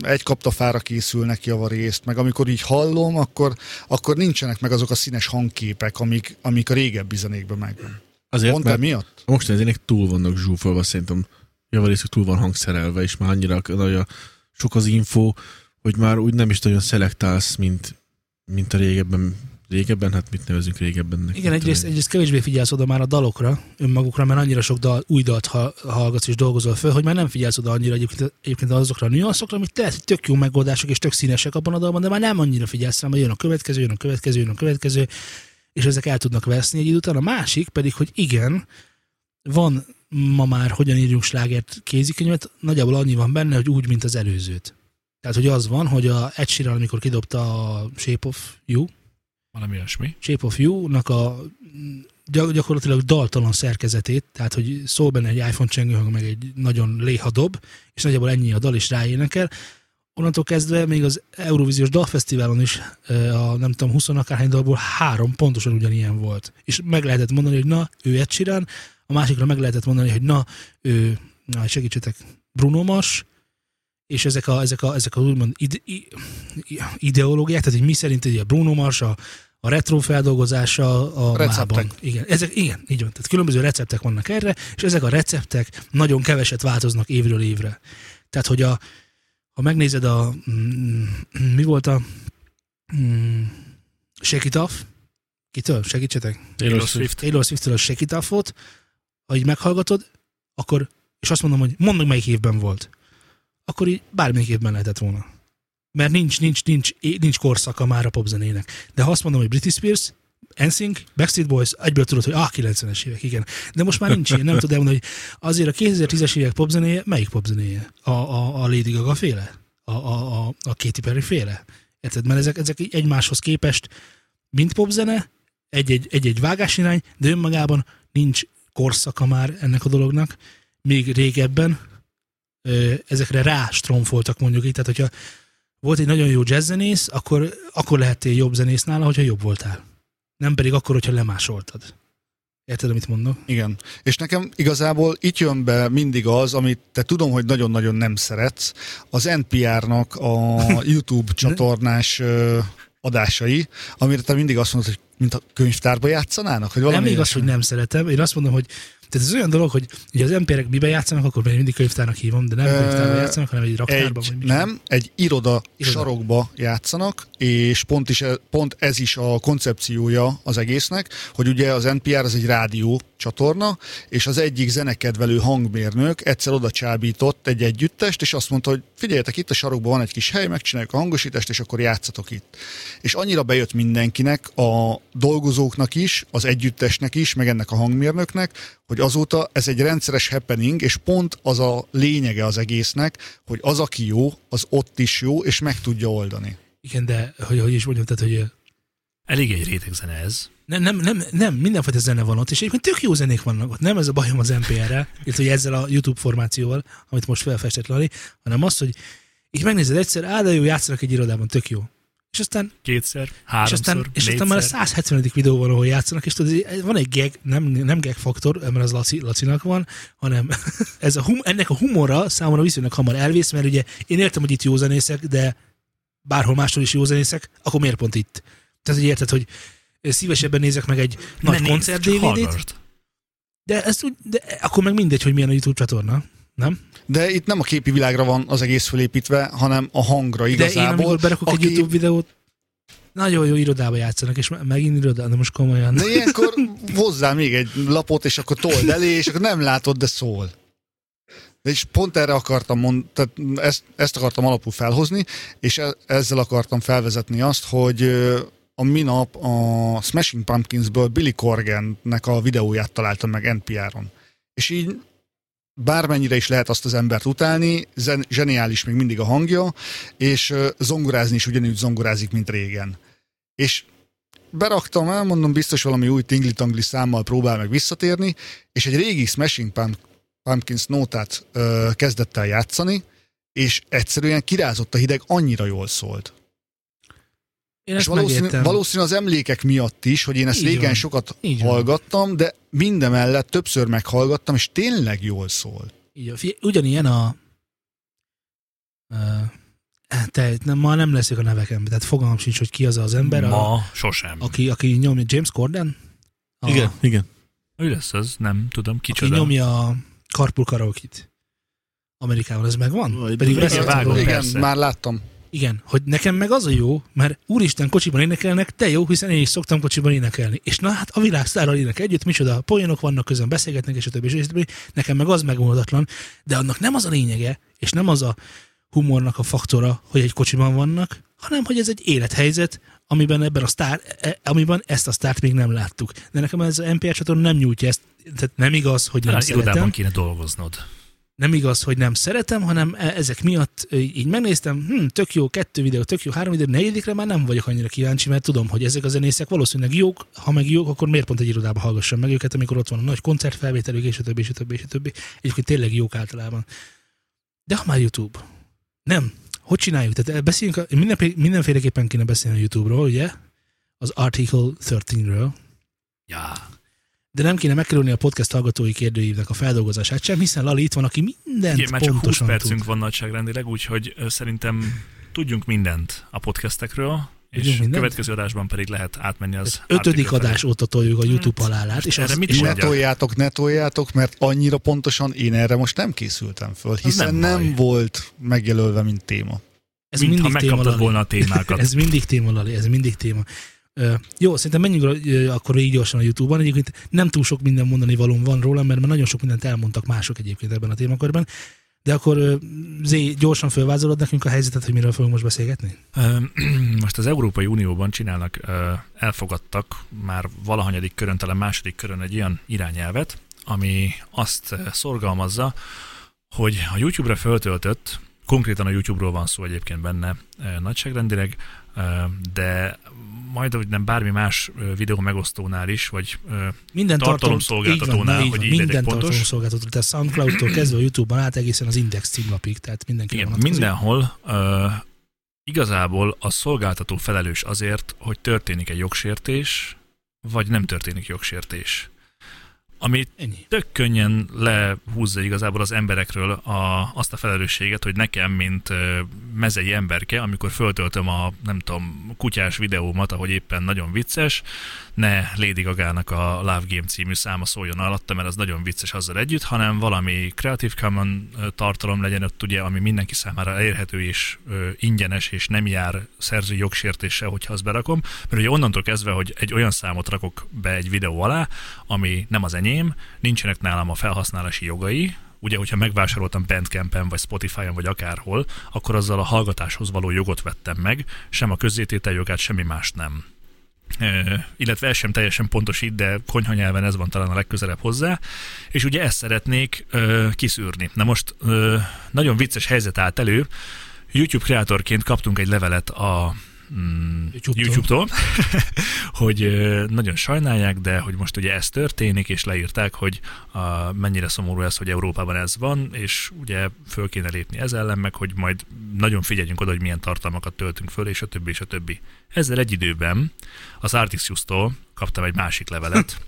[SPEAKER 4] egy kaptafára készülnek javarészt, meg amikor így hallom, akkor, akkor nincsenek meg azok a színes hangképek, amik, amik a régebbi zenékben megvan.
[SPEAKER 3] Azért,
[SPEAKER 4] Pont
[SPEAKER 3] mert
[SPEAKER 4] emiatt?
[SPEAKER 3] most ezének túl vannak zsúfolva, szerintem javarészük túl van hangszerelve, és már annyira nagy a- sok az info, hogy már úgy nem is nagyon szelektálsz, mint, mint a régebben. Régebben, hát mit nevezünk régebbennek?
[SPEAKER 1] Igen,
[SPEAKER 3] Nem
[SPEAKER 1] egyrészt,
[SPEAKER 3] tudom
[SPEAKER 1] egyrészt kevésbé figyelsz oda már a dalokra, önmagukra, mert annyira sok dal, új dalt ha- hallgatsz és dolgozol föl, hogy már nem figyelsz oda annyira egyébként, egyébként azokra a nüanszokra, amik lehet, hogy tök jó megoldások és tök színesek abban a dalban, de már nem annyira figyelsz rá, mert jön a következő, jön a következő, jön a következő, és ezek el tudnak veszni egy idő után. A másik pedig, hogy igen, van ma már hogyan írjunk slágert kézikönyvet, nagyjából annyi van benne, hogy úgy, mint az előzőt. Tehát, hogy az van, hogy a Ed Sheeran, amikor kidobta a Shape of You,
[SPEAKER 2] Valami olyasmi.
[SPEAKER 1] Shape of You-nak a gyak- gyakorlatilag daltalan szerkezetét, tehát hogy szól benne egy iPhone csengőhang, meg egy nagyon léhadob, és nagyjából ennyi a dal, és ráénekel. Onnantól kezdve még az Eurovíziós Dalfesztiválon is ö, a nem tudom, 20 akárhány dalból három pontosan ugyanilyen volt. És meg lehetett mondani, hogy na, ő Ed Sheeran, a másikra meg lehetett mondani, hogy na, ő, na segítsetek, Bruno Mars, és ezek a, ezek a, ezek a úgymond ide, i- i- ideológiák, tehát hogy mi szerint ugye a Bruno Mars, a, a retro feldolgozása a
[SPEAKER 4] Receptek.
[SPEAKER 1] mában. Igen, ezek, igen, így van. Tehát különböző receptek vannak erre, és ezek a receptek nagyon keveset változnak évről évre. Tehát, hogy a, ha megnézed a, mm, mi volt a mm, Shake It Off, kitől? Segítsetek?
[SPEAKER 2] Taylor Swift.
[SPEAKER 1] Taylor Swift-től a Shake It Off-ot, ha így meghallgatod, akkor, és azt mondom, hogy mondd meg melyik évben volt. Akkor így bármelyik évben lehetett volna. Mert nincs, nincs, nincs, é- nincs korszaka már a popzenének. De ha azt mondom, hogy Britney Spears, NSYNC, Backstreet Boys, egyből tudod, hogy ah, 90-es évek, igen. De most már nincs ilyen, nem tudod elmondani, hogy azért a 2010-es évek popzenéje, melyik popzenéje? A, a, a Lady Gaga féle? A, a, a, a Katy Perry féle? Érted? Mert ezek, ezek így egymáshoz képest mind popzene, egy-egy, egy-egy vágásirány, de önmagában nincs korszaka már ennek a dolognak. Még régebben ö, ezekre rástromfoltak mondjuk így, tehát hogyha volt egy nagyon jó jazzzenész, akkor, akkor lehettél jobb zenész nála, hogyha jobb voltál. Nem pedig akkor, hogyha lemásoltad. Érted, amit mondok?
[SPEAKER 4] Igen. És nekem igazából itt jön be mindig az, amit te tudom, hogy nagyon-nagyon nem szeretsz, az NPR-nak a YouTube csatornás ö, adásai, amire te mindig azt mondod, hogy mint a könyvtárba játszanának, hogy valami
[SPEAKER 1] Nem igaz,
[SPEAKER 4] ilyesmi.
[SPEAKER 1] hogy nem szeretem. Én azt mondom, hogy tehát ez olyan dolog, hogy ugye az emberek miben játszanak, akkor én mindig könyvtárnak hívom, de nem
[SPEAKER 4] Ö,
[SPEAKER 1] könyvtárban játszanak, hanem egy raktárban.
[SPEAKER 4] egy,
[SPEAKER 1] vagy mi.
[SPEAKER 4] nem, egy iroda,
[SPEAKER 1] Iroda.
[SPEAKER 4] iroda sarokba játszanak, és pont, is, e- pont ez is a koncepciója az egésznek, hogy ugye az NPR az egy rádió csatorna, és az egyik zenekedvelő hangmérnök egyszer oda csábított egy együttest, és azt mondta, hogy figyeljetek, itt a sarokban van egy kis hely, megcsináljuk a hangosítást, és akkor játszatok itt. És annyira bejött mindenkinek, a dolgozóknak is, az együttesnek is, meg ennek a hangmérnöknek, hogy azóta ez egy rendszeres happening, és pont az a lényege az egésznek, hogy az, aki jó, az ott is jó, és meg tudja oldani.
[SPEAKER 1] Igen, de hogy, hogy is mondjam, tehát hogy ö,
[SPEAKER 2] Elég egy réteg zene ez.
[SPEAKER 1] Nem, nem, nem, nem, mindenfajta zene van ott, és egyébként tök jó zenék vannak ott. Nem ez a bajom az NPR-rel, illetve hogy ezzel a YouTube formációval, amit most felfestett Lali, hanem az, hogy így megnézed egyszer, á, de jó, játszanak egy irodában, tök jó. És aztán,
[SPEAKER 2] Kétszer,
[SPEAKER 1] és
[SPEAKER 2] háromszor,
[SPEAKER 1] aztán, és aztán
[SPEAKER 2] négyszer.
[SPEAKER 1] már a 170. videó van, ahol játszanak, és tudod, van egy gag, nem, nem gag faktor, mert az Laci, Lacinak van, hanem ez a hum, ennek a humora számomra viszonylag hamar elvész, mert ugye én értem, hogy itt jó zenészek, de bárhol máshol is jó zenészek, akkor miért pont itt? Tehát, hogy érted, hogy szívesebben nézek meg egy
[SPEAKER 2] Ne
[SPEAKER 1] nagy
[SPEAKER 2] nézd,
[SPEAKER 1] koncert
[SPEAKER 2] csak
[SPEAKER 1] DVD-t,
[SPEAKER 2] hallgassd.
[SPEAKER 1] de, ezt úgy, de akkor meg mindegy, hogy milyen a YouTube csatorna. Nem?
[SPEAKER 4] De itt nem a képi világra van az egész fölépítve, hanem a hangra
[SPEAKER 1] de én, amikor
[SPEAKER 4] igazából.
[SPEAKER 1] berakok egy
[SPEAKER 4] aki-
[SPEAKER 1] YouTube videót, nagyon jó irodába játszanak, és me- megint irodában, de most komolyan.
[SPEAKER 4] De ilyenkor hozzá még egy lapot, és akkor told elé, és akkor nem látod, de szól. És pont erre akartam mondani, tehát ezt, ezt akartam alapul felhozni, és e- ezzel akartam felvezetni azt, hogy ö, a minap a Smashing Pumpkinsből Billy Corgannek a videóját találtam meg NPR-on. És így bármennyire is lehet azt az embert utálni, zen- zseniális még mindig a hangja, és ö, zongorázni is ugyanúgy zongorázik, mint régen. És beraktam, elmondom, biztos valami új tingli-tangli számmal próbál meg visszatérni, és egy régi Smashing Pump, Pumpkins nótát ö, kezdett el játszani, és egyszerűen kirázott a hideg, annyira jól szólt.
[SPEAKER 1] Én
[SPEAKER 4] és
[SPEAKER 1] ezt
[SPEAKER 4] valószínű,
[SPEAKER 1] megértem.
[SPEAKER 4] valószínű az emlékek miatt is, hogy én ezt
[SPEAKER 1] Így
[SPEAKER 4] régen
[SPEAKER 1] van.
[SPEAKER 4] sokat
[SPEAKER 1] Így van.
[SPEAKER 4] hallgattam, de mindemellett többször meghallgattam, és tényleg jól szól.
[SPEAKER 1] Így, van. Figyelj, ugyanilyen a... Ö, te, nem, ma nem leszek a nevekembe, tehát fogalmam sincs, hogy ki az az ember, a,
[SPEAKER 2] Ma sosem.
[SPEAKER 1] aki, aki nyomja James Corden, a,
[SPEAKER 3] Igen, igen.
[SPEAKER 2] Ő lesz az, nem tudom,
[SPEAKER 1] aki
[SPEAKER 2] kicsoda.
[SPEAKER 1] nyomja a Carpool Karaoke-t. Amerikában ez megvan?
[SPEAKER 3] Vaj,
[SPEAKER 1] Pedig
[SPEAKER 2] de-
[SPEAKER 1] beszéltem
[SPEAKER 2] vágom,
[SPEAKER 1] róla.
[SPEAKER 4] Igen,
[SPEAKER 2] persze.
[SPEAKER 4] már láttam.
[SPEAKER 1] Igen, hogy nekem meg az a jó, mert úristen, kocsiban énekelnek, te jó, hiszen én is szoktam kocsiban énekelni. És na hát a világsztárral ének együtt, micsoda poénok vannak közön, beszélgetnek, és a többi, és a többi. Nekem meg az megoldatlan, de annak nem az a lényege, és nem az a humornak a faktora, hogy egy kocsiban vannak, hanem hogy ez egy élethelyzet, amiben ebben a sztár, e- amiben ezt a sztárt még nem láttuk. De nekem ez a NPR csatorna nem nyújtja ezt, tehát nem igaz, hogy nem
[SPEAKER 2] Talán
[SPEAKER 1] szeretem.
[SPEAKER 2] irodában kéne dolgoznod.
[SPEAKER 1] nem igaz, hogy nem szeretem, hanem e- ezek miatt ö, így megnéztem, hm, tök jó, kettő videó, tök jó, három videó, negyedikre már nem vagyok annyira kíváncsi, mert tudom, hogy ezek a zenészek valószínűleg jók, ha meg jók, akkor miért pont egy irodában hallgassam meg őket, amikor ott van a nagy koncertfelvételük, és a többi, és a többi, és a többi. Egyébként tényleg jók általában. De ha már YouTube. Nem. Hogy csináljuk? Tehát e, beszéljünk, a- mindenfé- mindenféleképpen kéne beszélni a YouTube-ról, ugye? Az Article 13-ről.
[SPEAKER 2] Ja.
[SPEAKER 1] De nem kéne megkerülni a podcast hallgatói kérdőívnek a feldolgozását sem, hiszen Lali itt van, aki mindent
[SPEAKER 2] Igen, már csak 20
[SPEAKER 1] pontosan
[SPEAKER 2] percünk
[SPEAKER 1] tud.
[SPEAKER 2] van nagyságrendileg, úgyhogy ö, szerintem tudjunk mindent a podcastekről,
[SPEAKER 1] Tudjunk
[SPEAKER 2] és
[SPEAKER 1] mindent?
[SPEAKER 2] következő adásban pedig lehet átmenni az
[SPEAKER 1] Ötödik
[SPEAKER 2] Article
[SPEAKER 1] adás óta toljuk a YouTube halálát, és
[SPEAKER 2] Hát, erre
[SPEAKER 1] az,
[SPEAKER 2] mit
[SPEAKER 1] és
[SPEAKER 4] Ne
[SPEAKER 2] mondjak?
[SPEAKER 4] toljátok, ne toljátok, mert annyira pontosan én erre most nem készültem föl, hiszen
[SPEAKER 2] nem
[SPEAKER 4] nem,
[SPEAKER 2] baj.
[SPEAKER 4] nem volt megjelölve, mint téma.
[SPEAKER 1] ez
[SPEAKER 2] mint ha
[SPEAKER 1] mindig téma,
[SPEAKER 2] megkaptad
[SPEAKER 1] Lali.
[SPEAKER 2] volna a témákat.
[SPEAKER 1] Ez mindig téma, Lali, ez mindig téma. Ö, jó, szerintem menjünk ö, akkor így gyorsan a YouTube-ban. Egyébként nem túl sok minden mondani valóm van róla, mert már nagyon sok mindent elmondtak mások egyébként ebben a témakörben. De akkor ö, Zé, gyorsan fölvázolod nekünk a helyzetet, hogy miről fogunk most beszélgetni?
[SPEAKER 2] Ö, Most az Európai Unióban csinálnak, ö, elfogadtak már valahanyadik körön, talán második körön egy olyan irányelvet, ami azt ö, szorgalmazza, hogy a YouTube-ra föltöltött, konkrétan a YouTube-ról van szó egyébként benne ö, nagyságrendileg, ö, de majd, hogy nem bármi más ö, videó megosztónál is, vagy ö,
[SPEAKER 1] Minden
[SPEAKER 2] Tartalomszolgáltatónál,
[SPEAKER 1] így van, na, így
[SPEAKER 2] hogy
[SPEAKER 1] van,
[SPEAKER 2] így legyek
[SPEAKER 1] Minden
[SPEAKER 2] pontos.
[SPEAKER 1] tartalomszolgáltató, tehát SoundCloud-tól kezdve a YouTube-ban át egészen az Index címlapig, tehát mindenki
[SPEAKER 2] Igen, mindenhol ö, igazából a szolgáltató felelős azért, hogy történik egy jogsértés, vagy nem történik jogsértés. Ami
[SPEAKER 1] Ennyi.
[SPEAKER 2] tök könnyen lehúzza igazából az emberekről a, azt a felelősséget, hogy nekem, mint ö, mezei emberke, amikor föltöltöm a, nem tudom, kutyás videómat, ahogy éppen nagyon vicces, ne Lady Gaga-nak a Love Game című száma szóljon alatta, mert az nagyon vicces azzal együtt, hanem valami Creative Commons ö, tartalom legyen ott, ugye, ami mindenki számára elérhető és ö, ingyenes, és nem jár szerző jogsértéssel, hogyha azt berakom. Mert ugye onnantól kezdve, hogy egy olyan számot rakok be egy videó alá, ami nem az enyém, nincsenek nálam a felhasználási jogai, ugye, hogyha megvásároltam Bandcampen, vagy Spotify-on, vagy akárhol, akkor azzal a hallgatáshoz való jogot vettem meg, sem a közzététel jogát, semmi más nem. Ö, illetve ez sem teljesen pontos itt, de konyhanyelven ez van talán a legközelebb hozzá, és ugye ezt szeretnék ö, kiszűrni. Na most ö, nagyon vicces helyzet állt elő, YouTube kreatorként kaptunk egy levelet a mm,
[SPEAKER 1] YouTube-tól.
[SPEAKER 2] YouTube-tól, hogy ö, nagyon sajnálják, de hogy most ugye ez történik, és leírták, hogy a, mennyire szomorú ez, hogy Európában ez van, és ugye föl kéne lépni ez ellen, meg hogy majd nagyon figyeljünk oda, hogy milyen tartalmakat töltünk föl, és a többi, és a többi. Ezzel egy időben az Artixius-tól kaptam egy másik levelet,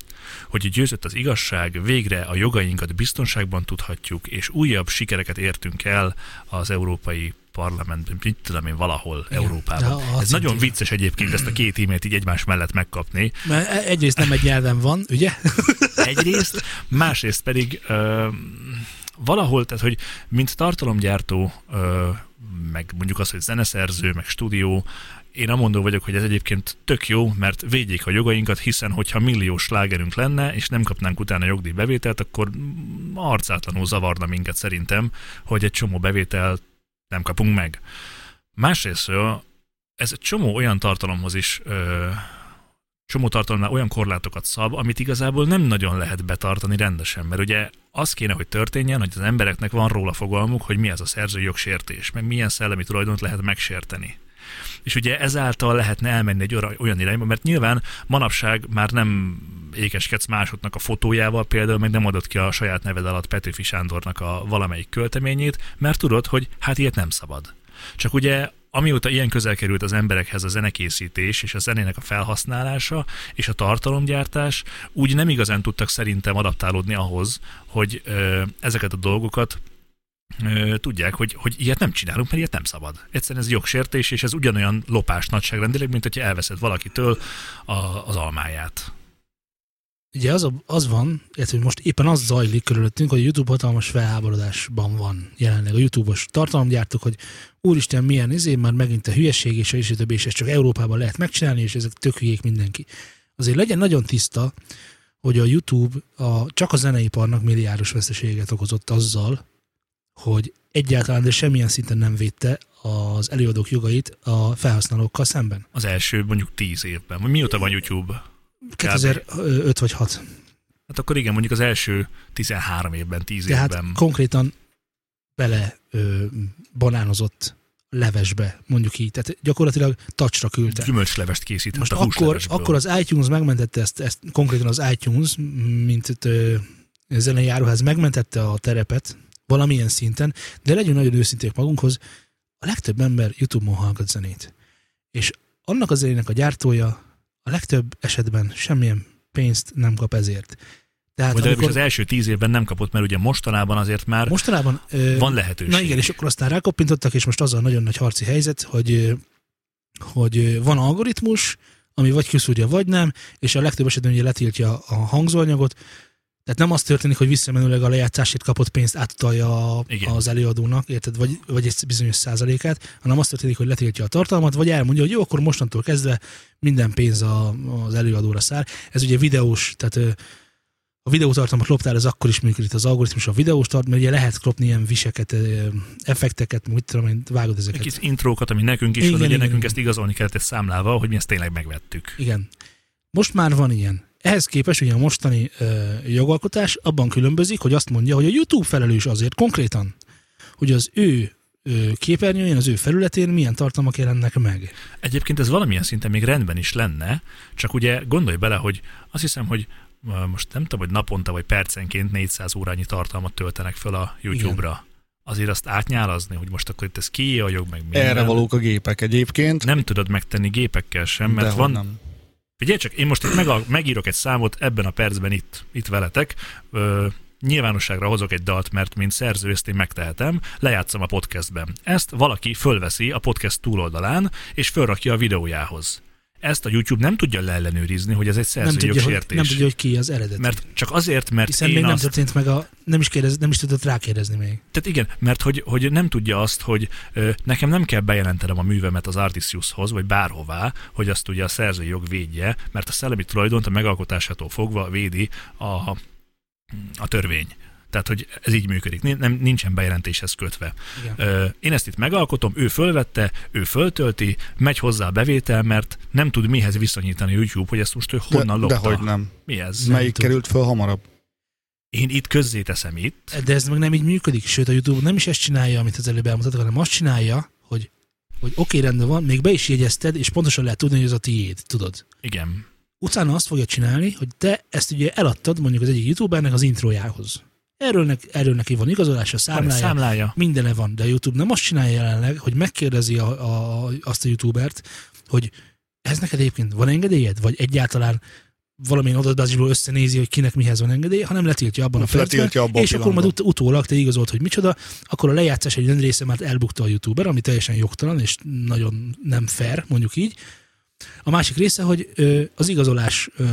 [SPEAKER 2] hogy győzött az igazság, végre a jogainkat biztonságban tudhatjuk, és újabb sikereket értünk el az Európai Parlamentben, mit tudom én, valahol
[SPEAKER 1] Igen,
[SPEAKER 2] Európában.
[SPEAKER 1] de a- a
[SPEAKER 2] Ez nagyon
[SPEAKER 1] centímen.
[SPEAKER 2] vicces egyébként ezt a két e-mailt így egymás mellett megkapni.
[SPEAKER 1] Mert e- egyrészt nem egy nyelven van, ugye?
[SPEAKER 2] Egyrészt, másrészt pedig ö, valahol, tehát hogy mint tartalomgyártó, ö, meg mondjuk az, hogy zeneszerző, meg stúdió, én amondó vagyok, hogy ez egyébként tök jó, mert védjék a jogainkat, hiszen hogyha milliós slágerünk lenne, és nem kapnánk utána jogdíjbevételt, akkor mm, arcátlanul zavarna minket szerintem, hogy egy csomó bevételt nem kapunk meg. Másrésztről ez egy csomó olyan tartalomhoz is ö, csomó tartalomnál olyan korlátokat szab, amit igazából nem nagyon lehet betartani rendesen, mert ugye az kéne, hogy történjen, hogy az embereknek van róla fogalmuk, hogy mi az a szerzői jogsértés, meg milyen szellemi tulajdont lehet megsérteni. És ugye ezáltal lehetne elmenni egy ora- olyan irányba, mert nyilván manapság már nem ékeskedsz másodnak a fotójával például, meg nem adod ki a saját neved alatt Petőfi Sándornak a valamelyik költeményét, mert tudod, hogy hát ilyet nem szabad. Csak ugye amióta ilyen közel került az emberekhez a zenekészítés és a zenének a felhasználása és a tartalomgyártás, úgy nem igazán tudtak szerintem adaptálódni ahhoz, hogy ö, ezeket a dolgokat ö, tudják, hogy, hogy ilyet nem csinálunk, mert ilyet nem szabad. Egyszerűen ez jogsértés, és ez ugyanolyan lopás nagyságrendileg, mint hogyha elveszed valakitől a, az almáját.
[SPEAKER 1] Ugye az, a, az van, illetve most éppen az zajlik körülöttünk, hogy a YouTube hatalmas felháborodásban van jelenleg a YouTube-os tartalomgyártók, hogy úristen milyen izé, már megint a hülyeség és a és a többi, és ezt csak Európában lehet megcsinálni, és ezek tök hülyék mindenki. Azért legyen nagyon tiszta, hogy a YouTube a, csak a zeneiparnak milliárdos veszteséget okozott azzal, hogy egyáltalán, de semmilyen szinten nem védte az előadók jogait a felhasználókkal szemben.
[SPEAKER 2] Az első mondjuk tíz évben. Vagy Mióta van YouTube?
[SPEAKER 1] 2005 vagy 6.
[SPEAKER 2] Hát akkor igen, mondjuk az első 13 évben, 10
[SPEAKER 1] Tehát
[SPEAKER 2] évben.
[SPEAKER 1] konkrétan bele ö, banánozott levesbe, mondjuk így. Tehát gyakorlatilag tacsra küldte.
[SPEAKER 2] Gyümölcslevest készített
[SPEAKER 1] Most
[SPEAKER 2] a
[SPEAKER 1] akkor,
[SPEAKER 2] húslevesből.
[SPEAKER 1] akkor az iTunes megmentette ezt, ezt konkrétan az iTunes, mint itt, ö, zenei áruház megmentette a terepet valamilyen szinten, de legyünk nagyon őszinték magunkhoz, a legtöbb ember YouTube-on hallgat zenét. És annak a zenének a gyártója a legtöbb esetben semmilyen pénzt nem kap ezért. Tehát
[SPEAKER 2] Vagy amikor...
[SPEAKER 1] Hát amikor,
[SPEAKER 2] az első tíz évben nem kapott, mert ugye mostanában azért már Most
[SPEAKER 1] mostanában ö,
[SPEAKER 2] van lehetőség.
[SPEAKER 1] Na igen, és akkor aztán rákoppintottak, és most az a nagyon nagy harci helyzet, hogy, hogy van algoritmus, ami vagy kiszúrja, vagy nem, és a legtöbb esetben ugye letiltja a hangzóanyagot, tehát nem az történik, hogy visszamenőleg a lejátszásért kapott pénzt átutalja a-
[SPEAKER 2] Igen.
[SPEAKER 1] az előadónak, érted? Vagy, vagy egy bizonyos százalékát, hanem az történik, hogy letiltja a tartalmat, vagy elmondja, hogy jó, akkor mostantól kezdve minden pénz a, az előadóra száll. Ez ugye videós, tehát ö, a videótartalmat loptál, ez akkor is működik az algoritmus a videós tartalmat, mert ugye lehet klopni ilyen viseket, ö, effekteket, mit tudom én, vágod ezeket.
[SPEAKER 2] Kis intrókat, ami nekünk is
[SPEAKER 1] hát- Igen,
[SPEAKER 2] igen, van, ugye
[SPEAKER 1] igen,
[SPEAKER 2] nekünk
[SPEAKER 1] igen.
[SPEAKER 2] ezt igazolni kellett egy számlával, hogy mi ezt tényleg megvettük.
[SPEAKER 1] Igen. Most már van ilyen. Ehhez képest ugye a mostani ö, jogalkotás abban különbözik, hogy azt mondja, hogy a YouTube felelős azért konkrétan, hogy az ő ö, képernyőjén, az ő felületén milyen tartalmak jelennek meg.
[SPEAKER 2] Egyébként ez valamilyen szinten még rendben is lenne, csak ugye gondolj bele, hogy azt hiszem, hogy ö, most nem tudom, hogy naponta vagy percenként 400 órányi tartalmat töltenek fel a YouTube-ra. Azért azt átnyálazni, hogy most akkor itt ez ki a jog, meg minden.
[SPEAKER 4] Erre valók a gépek egyébként.
[SPEAKER 2] Nem tudod megtenni gépekkel sem, mert
[SPEAKER 4] Dehogy
[SPEAKER 2] van,
[SPEAKER 4] nem.
[SPEAKER 2] Figyelj csak, én most itt meg, megírok egy számot ebben a percben itt, itt veletek. Ö, nyilvánosságra hozok egy dalt, mert mint szerző ezt én megtehetem, lejátszom a podcastben. Ezt valaki fölveszi a podcast túloldalán, és fölrakja a videójához. Ezt a YouTube nem tudja leellenőrizni, hogy ez egy
[SPEAKER 1] Nem
[SPEAKER 2] szerzői
[SPEAKER 1] tudja, hogy,
[SPEAKER 2] jogsértés.
[SPEAKER 1] nem tudja, hogy ki az eredet.
[SPEAKER 2] Mert csak azért, mert
[SPEAKER 1] Hiszen
[SPEAKER 2] én
[SPEAKER 1] még nem
[SPEAKER 2] azt...
[SPEAKER 1] történt meg a... Nem is, kérdez, nem is tudott rákérdezni még.
[SPEAKER 2] Tehát igen, mert hogy, hogy nem tudja azt, hogy ö, nekem nem kell bejelentenem a művemet az Artisiushoz, vagy bárhová, hogy azt ugye a szerzői jog védje, mert a szellemi tulajdont a megalkotásától fogva védi a, a törvény. Tehát, hogy ez így működik. Nin- Nem, nincsen bejelentéshez kötve.
[SPEAKER 1] Igen.
[SPEAKER 2] Ö, én ezt itt megalkotom, ő fölvette, ő föltölti, megy hozzá a bevétel, mert nem tud mihez viszonyítani YouTube, hogy ezt most ő honnan
[SPEAKER 4] de,
[SPEAKER 2] lopta.
[SPEAKER 4] Dehogy nem.
[SPEAKER 2] Mi ez?
[SPEAKER 1] Nem
[SPEAKER 4] Melyik
[SPEAKER 1] tudom.
[SPEAKER 4] került föl hamarabb?
[SPEAKER 2] Én itt közzéteszem itt.
[SPEAKER 1] De ez meg nem így működik, sőt a YouTube nem is ezt csinálja, amit az előbb elmondtatok, hanem azt csinálja, hogy, hogy oké, okay, rendben van, még be is jegyezted, és pontosan lehet tudni, hogy ez a tiéd, tudod.
[SPEAKER 2] Igen.
[SPEAKER 1] utána azt fogja csinálni, hogy te ezt ugye eladtad mondjuk az egyik youtubernek az introjához. Erről, ne, erről neki van igazolása,
[SPEAKER 2] Van egy
[SPEAKER 1] számlája, Számlá...
[SPEAKER 2] számlája.
[SPEAKER 1] mindene van, de a YouTube nem azt csinálja jelenleg, hogy megkérdezi a, a, azt a youtubert, hogy ez neked egyébként van engedélyed, vagy egyáltalán valamilyen adatbázisból összenézi, hogy kinek mihez van engedély, hanem letiltja abban a
[SPEAKER 4] Letiltja
[SPEAKER 1] percben,
[SPEAKER 4] abban a
[SPEAKER 1] és akkor majd ut-
[SPEAKER 4] pillanatban.
[SPEAKER 1] utólag te igazolt, hogy micsoda, akkor a lejátszás egy része már elbukta a youtuber, ami teljesen jogtalan, és nagyon nem fair, mondjuk így, a másik része, hogy ö, az igazolás, ö,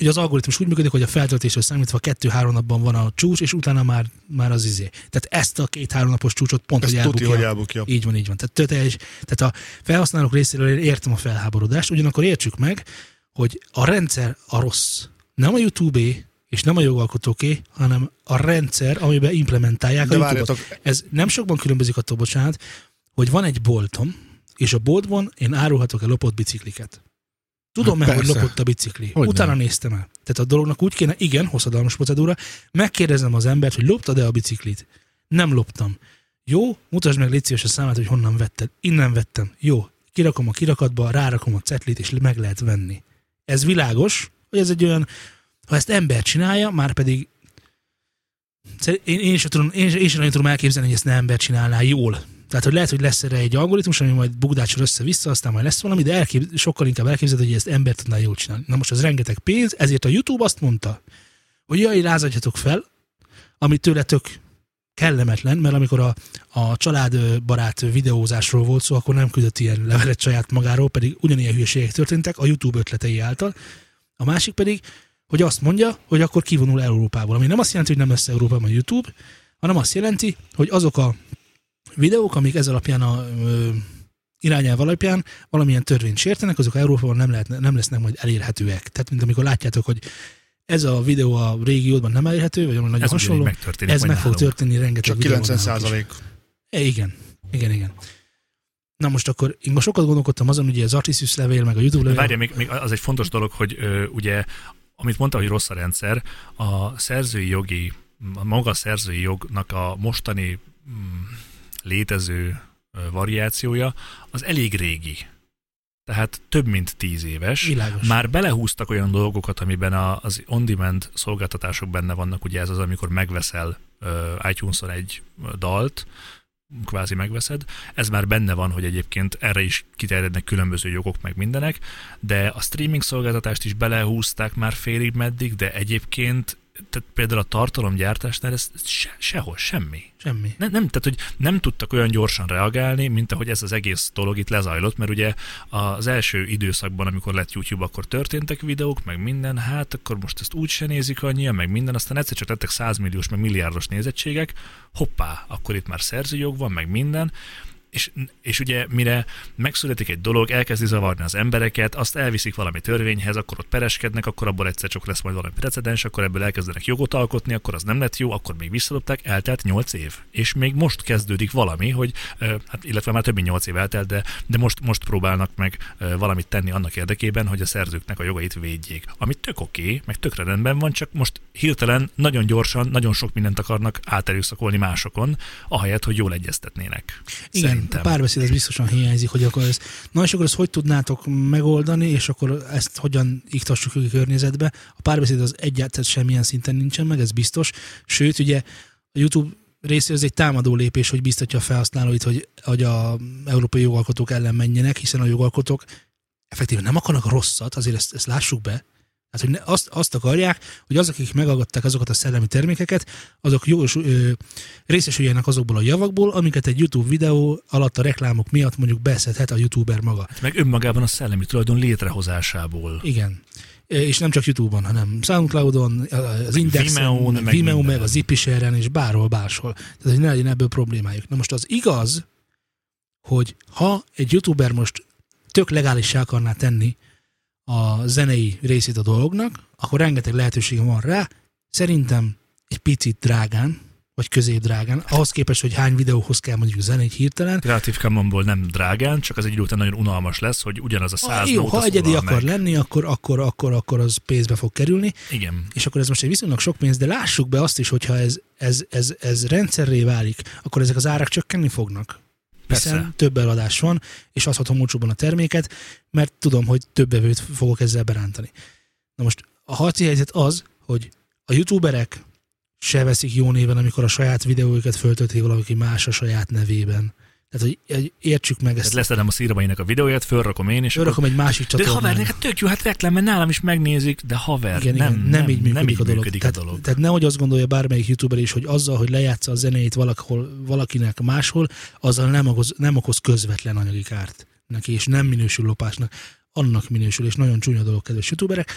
[SPEAKER 1] ugye az algoritmus úgy működik, hogy a feltöltésről számítva kettő-három napban van a csúcs, és utána már, már az izé. Tehát ezt a két-három napos csúcsot pont,
[SPEAKER 4] Ezt
[SPEAKER 1] hogy
[SPEAKER 4] tudja,
[SPEAKER 1] elbukja.
[SPEAKER 4] hogy elbukja.
[SPEAKER 1] Így van, így van. Tehát, tö- teljes, tehát a felhasználók részéről én értem a felháborodást, ugyanakkor értsük meg, hogy a rendszer a rossz. Nem a youtube és nem a jogalkotóké, hanem a rendszer, amiben implementálják
[SPEAKER 4] De
[SPEAKER 1] a youtube
[SPEAKER 4] várjatok,
[SPEAKER 1] ez nem sokban különbözik attól, bocsánat, hogy van egy boltom, és a boltban én árulhatok el lopott bicikliket. Tudom-e,
[SPEAKER 3] Hát
[SPEAKER 1] hogy
[SPEAKER 3] persze.
[SPEAKER 1] lopott a bicikli?
[SPEAKER 3] Hogyne.
[SPEAKER 1] Utána néztem el. Tehát a dolognak úgy kéne, igen, hosszadalmas procedúra, megkérdezem az embert, hogy loptad-e a biciklit? Nem loptam. Jó, mutasd meg légy szíves a számát, hogy honnan vetted. Innen vettem. Jó, kirakom a kirakatba, rárakom a cetlit, és meg lehet venni. Ez világos, hogy ez egy olyan, ha ezt ember csinálja, már pedig Szer- én, én, sem tudom, én, én sem nagyon tudom elképzelni, hogy ezt nem ember csinálná jól. Tehát, hogy lehet, hogy lesz erre egy algoritmus, ami majd bugdácsol össze-vissza, aztán majd lesz valami, de elkép, sokkal inkább elképzelhető, hogy ezt ember tudná jól csinálni. Na most az rengeteg pénz, ezért a YouTube azt mondta, hogy jaj, lázadjatok fel, ami tőletek kellemetlen, mert amikor a, a családbarát videózásról volt szó, akkor nem küldött ilyen levelet saját magáról, pedig ugyanilyen hülyeségek történtek a YouTube ötletei által. A másik pedig, hogy azt mondja, hogy akkor kivonul Európából. Ami nem azt jelenti, hogy nem lesz Európában a YouTube, hanem azt jelenti, hogy azok a videók, amik ez alapján a ö, irányelv alapján valamilyen törvényt sértenek, azok Európában nem, lehet, nem lesznek majd elérhetőek. Tehát, mint amikor látjátok, hogy ez a videó a régiódban nem elérhető, vagy ami nagyon
[SPEAKER 2] Ez ugyanígy
[SPEAKER 1] hasonló,
[SPEAKER 2] megtörténik
[SPEAKER 1] ez
[SPEAKER 2] majd
[SPEAKER 1] meg fog
[SPEAKER 2] nálunk.
[SPEAKER 1] történni rengeteg
[SPEAKER 4] csak
[SPEAKER 1] videónál
[SPEAKER 4] 90
[SPEAKER 1] is.
[SPEAKER 4] százalék.
[SPEAKER 1] E, igen, igen, igen. Na most akkor én most sokat gondolkodtam azon, ugye az Artisius levél, meg a YouTube levél.
[SPEAKER 2] Várja, még, még az egy fontos dolog, hogy ö, ugye, amit mondta, hogy rossz a rendszer, a szerzői jogi, a maga a szerzői jognak a mostani mm, létező ö, variációja, az elég régi. Tehát több mint tíz éves.
[SPEAKER 1] Világos.
[SPEAKER 2] Már belehúztak olyan dolgokat, amiben a- az on-demand szolgáltatások benne vannak, ugye ez az, amikor megveszel uh, iTunes-on egy ö, dalt, kvázi megveszed. Ez már benne van, hogy egyébként erre is kiterjednek különböző jogok, meg mindenek, de a streaming szolgáltatást is belehúzták már félig meddig, de egyébként tehát például a tartalomgyártásnál ez ez se, sehol semmi.
[SPEAKER 1] Semmi.
[SPEAKER 2] Nem, nem, tehát, hogy nem tudtak olyan gyorsan reagálni, mint ahogy ez az egész dolog itt lezajlott, mert ugye az első időszakban, amikor lett YouTube, akkor történtek videók, meg minden, hát akkor most ezt úgy se nézik annyian, meg minden, aztán egyszer csak lettek 100 milliós, meg milliárdos nézettségek, hoppá, akkor itt már szerzőjog van, meg minden, és, és ugye mire megszületik egy dolog, elkezdi zavarni az embereket, azt elviszik valami törvényhez, akkor ott pereskednek, akkor abból egyszer csak lesz majd valami precedens, akkor ebből elkezdenek jogot alkotni, akkor az nem lett jó, akkor még visszadobták, eltelt 8 év. És még most kezdődik valami, hogy, ö, hát, illetve már több mint 8 év eltelt, de, de most, most próbálnak meg ö, valamit tenni annak érdekében, hogy a szerzőknek a jogait védjék. Ami tök oké, okay, meg tökre rendben van, csak most hirtelen, nagyon gyorsan, nagyon sok mindent akarnak áterőszakolni másokon, ahelyett, hogy jól egyeztetnének.
[SPEAKER 1] Igen,
[SPEAKER 2] Szerintem.
[SPEAKER 1] a párbeszéd az biztosan hiányzik, hogy akkor ez, na és akkor ezt hogy tudnátok megoldani, és akkor ezt hogyan iktassuk a környezetbe. A párbeszéd az egyáltalán semmilyen szinten nincsen meg, ez biztos. Sőt, ugye a YouTube részéről ez egy támadó lépés, hogy biztatja a felhasználóit, hogy, hogy a európai jogalkotók ellen menjenek, hiszen a jogalkotók effektíven nem akarnak rosszat, azért ezt, ezt lássuk be. Hát, hogy ne, azt, azt akarják, hogy azok, akik megagadták azokat a szellemi termékeket, azok jogos, ö, részesüljenek azokból a javakból, amiket egy YouTube videó alatt a reklámok miatt mondjuk beszedhet a YouTuber maga.
[SPEAKER 2] Hát meg önmagában a szellemi tulajdon létrehozásából.
[SPEAKER 1] Igen. Ö, És nem csak YouTube-on, hanem Soundcloud-on, az Indexen,
[SPEAKER 2] Vimeo-n,
[SPEAKER 1] meg
[SPEAKER 2] meg
[SPEAKER 1] Vimeo, meg
[SPEAKER 2] mindenen.
[SPEAKER 1] a Zipisheren, és bárhol, máshol. Tehát, hogy ne legyen ebből problémájuk. Na most az igaz, hogy ha egy YouTuber most tök legálissá akarná tenni a zenei részét a dolognak, akkor rengeteg lehetősége van rá. Szerintem egy picit drágán, vagy közép drágán, ahhoz képest, hogy hány videóhoz kell mondjuk zenét hirtelen,
[SPEAKER 2] Creative Commonból nem drágán, csak az egy idő után nagyon unalmas lesz, hogy ugyanaz a száz
[SPEAKER 1] ha, Ah, jó,
[SPEAKER 2] nóta
[SPEAKER 1] ha egyedi
[SPEAKER 2] szólal
[SPEAKER 1] akar
[SPEAKER 2] meg.
[SPEAKER 1] lenni, akkor, akkor, akkor, akkor az pénzbe fog kerülni,
[SPEAKER 2] Igen.
[SPEAKER 1] és akkor ez most egy viszonylag sok pénz, de lássuk be azt is, hogyha ez, ez, ez, ez rendszerré válik, akkor ezek az árak csökkenni fognak. Hiszen
[SPEAKER 2] Persze.
[SPEAKER 1] több eladás van, és adhatom olcsóban a terméket, mert tudom, hogy több bevőt fogok ezzel berántani. Na most a harci helyzet az, hogy a youtuberek se veszik jó néven, amikor a saját videóikat föltölti valaki más a saját nevében. Tehát, hogy- hogy értsük meg
[SPEAKER 2] Tehát
[SPEAKER 1] ezt.
[SPEAKER 2] leszedem a szírmainak a videóját, fölrakom én, és akkor
[SPEAKER 1] Örökom egy másik
[SPEAKER 2] de
[SPEAKER 1] csatornán.
[SPEAKER 2] haver, neked tök jó, hát reklám, mert nálam is megnézik, de haver,
[SPEAKER 1] Igen,
[SPEAKER 2] nem,
[SPEAKER 1] igen, nem, nem így működik,
[SPEAKER 2] nem így
[SPEAKER 1] a dolog.
[SPEAKER 2] működik a
[SPEAKER 1] tehát,
[SPEAKER 2] dolog.
[SPEAKER 1] tehát nehogy azt gondolja bármelyik youtuber is, hogy azzal, hogy lejátsza a zenéjét valahol, valakinek máshol, azzal nem okoz, nem okoz közvetlen anyagi kárt neki, és nem minősül lopásnak. Annak minősül, és nagyon csúnya dolog, kedves youtuberek.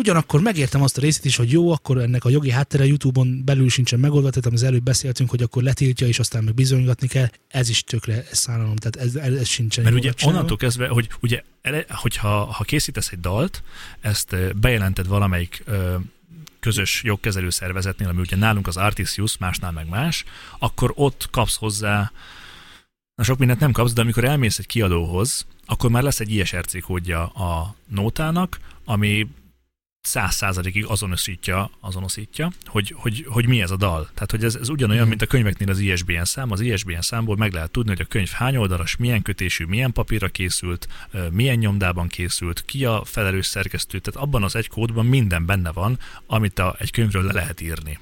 [SPEAKER 1] Ugyanakkor megértem azt a részét is, hogy jó, akkor ennek a jogi háttere YouTube-on belül sincsen megoldva, tehát amit az előbb beszéltünk, hogy akkor letiltja, és aztán meg bizonygatni kell, ez is tökre ez szánalom, tehát ez, ez, ez sincsen
[SPEAKER 2] Mert
[SPEAKER 1] jól
[SPEAKER 2] ugye
[SPEAKER 1] megcsinálva.
[SPEAKER 2] onnantól kezdve, hogy ugye, ele, hogyha ha készítesz egy dalt, ezt ö, bejelented valamelyik ö, közös jogkezelő szervezetnél, ami ugye nálunk az Artisius, másnál meg más, akkor ott kapsz hozzá, na sok mindent nem kapsz, de amikor elmész egy kiadóhoz, akkor már lesz egy ISRC kódja a nótának, ami száz százalékig azonosítja, azonosítja hogy, hogy, hogy, mi ez a dal. Tehát, hogy ez, ez ugyanolyan, mint a könyveknél az ISBN szám. Az ISBN számból meg lehet tudni, hogy a könyv hány oldalas, milyen kötésű, milyen papírra készült, ö, milyen nyomdában készült, ki a felelős szerkesztő. Tehát abban az egy kódban minden benne van, amit a, egy könyvről le lehet írni.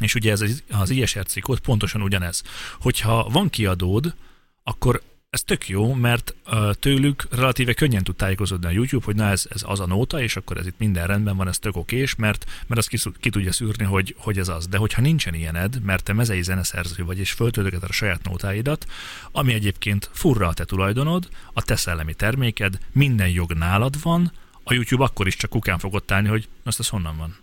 [SPEAKER 2] És ugye ez az- az ISRC kód pontosan ugyanez. Hogyha van kiadód, akkor ez tök jó, mert ö, tőlük relatíve könnyen tud tájékozódni a YouTube, hogy na ez, ez az a nóta, és akkor ez itt minden rendben van, ez tök okés, mert, mert azt ki, ki tudja szűrni, hogy, hogy ez az. De hogyha nincsen ilyened, mert te mezei zeneszerző vagy, és föltöltöd a saját nótáidat, ami egyébként furra a te tulajdonod, a te szellemi terméked, minden jog nálad van, a YouTube akkor is csak kukán fog ott állni, hogy na, ezt ez honnan van?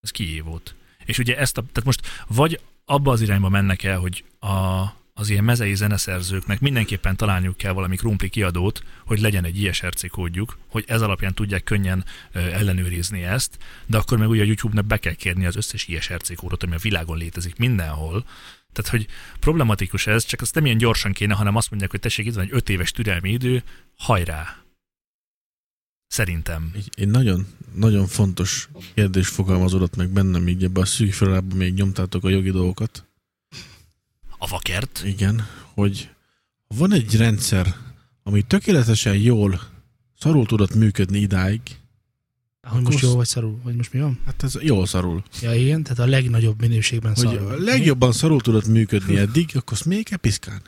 [SPEAKER 2] Ez kié volt? És ugye ezt a, tehát most vagy abba az irányba mennek el, hogy a, az ilyen mezei zeneszerzőknek mindenképpen találniuk kell valami krumpli kiadót, hogy legyen egy ISRC kódjuk, hogy ez alapján tudják könnyen ö, ellenőrizni ezt, de akkor meg ugye a YouTube-nak be kell kérni az összes ISRC kódot, ami a világon létezik mindenhol. Tehát, hogy problematikus ez, csak azt nem ilyen gyorsan kéne, hanem azt mondják, hogy tessék, itt van egy öt éves türelmi idő, hajrá! Szerintem.
[SPEAKER 3] Egy, egy nagyon, nagyon fontos kérdés fogalmazódott meg bennem, így ebbe a szűk felállapban még nyomtátok a jogi dolgokat.
[SPEAKER 2] avakert.
[SPEAKER 3] Igen, hogy van egy rendszer, ami tökéletesen jól szarul tudott működni idáig.
[SPEAKER 1] Hogy most
[SPEAKER 3] Akkor-
[SPEAKER 1] jó vagy szarul, vagy most mi van?
[SPEAKER 3] Hát ez jól szarul.
[SPEAKER 1] Ja, igen, tehát a legnagyobb minőségben
[SPEAKER 3] Hogy
[SPEAKER 1] szarul.
[SPEAKER 3] a legjobban szarul tudott működni eddig, akkor azt még kell piszkálni.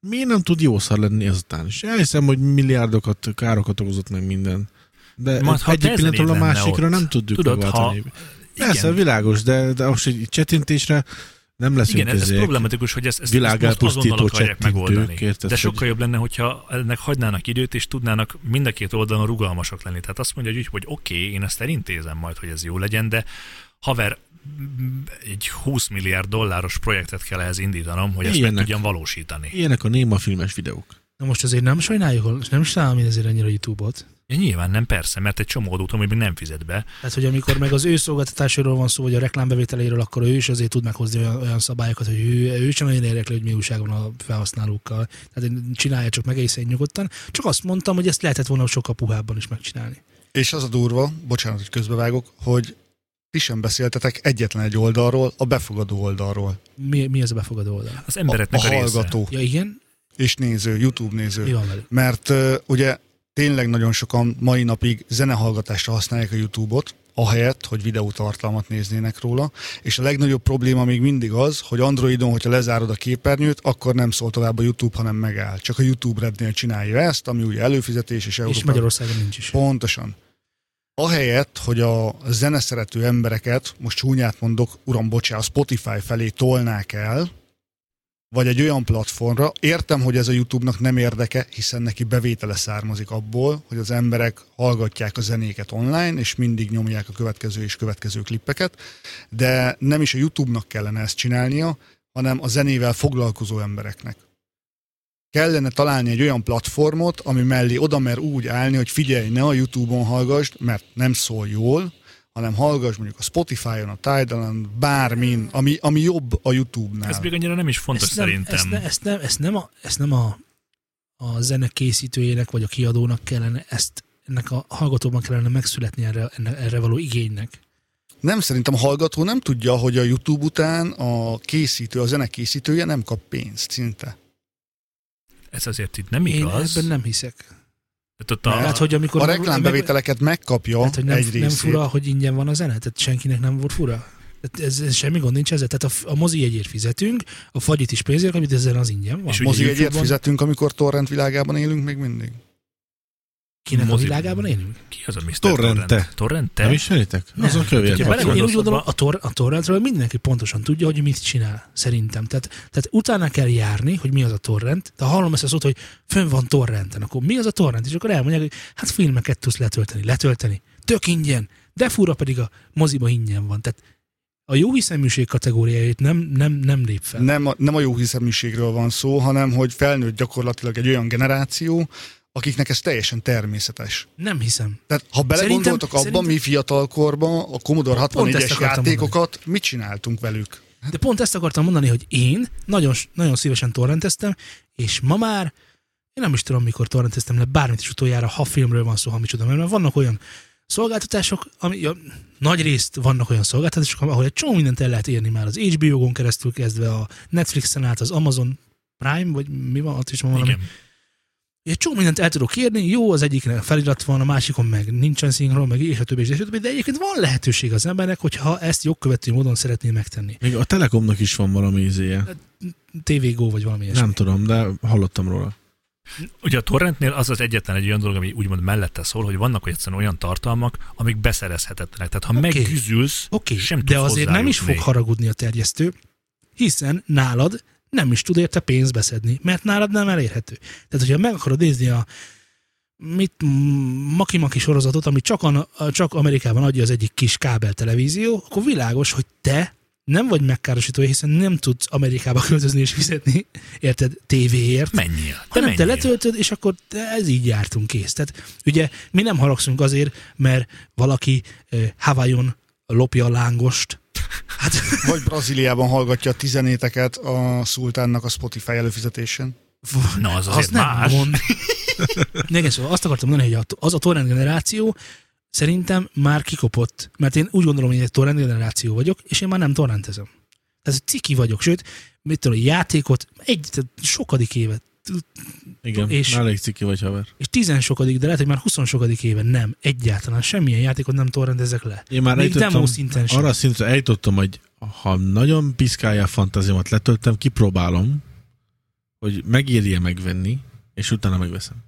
[SPEAKER 3] Miért nem tud jó szar lenni ezután? És elhiszem, hogy milliárdokat, károkat okozott meg minden. De
[SPEAKER 2] Majd,
[SPEAKER 3] Majd,
[SPEAKER 2] ha
[SPEAKER 3] egyik
[SPEAKER 2] Tezzeret
[SPEAKER 3] pillanatról a
[SPEAKER 2] lenne
[SPEAKER 3] másikra
[SPEAKER 2] ott.
[SPEAKER 3] nem tudjuk
[SPEAKER 2] Tudod,
[SPEAKER 3] megváltani.
[SPEAKER 2] ha-
[SPEAKER 3] Persze,
[SPEAKER 2] igen,
[SPEAKER 3] világos, de, de most egy csetintésre nem leszünk
[SPEAKER 2] igen ez, ez
[SPEAKER 3] ezért.
[SPEAKER 2] problematikus, hogy ezt, ezt, ezt most azonnal
[SPEAKER 3] világelpusztító
[SPEAKER 2] akarják megoldani.
[SPEAKER 3] csettintők, érted?
[SPEAKER 2] De
[SPEAKER 3] hogy-
[SPEAKER 2] sokkal jobb lenne, hogyha ennek hagynának időt, és tudnának mind a két oldalon rugalmasak lenni. Tehát azt mondja, hogy, úgy, hogy oké, okay, én ezt elintézem majd, hogy ez jó legyen, de haver, m- egy 20 milliárd dolláros projektet kell ehhez indítanom, hogy ezt meg
[SPEAKER 3] Ilyenek.
[SPEAKER 2] tudjam valósítani.
[SPEAKER 3] Ilyenek a néma filmes videók.
[SPEAKER 1] Na most azért nem sajnáljuk, nem sajnálom én ezért annyira YouTube-ot.
[SPEAKER 2] Ja, nyilván nem, persze, mert egy csomó adót, ami még nem fizet be.
[SPEAKER 1] Tehát, hogy amikor meg az ő szolgáltatásáról van szó, vagy a reklámbevételéről, akkor ő is azért tud meghozni olyan, olyan szabályokat, hogy ő, ő sem nagyon érdekli, hogy mi újság van a felhasználókkal. Tehát én csinálja csak meg egészen nyugodtan. Csak azt mondtam, hogy ezt lehetett volna sokkal puhábban is megcsinálni.
[SPEAKER 4] És az a durva, bocsánat, hogy közbevágok, hogy ti sem beszéltetek egyetlen egy oldalról, a befogadó oldalról.
[SPEAKER 1] Mi, mi az a befogadó oldal?
[SPEAKER 2] Az
[SPEAKER 4] A, a
[SPEAKER 2] embereknek a, része.
[SPEAKER 4] hallgató
[SPEAKER 1] Ja igen,
[SPEAKER 4] és néző, YouTube
[SPEAKER 1] mi
[SPEAKER 4] néző.
[SPEAKER 1] van velük?
[SPEAKER 4] Mert ö, ugye tényleg nagyon sokan mai napig zenehallgatásra használják a YouTube-ot, ahelyett, hogy videótartalmat néznének róla. És a legnagyobb probléma még mindig az, hogy Androidon, hogyha lezárod a képernyőt, akkor nem szól tovább a YouTube, hanem megáll. Csak a YouTube Rednél csinálja ezt, ami ugye előfizetés és
[SPEAKER 1] És
[SPEAKER 4] Európa.
[SPEAKER 1] Magyarországon nincs is.
[SPEAKER 4] Pontosan. Ahelyett, hogy a zeneszerető embereket, most csúnyát mondok, uram bocsá, a Spotify felé tolnák el, vagy egy olyan platformra, értem, hogy ez a YouTube-nak nem érdeke, hiszen neki bevétele származik abból, hogy az emberek hallgatják a zenéket online, és mindig nyomják a következő és következő klippeket, de nem is a YouTube-nak kellene ezt csinálnia, hanem a zenével foglalkozó embereknek kellene találni egy olyan platformot, ami mellé oda mer úgy állni, hogy figyelj, ne a YouTube-on hallgass, mert nem szól jól, hanem hallgass mondjuk a Spotify-on, a Tidal-on, bármin, ami, ami jobb a YouTube-nál.
[SPEAKER 2] Ez még annyira nem is fontos
[SPEAKER 1] nem,
[SPEAKER 2] szerintem.
[SPEAKER 1] Ezt, ne, ezt, nem, ezt nem, a, ezt nem a, a zene készítőjének vagy a kiadónak kellene, ezt ennek a hallgatóban kellene megszületni erre, enne- erre való igénynek.
[SPEAKER 4] Nem, szerintem a hallgató nem tudja, hogy a YouTube után a készítő, a zenekészítője nem kap pénzt szinte.
[SPEAKER 2] Ez azért itt nem
[SPEAKER 1] Én
[SPEAKER 2] igaz.
[SPEAKER 1] ebben nem hiszek.
[SPEAKER 2] Tehát ott a,
[SPEAKER 1] Tehát, hogy amikor
[SPEAKER 4] A
[SPEAKER 1] meg-
[SPEAKER 4] reklámbevételeket megkapja
[SPEAKER 1] meg- tehát, hogy nem, nem
[SPEAKER 4] egy részét.
[SPEAKER 1] fura, hogy ingyen van a zene? Tehát senkinek nem volt fura? Tehát ez, ez semmi gond nincs ezzel. Tehát a, f- a mozi jegyért fizetünk, a fagyit is pénzért, amit ezen az ingyen van.
[SPEAKER 2] És ugye
[SPEAKER 4] Mozi egyért
[SPEAKER 1] YouTube-on
[SPEAKER 4] fizetünk, amikor torrent világában élünk még mindig.
[SPEAKER 1] Kinek a
[SPEAKER 2] mozi-
[SPEAKER 1] világában élünk?
[SPEAKER 2] ki az a Mr.
[SPEAKER 3] Torrente.
[SPEAKER 2] Torrente?
[SPEAKER 3] Te?
[SPEAKER 2] Torrente?
[SPEAKER 3] Nem ismeritek?
[SPEAKER 1] Nem.
[SPEAKER 3] Az a kövér.
[SPEAKER 1] Bele,
[SPEAKER 2] Hogyha
[SPEAKER 3] kapcsolat.
[SPEAKER 1] én
[SPEAKER 2] belegondolsz
[SPEAKER 1] úgy gondolom,
[SPEAKER 2] abba-
[SPEAKER 1] a, tor, a torrentről mindenki pontosan tudja, hogy mit csinál, szerintem. Tehát, tehát utána kell járni, hogy mi az a torrent. Tehát hallom ezt a szót, hogy fönn van torrenten, akkor mi az a torrent? És akkor elmondják, hogy hát filmeket tudsz letölteni, letölteni, tök ingyen, de fura pedig a moziba ingyen van. Tehát a jó hiszeműség kategóriáját nem, nem, nem lép fel. Ne.
[SPEAKER 4] nem a, nem a jó hiszeműségről van szó, hanem hogy felnőtt gyakorlatilag egy olyan generáció, akiknek ez teljesen természetes.
[SPEAKER 1] Nem hiszem.
[SPEAKER 4] Tehát ha belegondoltok abban,
[SPEAKER 1] Szerintem-
[SPEAKER 4] szerintem, mi fiatalkorban a Commodore
[SPEAKER 1] Pont ezt
[SPEAKER 4] 64-es
[SPEAKER 1] akartam
[SPEAKER 4] játékokat, mit csináltunk velük?
[SPEAKER 1] De pont ezt akartam mondani, hogy én nagyon, nagyon szívesen torrenteztem, és ma már én nem is tudom, mikor torrenteztem le bármit is utoljára, ha filmről van szó, ha micsoda, mert vannak olyan szolgáltatások, ami ja, nagy részt vannak olyan szolgáltatások, ahol egy csomó mindent el lehet érni már az HBO-gon keresztül kezdve a Netflixen át az Amazon Prime, vagy mi van, ott is van valami.
[SPEAKER 2] Igen.
[SPEAKER 1] Egy csomó mindent el tudok írni, jó, az egyiknek felirat van, a másikon meg nincsen szinkron, meg és a többi, és a többi, de egyébként van lehetőség az embernek, hogyha ezt jogkövető módon szeretné megtenni.
[SPEAKER 3] Még a Telekomnak is van valami izéje.
[SPEAKER 1] TVGO vagy valami ilyesmi.
[SPEAKER 3] Nem tudom, de hallottam róla.
[SPEAKER 2] Ugye a torrentnél az az egyetlen egy olyan dolog, ami úgymond mellette szól, hogy vannak egyszerűen olyan tartalmak, amik beszerezhetetlenek. Tehát ha okay. megküzülsz,
[SPEAKER 1] Oké,
[SPEAKER 2] sem
[SPEAKER 1] okay,
[SPEAKER 2] tudsz
[SPEAKER 1] de azért nem is fog
[SPEAKER 2] hozzájutni.
[SPEAKER 1] haragudni a terjesztő, hiszen nálad nem is tud érte pénzt beszedni, mert nálad nem elérhető. Tehát, hogyha meg akarod nézni a mit mm, maki-maki sorozatot, ami csak, an, csak Amerikában adja az egyik kis kábeltelevízió, akkor világos, hogy te nem vagy megkárosítója, hiszen nem tudsz Amerikába költözni és fizetni, érted, tévéért
[SPEAKER 2] menjél. Te
[SPEAKER 1] hanem
[SPEAKER 2] menjél.
[SPEAKER 1] te letöltöd, és akkor te- ez így jártunk kész. Tehát ugye mi nem haragszunk azért, mert valaki eh, Havajon lopja a lángost. Hát
[SPEAKER 4] Vagy Brazíliában hallgatja a tizenéteket a szultánnak a Spotify előfizetésen.
[SPEAKER 2] Na, az
[SPEAKER 1] az
[SPEAKER 2] azért
[SPEAKER 1] nem
[SPEAKER 2] más.
[SPEAKER 1] gond. Igen, szóval azt akartam mondani, hogy a- az a torrent generáció szerintem már kikopott, mert én úgy gondolom, hogy én egy torrent generáció vagyok, és én már nem torrentezem. ez ciki vagyok, sőt, mit tudom, játékot egy, tehát sokadik éve,
[SPEAKER 3] Igen,
[SPEAKER 1] És-
[SPEAKER 3] és... már elég ciki vagy haver.
[SPEAKER 1] és tizen sokadik, de lehet, hogy már huszon sokadik éve nem, egyáltalán semmilyen játékot nem torrendezek le.
[SPEAKER 3] Én már
[SPEAKER 1] Még
[SPEAKER 3] eljutottam,
[SPEAKER 1] demo szinten sem.
[SPEAKER 3] arra a szintre eljutottam, hogy ha nagyon piszkálja a fantáziamat, letöltem, kipróbálom, hogy megérje megvenni, és utána megveszem.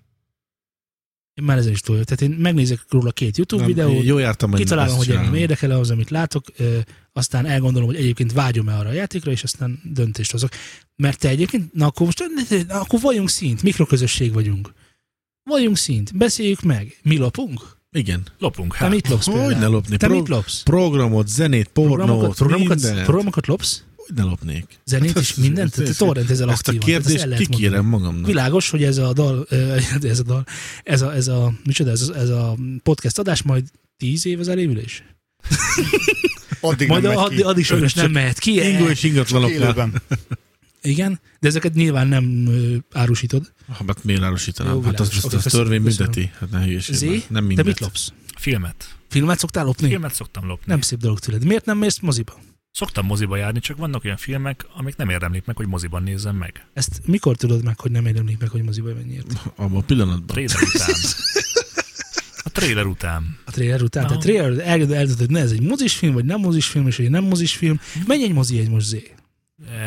[SPEAKER 1] Én már ezzel is túl vagyok. Tehát én megnézek róla két YouTube
[SPEAKER 3] Nem,
[SPEAKER 1] videót,
[SPEAKER 3] én Jó jártam, hogy
[SPEAKER 1] kitalálom,
[SPEAKER 3] ezt
[SPEAKER 1] hogy engem
[SPEAKER 3] csinálom.
[SPEAKER 1] érdekel az, amit látok, ö, aztán elgondolom, hogy egyébként vágyom-e arra a játékra, és aztán döntést hozok. Mert te egyébként, na akkor most, na akkor valljunk szint, mikroközösség vagyunk. Valljunk szint, beszéljük meg. Mi lopunk?
[SPEAKER 3] Igen.
[SPEAKER 2] Lopunk,
[SPEAKER 1] Te
[SPEAKER 2] hát.
[SPEAKER 1] mit lopsz
[SPEAKER 3] Hogy
[SPEAKER 1] például?
[SPEAKER 3] ne lopni?
[SPEAKER 1] Te
[SPEAKER 3] Pro-
[SPEAKER 1] mit lopsz?
[SPEAKER 3] Programot, zenét, pornót,
[SPEAKER 1] Programokat, programokat,
[SPEAKER 3] mindent.
[SPEAKER 1] programokat lopsz?
[SPEAKER 3] Hogy ne lopnék?
[SPEAKER 1] Zenét
[SPEAKER 3] Hát
[SPEAKER 1] és
[SPEAKER 3] ez-
[SPEAKER 1] mindent? Tehát
[SPEAKER 3] ez-
[SPEAKER 1] Te torrentezel
[SPEAKER 3] Ezt a
[SPEAKER 1] aktívan. tehát ezt el
[SPEAKER 3] kérdést
[SPEAKER 1] lehet mondani.
[SPEAKER 3] kikérem magamnak.
[SPEAKER 1] Világos, hogy ez a dal, ö, ez a dal, ez a, ez a, micsoda, ez a, ez a podcast adás majd tíz év az elévülés?
[SPEAKER 4] Addig
[SPEAKER 1] Majd
[SPEAKER 4] nem megy
[SPEAKER 1] addig,
[SPEAKER 4] ki.
[SPEAKER 1] addig sajnos nem mehet ki.
[SPEAKER 3] Ingó és ingatlanoknál.
[SPEAKER 4] Élőben.
[SPEAKER 1] Igen, de ezeket nyilván nem ö, árusítod.
[SPEAKER 3] Ah, Hát miért
[SPEAKER 1] Jó,
[SPEAKER 3] árusítanám? Hát
[SPEAKER 1] világos.
[SPEAKER 3] azt azt
[SPEAKER 1] Oké,
[SPEAKER 3] az törvény
[SPEAKER 1] köszönöm.
[SPEAKER 3] bünteti. Hát ne hülyeség.
[SPEAKER 1] Zé,
[SPEAKER 3] már. Nem
[SPEAKER 1] Te
[SPEAKER 3] mindent.
[SPEAKER 1] mit lopsz?
[SPEAKER 2] Filmet.
[SPEAKER 1] Filmet szoktál lopni?
[SPEAKER 2] Filmet szoktam lopni.
[SPEAKER 1] Nem szép dolog tőled. Miért nem mész moziba?
[SPEAKER 2] Szoktam moziba járni, csak vannak olyan filmek, amik nem érdemlik meg, hogy moziban nézzem meg.
[SPEAKER 1] Ezt mikor tudod meg, hogy nem érdemlik meg, hogy moziba mennyiért?
[SPEAKER 3] Abban a pillanatban.
[SPEAKER 2] Trailer után. A trailer
[SPEAKER 1] A trailer után?
[SPEAKER 2] után. Aha.
[SPEAKER 1] Tehát trailer eldöntött, eldöntött, ne ez egy mozis film, vagy nem mozis film, és hogy nem mozis film. Mennyi egy mozi egy most zé?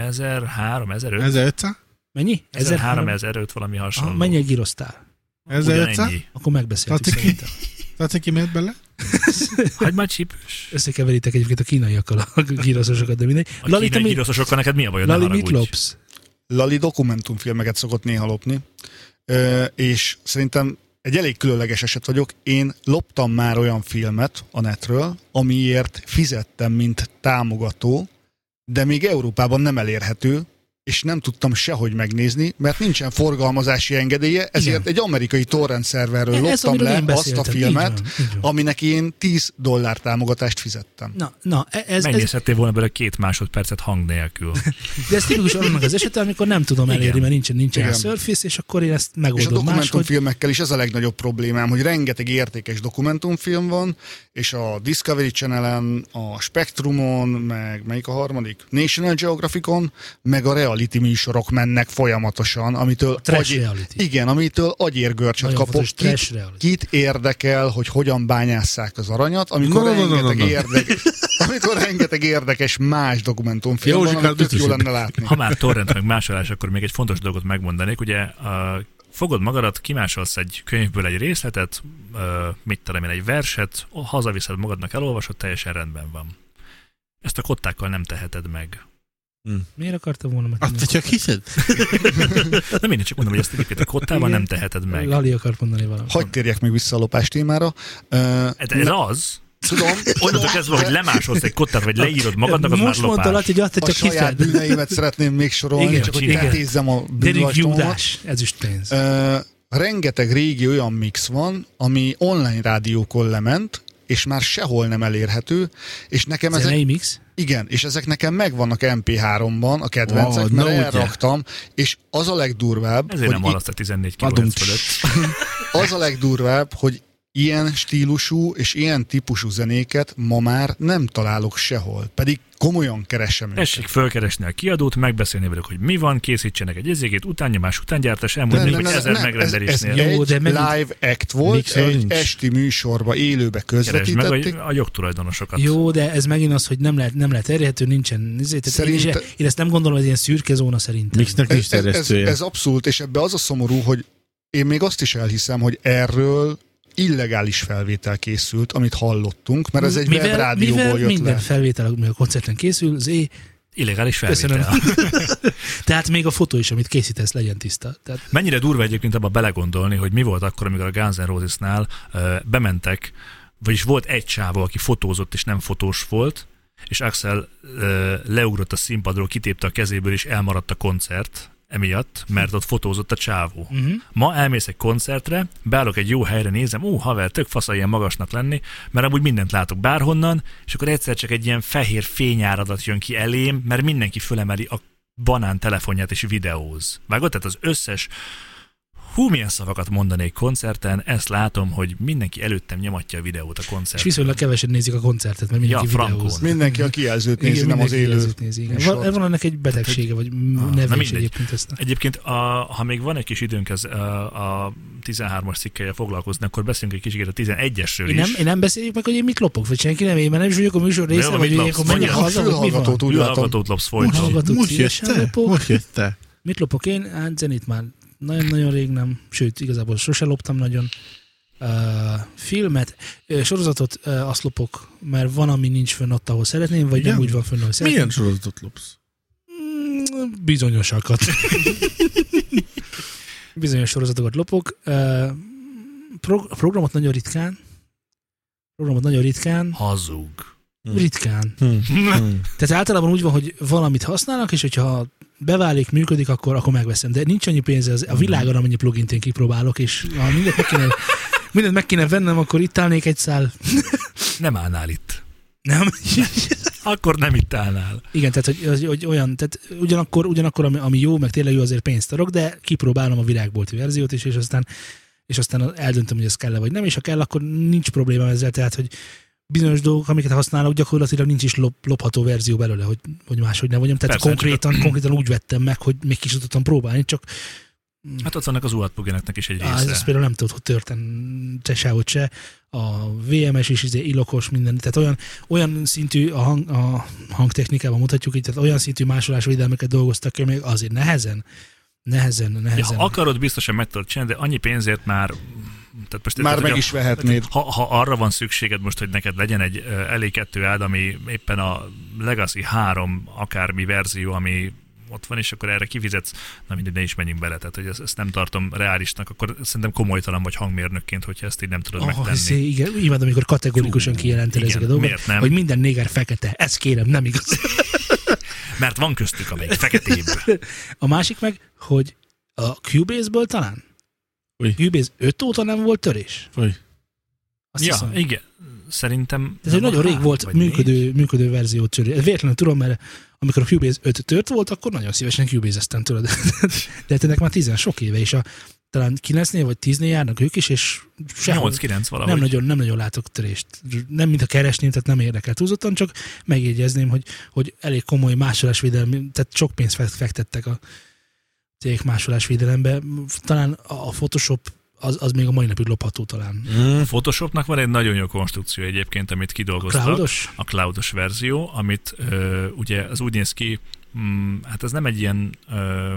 [SPEAKER 2] 1003, 1005,
[SPEAKER 3] 1500?
[SPEAKER 1] Mennyi?
[SPEAKER 2] 1003,
[SPEAKER 1] 1000?
[SPEAKER 2] 1005, valami
[SPEAKER 1] Aha,
[SPEAKER 2] hasonló.
[SPEAKER 1] Mennyi egy girosztál?
[SPEAKER 3] 1500?
[SPEAKER 2] Ugyanennyi.
[SPEAKER 1] Akkor megbeszéltük
[SPEAKER 3] Tati ki.
[SPEAKER 1] szerintem.
[SPEAKER 3] Tehát ki mehet bele?
[SPEAKER 2] Hagyd már csípős.
[SPEAKER 1] Összekeveritek egyébként a kínaiakkal a gíroszosokat, de mindegy.
[SPEAKER 2] A Lali, kínai
[SPEAKER 1] mi-
[SPEAKER 2] gyrosztosokkal neked mi a bajod? Ne
[SPEAKER 1] Lali mit
[SPEAKER 2] haragudj.
[SPEAKER 1] lopsz?
[SPEAKER 4] Lali dokumentumfilmeket szokott néha lopni, Ö, és szerintem egy elég különleges eset vagyok. Én loptam már olyan filmet a netről, amiért fizettem, mint támogató, de még Európában nem elérhető, és nem tudtam sehogy megnézni, mert nincsen forgalmazási engedélye, ezért
[SPEAKER 1] Igen. E,
[SPEAKER 4] egy amerikai torrent szerverről
[SPEAKER 1] Ez,
[SPEAKER 4] loptam
[SPEAKER 1] amiről
[SPEAKER 4] le
[SPEAKER 1] én
[SPEAKER 4] azt a
[SPEAKER 1] beszéltem. Így
[SPEAKER 4] filmet,
[SPEAKER 1] van, így van.
[SPEAKER 4] aminek én 10 dollár támogatást fizettem.
[SPEAKER 1] Na, na, e- ez, ez,
[SPEAKER 2] Megnézhettél volna belőle két másodpercet hang nélkül.
[SPEAKER 1] De ez tipikus annak az esete, amikor nem tudom
[SPEAKER 2] Igen.
[SPEAKER 1] elérni, mert nincsen, nincsen
[SPEAKER 4] Igen.
[SPEAKER 1] a Surface, és akkor én ezt
[SPEAKER 4] És a
[SPEAKER 1] megoldom máshogy.
[SPEAKER 4] dokumentumfilmekkel is ez a legnagyobb problémám, hogy rengeteg értékes dokumentumfilm van, és a Discovery Channel-en, a Spectrumon, meg melyik a harmadik? National Geographicon, meg a reality műsorok mennek folyamatosan, amitől
[SPEAKER 1] Trash reality.
[SPEAKER 4] igen, amitől agyérgörcsöt
[SPEAKER 1] Nagyon
[SPEAKER 4] kapok.
[SPEAKER 1] fontos,
[SPEAKER 4] Kit,
[SPEAKER 1] trash reality.
[SPEAKER 4] kit érdekel, hogy hogyan bányásszák az aranyat, amikor
[SPEAKER 3] No, no, no, no, no,
[SPEAKER 4] rengeteg
[SPEAKER 3] no.
[SPEAKER 4] érdekes amikor rengeteg érdekes más dokumentumfilm van,
[SPEAKER 3] Józsikát
[SPEAKER 4] amit tök jó
[SPEAKER 3] biztosít.
[SPEAKER 4] lenne látni.
[SPEAKER 2] Ha már torrent meg másolás, akkor még egy fontos dolgot megmondanék. Ugye a, fogod magadat, kimásolsz egy könyvből egy részletet, ö, mit tudom én, egy verset, o- hazaviszed magadnak, elolvasod, teljesen rendben van. Ezt a kottákkal nem teheted meg.
[SPEAKER 1] Miért akartam volna
[SPEAKER 3] Azt
[SPEAKER 1] megtenni?
[SPEAKER 3] te csak hiszed?
[SPEAKER 2] Nem mindig csak mondom, hogy ezt egyébként a kottával
[SPEAKER 1] Igen.
[SPEAKER 2] nem teheted meg.
[SPEAKER 1] Lali akart mondani valamit.
[SPEAKER 4] Hagy térjek még vissza a lopás témára. Ö,
[SPEAKER 1] Hát
[SPEAKER 2] Ez, ez az,
[SPEAKER 4] Tudom,
[SPEAKER 2] onnantól kezdve, hogy lemásolsz egy kottát, vagy leírod magadnak, az
[SPEAKER 1] Most
[SPEAKER 2] már
[SPEAKER 1] mondta
[SPEAKER 2] lopás.
[SPEAKER 1] Lati, hogy azt te
[SPEAKER 4] a
[SPEAKER 1] csak
[SPEAKER 4] saját
[SPEAKER 1] hiszed.
[SPEAKER 4] bűneimet szeretném még sorolni,
[SPEAKER 1] Igen,
[SPEAKER 4] igen, csak hogy
[SPEAKER 2] igen.
[SPEAKER 4] eltézzem a
[SPEAKER 1] Derek
[SPEAKER 4] bűnvastomat.
[SPEAKER 1] Judás, ez is pénz.
[SPEAKER 4] Ö, rengeteg régi olyan mix van, ami online rádiókon lement, és már sehol nem elérhető, és nekem ezek,
[SPEAKER 1] Zenei mix?
[SPEAKER 2] Hát.
[SPEAKER 4] igen, és ezek nekem megvannak MP3-ban, a kedvencek,
[SPEAKER 3] Ó,
[SPEAKER 4] mert
[SPEAKER 3] na ugye.
[SPEAKER 4] elraktam, és az a legdurvább,
[SPEAKER 2] Ezért nem
[SPEAKER 4] hogy
[SPEAKER 2] haladsz a 14 km
[SPEAKER 3] Adom.
[SPEAKER 2] fölött.
[SPEAKER 4] az a legdurvább, hogy ilyen stílusú és ilyen típusú zenéket ma már nem találok sehol, pedig komolyan keresem őket.
[SPEAKER 2] Tessék fölkeresni a kiadót, megbeszélni velük, hogy mi van, készítsenek egy ezégét, utánnyomás, utángyártás,
[SPEAKER 4] Nem,
[SPEAKER 2] elmondani,
[SPEAKER 4] nem,
[SPEAKER 2] hogy
[SPEAKER 4] nem,
[SPEAKER 2] ezer
[SPEAKER 4] nem,
[SPEAKER 2] megrendelésnél.
[SPEAKER 4] Ez, ez
[SPEAKER 1] Jó,
[SPEAKER 4] Jó,
[SPEAKER 1] de
[SPEAKER 4] de
[SPEAKER 1] megint-
[SPEAKER 4] live act volt,
[SPEAKER 3] Mixer
[SPEAKER 4] egy
[SPEAKER 3] nincs.
[SPEAKER 4] esti műsorba élőbe
[SPEAKER 2] Keresd meg
[SPEAKER 4] közvetítették.
[SPEAKER 2] a, a jogtulajdonosokat.
[SPEAKER 1] Jó, de ez megint az, hogy nem lehet, nem lehet elérhető, nincsen. Ezért, tehát én,
[SPEAKER 4] Szerinte-
[SPEAKER 1] is- én, ezt nem gondolom, ez ilyen szürke zóna szerintem.
[SPEAKER 3] Mixnek nincs
[SPEAKER 4] ez, ez, ez,
[SPEAKER 3] terjesztője.
[SPEAKER 4] ez abszolút, és ebbe az a szomorú, hogy én még azt is elhiszem, hogy erről illegális felvétel készült, amit hallottunk, mert ez egy
[SPEAKER 1] mivel,
[SPEAKER 4] webrádióból
[SPEAKER 1] mivel
[SPEAKER 4] jött
[SPEAKER 1] minden
[SPEAKER 4] le.
[SPEAKER 1] felvétel, ami a koncerten készül, az é,
[SPEAKER 2] Illegális felvétel.
[SPEAKER 1] Köszönöm. tehát még a fotó is, amit készítesz, legyen tiszta. Tehát
[SPEAKER 2] Mennyire durva egyébként abba belegondolni, hogy mi volt akkor, amikor a Guns N' Roses-nál ö, bementek, vagyis volt egy csávó, aki fotózott és nem fotós volt, és Axel ö, leugrott a színpadról, kitépte a kezéből, és elmaradt a koncert emiatt, mert ott fotózott a csávó.
[SPEAKER 1] Mhm.
[SPEAKER 2] Ma elmész egy koncertre, beállok egy jó helyre, nézem, ú, haver, tök fasz ilyen magasnak lenni, mert amúgy mindent látok bárhonnan, és akkor egyszer csak egy ilyen fehér fényáradat jön ki elém, mert mindenki fölemeli a banán telefonját és videóz. Vágod? Tehát az összes hú, milyen szavakat mondanék koncerten, ezt látom, hogy mindenki előttem nyomatja a videót a
[SPEAKER 1] És
[SPEAKER 2] koncerten.
[SPEAKER 1] viszonylag kevesen nézik a koncertet, mert
[SPEAKER 2] Ja,
[SPEAKER 1] mindenki ja,
[SPEAKER 2] frankon.
[SPEAKER 1] videóz.
[SPEAKER 4] Mindenki a kijelzőt nézi, nem az
[SPEAKER 1] mindenki
[SPEAKER 4] élő.
[SPEAKER 1] jelzőt Nézi, igen.
[SPEAKER 4] műsort.
[SPEAKER 1] Van, van ennek egy betegsége, vagy neve is
[SPEAKER 2] Ah, mindegy.
[SPEAKER 1] egyébként ezt.
[SPEAKER 2] Egyébként, a, ha még van egy kis időnk ez, a, a 13-as cikkelje foglalkozni, akkor beszélünk egy kicsit a 11-esről
[SPEAKER 1] Én
[SPEAKER 2] is.
[SPEAKER 1] nem, én nem beszéljük meg, hogy én mit lopok, vagy senki nem, én már nem is vagyok a műsor része,
[SPEAKER 2] jó,
[SPEAKER 1] vagy
[SPEAKER 2] mit
[SPEAKER 1] hogy
[SPEAKER 2] lopsz?
[SPEAKER 1] akkor menjek
[SPEAKER 2] Mondja,
[SPEAKER 4] Mondja, a
[SPEAKER 1] haza, vagy mi van?
[SPEAKER 4] fülhallgatót úgy látom.
[SPEAKER 2] Fülhallgatót lopsz
[SPEAKER 1] Úgy
[SPEAKER 2] folyton.
[SPEAKER 1] hallgatott
[SPEAKER 3] Most
[SPEAKER 1] szívesen
[SPEAKER 3] jött te?
[SPEAKER 1] lopok.
[SPEAKER 3] Most jött te?
[SPEAKER 1] Mit lopok én? Hát zenét már nagyon-nagyon rég nem, sőt, igazából sose loptam nagyon. Uh, filmet, uh, sorozatot uh, azt lopok, mert van, ami nincs fönn ott, ahol szeretném, vagy
[SPEAKER 3] Igen?
[SPEAKER 1] nem úgy van fönn, ahol szeretném.
[SPEAKER 3] Milyen sorozatot lopsz?
[SPEAKER 1] Mm, Bizonyosakat. Bizonyos sorozatokat lopok. Uh, prog- programot nagyon ritkán. Programot nagyon ritkán.
[SPEAKER 2] Hazug.
[SPEAKER 3] Hm.
[SPEAKER 1] Ritkán.
[SPEAKER 3] Hmm.
[SPEAKER 1] Tehát általában úgy van, hogy valamit használnak, és hogyha beválik, működik, akkor, akkor megveszem. De nincs annyi pénze az, a világon, amennyi plugint én kipróbálok, és ha mindent meg kéne, mindent meg kéne vennem, akkor itt állnék egy szál.
[SPEAKER 2] Nem állnál itt.
[SPEAKER 1] Nem?
[SPEAKER 2] Akkor nem itt állnál.
[SPEAKER 1] Igen, tehát hogy, hogy, hogy olyan, tehát ugyanakkor, ugyanakkor ami, ami, jó, meg tényleg jó, azért pénzt adok, de kipróbálom a világbolti verziót is, és aztán, és aztán eldöntöm, hogy ez kell vagy nem, és ha kell, akkor nincs probléma ezzel, tehát hogy bizonyos dolgok, amiket használok, gyakorlatilag nincs is lop, lopható verzió belőle, hogy, hogy máshogy ne vagyom. Tehát
[SPEAKER 2] Persze,
[SPEAKER 1] Persze, konkrétan, konkrétan úgy vettem meg, hogy még ki sem tudtam próbálni, csak
[SPEAKER 2] Hát ott vannak az uat plugineknek is egy
[SPEAKER 1] Á, ez azt
[SPEAKER 2] része.
[SPEAKER 1] például nem tudod, hogy történt se sehogy se. A VMS is izé ilokos minden, tehát olyan, olyan szintű a, hang, a hangtechnikában mutatjuk így, tehát olyan szintű másolásvédelmeket dolgoztak ki, még azért nehezen, nehezen,
[SPEAKER 2] Ja,
[SPEAKER 1] nehezen.
[SPEAKER 2] ha akarod, biztosan meg tudod csinálni, de annyi pénzért már... Tehát most
[SPEAKER 4] Már
[SPEAKER 2] tehát,
[SPEAKER 4] meg
[SPEAKER 2] hogyha-
[SPEAKER 4] is vehetnéd.
[SPEAKER 2] Ha, ha arra van szükséged most, hogy neked legyen egy elé kettő ád, ami éppen a Legacy 3 akármi verzió, ami ott van, és akkor erre kifizetsz, na mindegy, ne is menjünk bele, tehát hogy ezt, ezt nem tartom reálisnak, akkor szerintem komolytalan vagy hangmérnökként, hogyha ezt így nem tudod
[SPEAKER 1] Oh,
[SPEAKER 2] megtenni.
[SPEAKER 1] hiszé, igen, imádom, amikor kategorikusan
[SPEAKER 2] Fú,
[SPEAKER 1] kijelented
[SPEAKER 2] igen,
[SPEAKER 1] ezeket a dolgokat,
[SPEAKER 2] miért nem?
[SPEAKER 1] hogy minden néger fekete, ez kérem, nem igaz.
[SPEAKER 2] Mert van köztük, amelyik feketébb.
[SPEAKER 1] A másik meg, hogy a Cubase-ből talán?
[SPEAKER 3] Ui.
[SPEAKER 1] Cubase 5 óta nem volt törés?
[SPEAKER 3] Vagy.
[SPEAKER 1] Azt
[SPEAKER 2] ja,
[SPEAKER 1] hiszem.
[SPEAKER 2] igen. Szerintem...
[SPEAKER 1] Ez egy
[SPEAKER 2] nem
[SPEAKER 1] nagyon
[SPEAKER 2] három
[SPEAKER 1] rég volt
[SPEAKER 2] vagy négy.
[SPEAKER 1] működő, működő verzió törő. Ez Véletlenül tudom, mert amikor a Cubase 5 tört volt, akkor nagyon szívesen Cubase-eztem tőled. De hát ennek már 10 sok éve, és a, talán 9-nél vagy 10-nél járnak ők is, és sehol
[SPEAKER 2] 8-9 valahogy.
[SPEAKER 1] nem nagyon, nem nagyon látok törést. Nem mint a keresném, tehát nem érdekel túlzottan, csak megjegyezném, hogy, hogy elég komoly másolásvédelmi, tehát sok pénzt fekt- fektettek a cégek másolásvédelembe. Talán a a Photoshop az, az még a mai napig lopható talán.
[SPEAKER 3] Hm.
[SPEAKER 2] A Photoshopnak van egy nagyon jó konstrukció egyébként, amit kidolgoztak.
[SPEAKER 1] Cloudos?
[SPEAKER 2] a cloudos verzió, amit ö, ugye az úgy néz ki, mm, hát ez nem egy ilyen ö,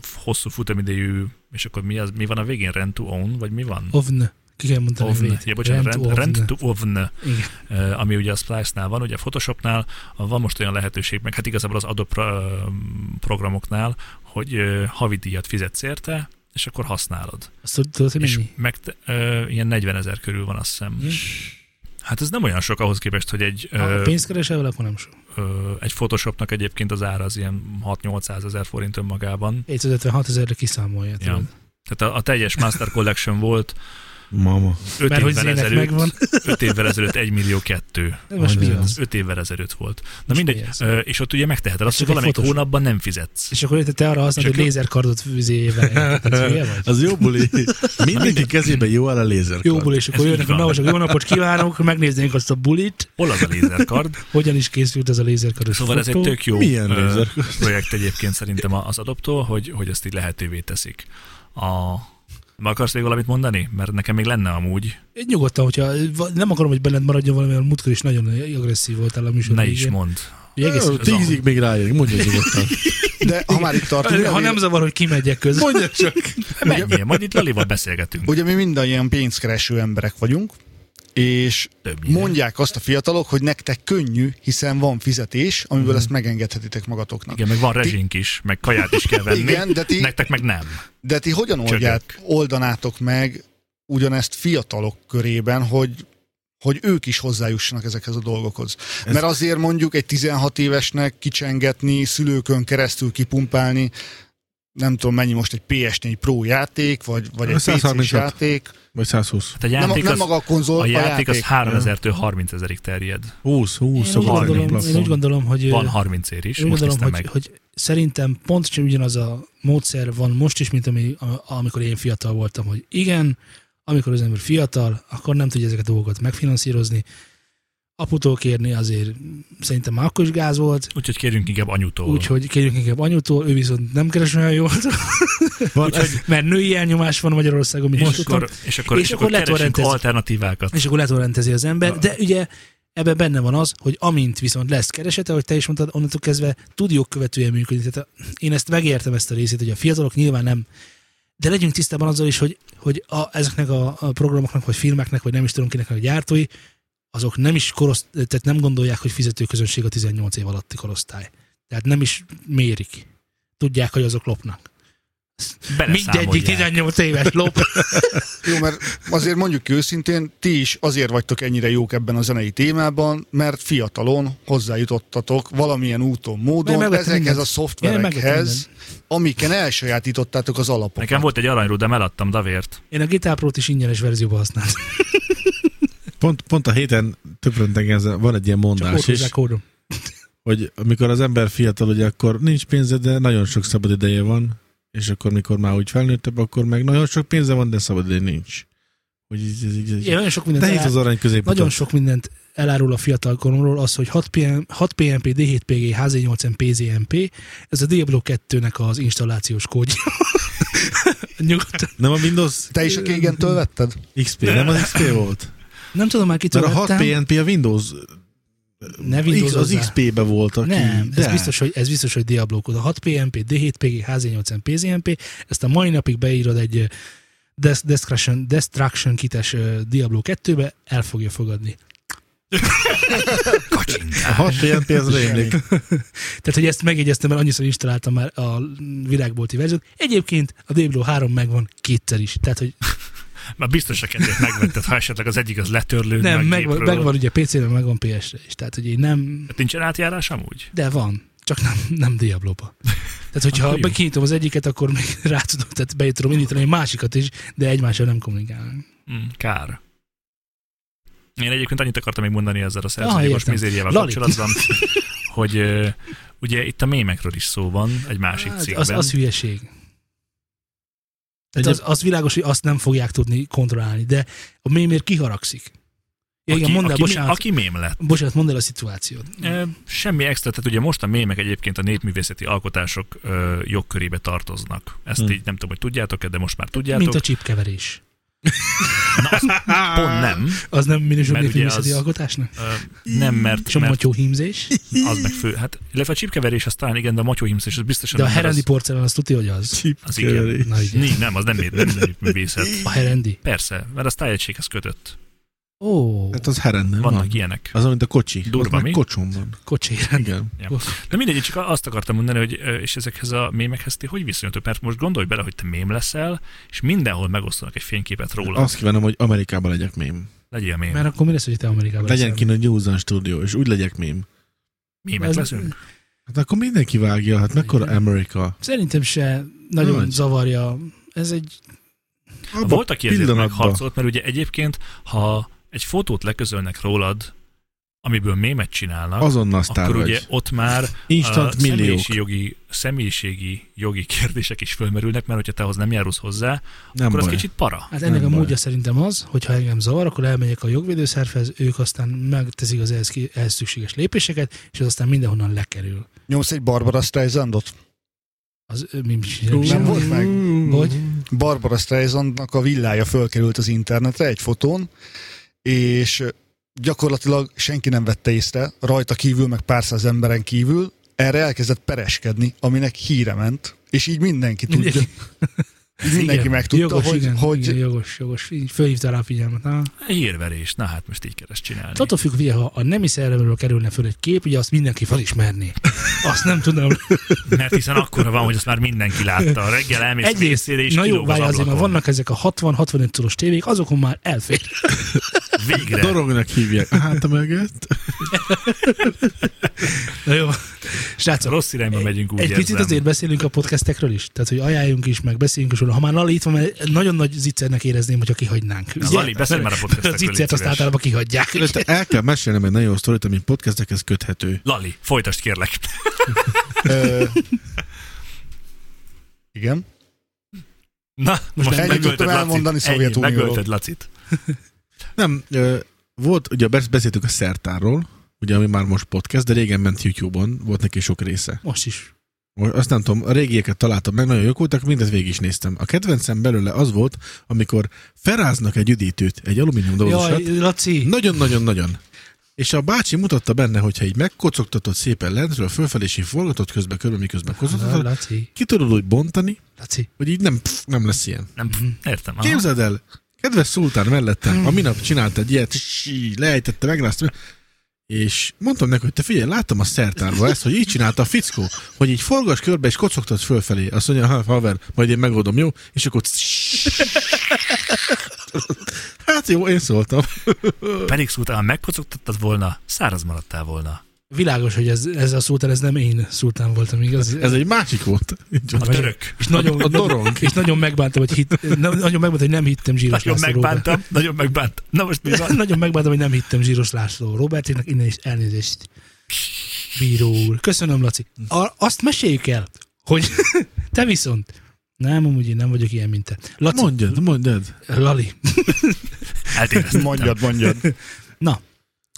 [SPEAKER 2] f- hosszú futamidejű, és akkor mi, az, mi van a végén? Rent to own, vagy mi van?
[SPEAKER 1] Ovn. Ki kell mondani a
[SPEAKER 2] Ovn.
[SPEAKER 1] V-t.
[SPEAKER 2] Ja, bocsánat, rent,
[SPEAKER 1] ovn.
[SPEAKER 2] rent to own,
[SPEAKER 1] Igen.
[SPEAKER 2] ö, ami ugye a Splice-nál van, ugye a Photoshopnál a- van most olyan lehetőség, meg hát igazából az Adobe pro- programoknál, hogy ö, havidíjat fizetsz érte, és akkor használod.
[SPEAKER 1] Azt tud- tudod, hogy
[SPEAKER 2] és
[SPEAKER 1] mennyi? Hm.
[SPEAKER 2] meg ö, ilyen 40 ezer körül van, azt hiszem. Hát ez nem olyan sok ahhoz képest, hogy egy...
[SPEAKER 1] Ha
[SPEAKER 2] ö,
[SPEAKER 1] pénzt keresel vele, akkor nem sok.
[SPEAKER 2] Ö, egy Photoshopnak egyébként az ára az ilyen 6-800 ezer forint önmagában.
[SPEAKER 1] 756 ezerre kiszámolja.
[SPEAKER 2] Ja.
[SPEAKER 1] tudod.
[SPEAKER 2] Tehát a, a teljes Master Collection volt
[SPEAKER 3] Mama.
[SPEAKER 2] 5
[SPEAKER 1] Mert hogy
[SPEAKER 2] évvel,
[SPEAKER 1] zének
[SPEAKER 2] ezelőtt,
[SPEAKER 1] megvan.
[SPEAKER 2] 5 évvel ezelőtt 1 millió 2.
[SPEAKER 1] Ez most mi
[SPEAKER 3] Annyira.
[SPEAKER 1] az?
[SPEAKER 2] 5 évvel ezelőtt volt. Na
[SPEAKER 1] És
[SPEAKER 2] mindegy,
[SPEAKER 1] mi ez?
[SPEAKER 2] ö, és ott ugye megteheted azt,
[SPEAKER 1] csak
[SPEAKER 2] hogy
[SPEAKER 1] egy
[SPEAKER 2] valamelyik
[SPEAKER 1] Photoshop.
[SPEAKER 2] hónapban nem fizetsz.
[SPEAKER 1] És akkor érted, te arra használod,
[SPEAKER 2] Csak
[SPEAKER 1] hogy lézerkardot vizével.
[SPEAKER 3] Az jó buli. Mindenki kezében jó áll a lézer.
[SPEAKER 1] Jó buli, és akkor
[SPEAKER 2] Ez
[SPEAKER 1] jönnek
[SPEAKER 2] így
[SPEAKER 1] a
[SPEAKER 2] van.
[SPEAKER 1] navasok. Jó napot kívánok, megnéznénk azt a bulit,
[SPEAKER 2] Hol az a lézerkard?
[SPEAKER 1] hogyan is készült ez a lézerkardos
[SPEAKER 2] Szóval ez egy
[SPEAKER 1] fotó.
[SPEAKER 2] tök jó
[SPEAKER 3] Milyen
[SPEAKER 2] ö,
[SPEAKER 3] lézerkard?
[SPEAKER 2] projekt egyébként szerintem a- az adoptól, hogy, hogy ezt így lehetővé teszik. A... Ma akarsz még valamit mondani? Mert nekem még lenne amúgy.
[SPEAKER 1] Nyugodtan, hogyha va- nem akarom, hogy benned maradjon valami, mert múltkor is nagyon agresszív voltál a műsor.
[SPEAKER 2] Ne is
[SPEAKER 1] végén.
[SPEAKER 2] mond.
[SPEAKER 1] Ugye egész-
[SPEAKER 3] Jó, Tízig még rájön, mondja nyugodtan.
[SPEAKER 4] De ha már itt tartunk,
[SPEAKER 1] Ha nem zavar, hogy kimegyek közben.
[SPEAKER 3] Mondja csak.
[SPEAKER 2] Menjél, majd itt Lalival beszélgetünk.
[SPEAKER 4] ugye mi mindannyian pénzkereső emberek vagyunk, és
[SPEAKER 2] Többnyire.
[SPEAKER 4] mondják azt a fiatalok, hogy nektek könnyű, hiszen van fizetés, amiből ezt megengedhetitek magatoknak.
[SPEAKER 2] Mhm. Igen, meg van rezsink is, meg kaját is kell venni.
[SPEAKER 4] Igen, de ti-
[SPEAKER 2] Nektek meg nem.
[SPEAKER 4] De ti hogyan oldját, oldanátok meg ugyanezt fiatalok körében, hogy hogy ők is hozzájussanak ezekhez a dolgokhoz. Mert azért mondjuk egy 16 évesnek kicsengetni, szülőkön keresztül kipumpálni, nem tudom mennyi most egy PS4 Pro játék, vagy, vagy egy PC-s
[SPEAKER 3] 136.
[SPEAKER 4] játék.
[SPEAKER 3] Vagy 120.
[SPEAKER 2] Hát a
[SPEAKER 4] Nem, a-
[SPEAKER 2] játék,
[SPEAKER 4] nem
[SPEAKER 2] az,
[SPEAKER 4] maga a konzol,
[SPEAKER 2] a játék az
[SPEAKER 4] játék.
[SPEAKER 2] 3000-től 30 ezerig terjed.
[SPEAKER 3] 20, 20.
[SPEAKER 1] Én úgy,
[SPEAKER 3] szóval
[SPEAKER 1] gondolom,
[SPEAKER 3] egy
[SPEAKER 1] én úgy
[SPEAKER 3] plafon.
[SPEAKER 1] gondolom, hogy...
[SPEAKER 2] Van 30 ér is,
[SPEAKER 1] Én úgy
[SPEAKER 2] most
[SPEAKER 1] gondolom,
[SPEAKER 2] néztem
[SPEAKER 1] hogy,
[SPEAKER 2] meg.
[SPEAKER 1] hogy szerintem pontosan ugyanaz a módszer van most is, mint ami, am- amikor én fiatal voltam, hogy igen, amikor az ember fiatal, akkor nem tudja ezeket a dolgokat megfinanszírozni. Aputól kérni azért szerintem már akkor is gáz volt,
[SPEAKER 2] Úgyhogy kérjünk inkább anyutól.
[SPEAKER 1] úgyhogy kérjük inkább anyutól, ő viszont nem keres olyan jól,
[SPEAKER 3] Van, ez,
[SPEAKER 1] mert női elnyomás van Magyarországon, mint most
[SPEAKER 2] és,
[SPEAKER 1] akkor,
[SPEAKER 2] akkor, és akkor, és akkor,
[SPEAKER 1] lehet
[SPEAKER 2] keresünk
[SPEAKER 1] rendezni.
[SPEAKER 2] alternatívákat.
[SPEAKER 1] és akkor lehet rendezi az ember, de ugye ebben benne van az, hogy amint viszont lesz keresete, ahogy te is mondtad, onnantól kezdve tud jogkövetően működni. Tehát a- én ezt megértem ezt a részét, hogy a fiatalok nyilván nem, de legyünk tisztában azzal is, hogy, hogy a, ezeknek a, a programoknak, vagy filmeknek, vagy nem is tudom kinek a gyártói, azok nem is koroszt, tehát nem gondolják, hogy fizetőközönség a 18 év alatti korosztály. Tehát nem is mérik. Tudják, hogy azok lopnak. Mindegyik
[SPEAKER 2] Beleszámolják.
[SPEAKER 1] 18 éves lop.
[SPEAKER 4] Jó, mert azért mondjuk ki őszintén, ti is azért vagytok ennyire jók ebben a zenei témában, mert fiatalon hozzájutottatok valamilyen úton,
[SPEAKER 1] Én
[SPEAKER 4] módon
[SPEAKER 1] megvettem
[SPEAKER 4] ezekhez
[SPEAKER 1] mindent.
[SPEAKER 4] a
[SPEAKER 1] Én megvettem
[SPEAKER 4] szoftverekhez, amiken elsajátítottátok az alapokat.
[SPEAKER 2] Nekem volt egy aranyrudám, eladtam davért.
[SPEAKER 1] Én a Guitar Pro-t is ingyenes verzióban használtam.
[SPEAKER 3] pont, pont a héten többre engem van egy ilyen
[SPEAKER 1] Csak
[SPEAKER 3] mondás is,
[SPEAKER 1] orvozzák kódom.
[SPEAKER 3] hogy amikor az ember fiatal, ugye akkor nincs pénze, de nagyon sok szabad ideje van, és akkor mikor már úgy felnőttebb, akkor meg nagyon sok pénze van, de szabad ideje nincs. Hogy így, így, így,
[SPEAKER 1] Igen,
[SPEAKER 3] így.
[SPEAKER 1] nagyon sok mindent,
[SPEAKER 3] Nehéz
[SPEAKER 1] elár,
[SPEAKER 3] az arany közép.
[SPEAKER 1] nagyon sok mindent elárul a fiatal koromról az, hogy 6, PM, 6 PMP, D7PG, HZ8M, PZMP, ez a Diablo 2-nek az installációs kódja. Nyugodtan.
[SPEAKER 3] Nem a Windows
[SPEAKER 4] Te is a Kégentől vetted?
[SPEAKER 3] XP, nem az XP volt.
[SPEAKER 1] Nem tudom már kitől
[SPEAKER 3] Mert a 6
[SPEAKER 1] vettem.
[SPEAKER 3] PNP a Windows,
[SPEAKER 1] Ne Windows
[SPEAKER 3] az XP-be volt, aki.
[SPEAKER 1] Nem, ez
[SPEAKER 3] de.
[SPEAKER 1] biztos, hogy, ez biztos, hogy Diablo kód. A 6 PMP, D7PG, HZ8M, PZMP, ezt a mai napig beírod egy ö, Des- Destruction, Destruction kites ö, Diablo 2-be, el fogja fogadni.
[SPEAKER 3] A 6 PNP az rémlik.
[SPEAKER 1] Tehát, hogy ezt megjegyeztem, mert annyiszor installáltam már a világbolti verziót. Egyébként a Diablo 3 megvan kétszer is. Tehát, hogy
[SPEAKER 2] Már biztos a kettőt megvetted, ha esetleg az egyik az letörlő.
[SPEAKER 1] nem, megvan, megvan ugye PC-re, megvan PS-re is. Tehát, hogy én nem,
[SPEAKER 2] Nincsen Hát átjárás amúgy?
[SPEAKER 1] de van. Csak nem, nem Diablo-ba. Tehát, hogyha
[SPEAKER 2] Akkor jó.
[SPEAKER 1] kinyitom az egyiket, akkor még rá tudom, tehát be tudom indítani a másikat is, de egymással nem kommunikálnak.
[SPEAKER 2] Mm, kár. Én egyébként annyit akartam még mondani ezzel a
[SPEAKER 1] Ah,
[SPEAKER 2] szerződékos
[SPEAKER 1] értem.
[SPEAKER 2] mizériával
[SPEAKER 1] Lali.
[SPEAKER 2] kapcsolatban, hogy ö, ugye itt a mémekről is szó van egy másik
[SPEAKER 1] Hát,
[SPEAKER 2] cikkben.
[SPEAKER 1] az, az hülyeség. Tehát
[SPEAKER 3] Egyéb-
[SPEAKER 1] az, az világos, hogy azt nem fogják tudni kontrollálni, de a mémér kiharagszik. Ja, igen, mondd el,
[SPEAKER 2] aki, mé-
[SPEAKER 1] bocsánat,
[SPEAKER 2] aki mém lett.
[SPEAKER 1] bocsánat, mondd el a szituációt.
[SPEAKER 2] Ö, Semmi extra, tehát ugye most a mémek egyébként a népművészeti alkotások ö, jogkörébe tartoznak. Ezt
[SPEAKER 3] Hmm.
[SPEAKER 2] így nem tudom, hogy tudjátok-e, de most már tudjátok.
[SPEAKER 1] Hm. Mint a csipkeverés.
[SPEAKER 2] Pont nem.
[SPEAKER 1] Az nem minősül
[SPEAKER 2] Mert ugye
[SPEAKER 1] népművészeti
[SPEAKER 2] az-
[SPEAKER 1] alkotásnak?
[SPEAKER 2] Ö, Nem, mert, mert
[SPEAKER 1] Somatyó hímzés,
[SPEAKER 2] az meg fő. Hát, illetve a csipkeverés az talán igen, de a matyóhimsz és az biztosan
[SPEAKER 1] de a
[SPEAKER 2] nem, mert
[SPEAKER 1] herendi
[SPEAKER 2] az,
[SPEAKER 1] porcelán az tudja, hogy az.
[SPEAKER 2] az igen.
[SPEAKER 1] Na, igen.
[SPEAKER 2] Ni, nem, az nem, nem, nem, nem művészet.
[SPEAKER 1] A herendi.
[SPEAKER 2] Persze, mert az tájegységhez kötött.
[SPEAKER 1] Ó,
[SPEAKER 3] Hát az heren nem
[SPEAKER 2] Vannak
[SPEAKER 3] van.
[SPEAKER 2] ilyenek.
[SPEAKER 3] Az, mint a kocsi.
[SPEAKER 2] Durva,
[SPEAKER 3] az meg
[SPEAKER 2] mi? Hát,
[SPEAKER 3] kocsom van.
[SPEAKER 1] kocsira.
[SPEAKER 3] Igen.
[SPEAKER 2] De mindegy, csak azt akartam mondani, hogy ö, és ezekhez a mémekhez ti hogy viszonyultok? Mert most gondolj bele, hogy te mém leszel, és mindenhol megosztanak egy fényképet róla.
[SPEAKER 3] Azt kívánom, hogy Amerikában legyek mém.
[SPEAKER 2] Legyél mém.
[SPEAKER 1] Mert akkor mi lesz, hogy te Amerikában
[SPEAKER 3] Legyen
[SPEAKER 1] leszel?
[SPEAKER 3] kint a New Zealand stúdió, és úgy legyek mém.
[SPEAKER 2] Mémek
[SPEAKER 1] Ez-
[SPEAKER 2] leszünk?
[SPEAKER 3] Hát akkor mindenki vágja, hát mekkora
[SPEAKER 1] Igen.
[SPEAKER 3] Amerika.
[SPEAKER 1] Szerintem se nagyon
[SPEAKER 3] Nagy.
[SPEAKER 1] zavarja. Ez egy...
[SPEAKER 3] Abba
[SPEAKER 2] Hát Volt, aki ezért
[SPEAKER 3] pillanatba.
[SPEAKER 2] megharcolt, mert ugye egyébként, ha egy fotót leközölnek rólad, amiből mémet csinálnak,
[SPEAKER 3] Azonnal sztár
[SPEAKER 2] akkor
[SPEAKER 3] vagy.
[SPEAKER 2] ugye ott már
[SPEAKER 3] Instant
[SPEAKER 2] a
[SPEAKER 3] milliók.
[SPEAKER 2] személyiségi jogi, személyiségi jogi kérdések is fölmerülnek, mert hogyha te ahhoz nem járulsz hozzá, nem
[SPEAKER 3] Nem
[SPEAKER 2] akkor
[SPEAKER 3] baj.
[SPEAKER 2] az kicsit para.
[SPEAKER 1] Hát ennek
[SPEAKER 3] Nem
[SPEAKER 1] a
[SPEAKER 3] baj.
[SPEAKER 1] módja szerintem az, hogy ha engem zavar, akkor elmegyek a jogvédőszervhez, ők aztán megteszik az ehhez, ki- ehhez szükséges lépéseket, és az aztán mindenhonnan lekerül.
[SPEAKER 4] Nyomsz egy Barbara Streisandot?
[SPEAKER 1] Az ö, mi
[SPEAKER 4] Nem volt meg?
[SPEAKER 3] Mm.
[SPEAKER 1] Hogy?
[SPEAKER 4] Barbara Streisandnak a villája fölkerült az internetre egy fotón, és gyakorlatilag senki nem vette észre, rajta kívül, meg pár száz emberen kívül, erre elkezdett pereskedni, aminek híre ment, és így mindenki tudja.
[SPEAKER 1] Mindenki.
[SPEAKER 4] Így mindenki
[SPEAKER 1] Igen.
[SPEAKER 4] megtudta,
[SPEAKER 1] jogos,
[SPEAKER 4] hogy,
[SPEAKER 1] igen,
[SPEAKER 4] hogy
[SPEAKER 1] igen, jogos, jogos. Így Fölhívta rá a figyelmet. Na.
[SPEAKER 2] Hírverés, na hát most így kell ezt csinálni.
[SPEAKER 1] Hát attól függ, ugye, ha a nemi szellemről kerülne föl egy kép, ugye azt mindenki felismerné. Azt nem tudom.
[SPEAKER 2] Mert hiszen akkor van, hogy azt már mindenki látta. Reggel elmész
[SPEAKER 1] Egyrészt-
[SPEAKER 2] részére és
[SPEAKER 1] Na jó,
[SPEAKER 2] kilóg az
[SPEAKER 1] várjál azért, mert
[SPEAKER 2] ablakon.
[SPEAKER 1] vannak ezek a 60-65 szoros tévék, azokon már elfér.
[SPEAKER 2] Végre.
[SPEAKER 3] Dorognak hívják. Hát a mögött.
[SPEAKER 1] Na jó, Srácok,
[SPEAKER 2] Rossz irányba megyünk, úgy
[SPEAKER 1] Egy
[SPEAKER 2] érzem.
[SPEAKER 1] picit azért beszélünk a podcastekről is, tehát hogy ajánljunk is, meg beszéljünk is róla. Ha már Lali itt van, mert nagyon nagy zicsernek érezném, hogyha kihagynánk.
[SPEAKER 2] Na, Lali, beszélj már a
[SPEAKER 1] A
[SPEAKER 2] podcastekről, légy
[SPEAKER 1] zicsert azt
[SPEAKER 2] szíves.
[SPEAKER 1] általában kihagyják.
[SPEAKER 3] Te el kell mesélnem egy nagyon jó sztorit, ami podcastekhez köthető.
[SPEAKER 2] Lali, folytasd kérlek.
[SPEAKER 4] Ö, igen.
[SPEAKER 2] Na, most,
[SPEAKER 4] ennyit
[SPEAKER 2] megölted
[SPEAKER 4] tudtam elmondani
[SPEAKER 2] Lacit. Ennyi,
[SPEAKER 4] Szovjetunióról.
[SPEAKER 2] megölted Lacit.
[SPEAKER 3] Nem, ö, volt, ugye besz- beszéltük a szertárról, ugye, ami már most podcast, de régen ment YouTube-on, volt neki sok része.
[SPEAKER 1] Most is.
[SPEAKER 3] Most Azt nem tudom, a régieket találtam meg, nagyon jók voltak, mindezt végig is néztem. A kedvencem belőle az volt, amikor felráznak egy üdítőt, egy alumínium dobozosat,
[SPEAKER 1] Jaj, Laci,
[SPEAKER 3] Nagyon-nagyon-nagyon. És a bácsi mutatta benne, hogyha így megkocogtatod szépen lentről, fölfelé, és így forgatod közben, körbe, miközben kocogtatod,
[SPEAKER 1] Laci,
[SPEAKER 3] ki tudod úgy bontani,
[SPEAKER 1] Laci.
[SPEAKER 3] hogy így nem, pff, nem lesz ilyen.
[SPEAKER 2] Nem,
[SPEAKER 4] Mhm.
[SPEAKER 2] értem. aha.
[SPEAKER 3] Képzeld el, kedves szultán mellettem, a minap csinált egy ilyet, és így leejtette, megrázta, és mondtam neki, hogy te figyelj, láttam a szertárban ezt, hogy így csinálta a fickó, hogy így forgass körbe, és kocogtat fölfelé. Azt mondja, ha, haver, majd én megoldom, jó? És akkor... Hát jó, én szóltam.
[SPEAKER 2] Pedig szultán, ha megkocogtattad volna, száraz maradtál volna.
[SPEAKER 1] Világos, hogy ez, ez a szultán, ez nem én szultán voltam, igaz?
[SPEAKER 3] Ez egy másik volt. Így van.
[SPEAKER 2] A török.
[SPEAKER 1] és nagyon,
[SPEAKER 3] a dorong.
[SPEAKER 1] és nagyon megbántam, hogy, hit, nem, nagyon megbántam, hogy nem hittem Zsíros
[SPEAKER 2] Nagyon
[SPEAKER 1] László Robert.
[SPEAKER 2] megbántam, nagyon megbántam. Na most mi van?
[SPEAKER 1] Nagyon megbántam, hogy nem hittem Zsíros László Robertének, innen is elnézést. Bíró úr. Köszönöm, Laci. A, azt meséljük el, hogy te viszont nem, amúgy én nem vagyok ilyen, mint te. Laci,
[SPEAKER 3] Mondjad, mondjad.
[SPEAKER 1] Lali.
[SPEAKER 2] Eltévesztettem.
[SPEAKER 4] Mondjad, mondjad.
[SPEAKER 1] Na,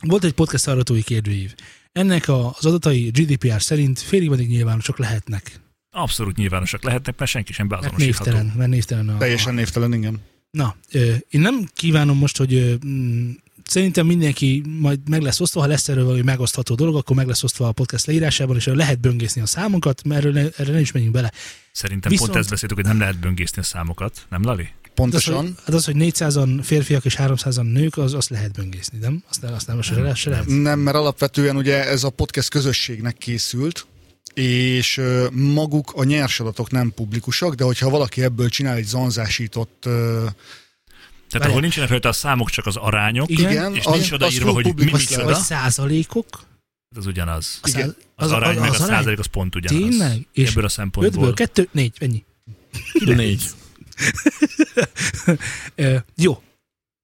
[SPEAKER 1] volt egy podcast hallgatói kérdőív. Ennek a- az adatai GDPR szerint félig meddig nyilvánosak lehetnek.
[SPEAKER 2] Abszolút nyilvánosak lehetnek, mert senki sem
[SPEAKER 1] Mert
[SPEAKER 2] beazonosítható.
[SPEAKER 1] névtelen, mert névtelen a, a,
[SPEAKER 4] Teljesen névtelen, igen.
[SPEAKER 1] Na, ö, én nem kívánom most, hogy ö, mm, szerintem mindenki majd meg lesz osztva, ha lesz erről valami megosztható dolog, akkor meg lesz osztva a podcast leírásában, és erről lehet böngészni a számunkat, mert erről ne, erre nem is menjünk bele. Hát
[SPEAKER 2] Szerintem
[SPEAKER 1] Viszont-
[SPEAKER 2] pont ezt beszéltük, hogy nem lehet böngészni a számokat, nem Lali?
[SPEAKER 1] Hát az, hogy,
[SPEAKER 4] Pontosan.
[SPEAKER 1] hát az, hogy 400-an férfiak és 300-an nők, az azt lehet böngészni, nem? Azt nem, azt nem, azt nem, azt nem.
[SPEAKER 4] Nem, mert alapvetően ugye ez a podcast közösségnek készült, és ö, maguk a nyers adatok nem publikusak, de hogyha valaki ebből csinál egy zanzásított, ö,
[SPEAKER 2] Tehát ahol nincsenek rajta a számok, csak az arányok,
[SPEAKER 1] Igen,
[SPEAKER 4] igen,
[SPEAKER 2] és
[SPEAKER 4] az-
[SPEAKER 2] nincs odaírva,
[SPEAKER 4] az
[SPEAKER 2] hogy
[SPEAKER 4] publikus
[SPEAKER 2] mi micsoda.
[SPEAKER 4] lehet.
[SPEAKER 1] Vagy százalékok?
[SPEAKER 2] az ugyanaz.
[SPEAKER 1] A
[SPEAKER 4] Igen.
[SPEAKER 2] Az, az arány meg a
[SPEAKER 1] arány?
[SPEAKER 2] százalék, az pont ugyanaz.
[SPEAKER 1] Tényleg? És
[SPEAKER 2] És Ebből a
[SPEAKER 1] 5-ből
[SPEAKER 2] szempontból.
[SPEAKER 1] 2, 4, ennyi.
[SPEAKER 3] Négy.
[SPEAKER 1] Ö, jó.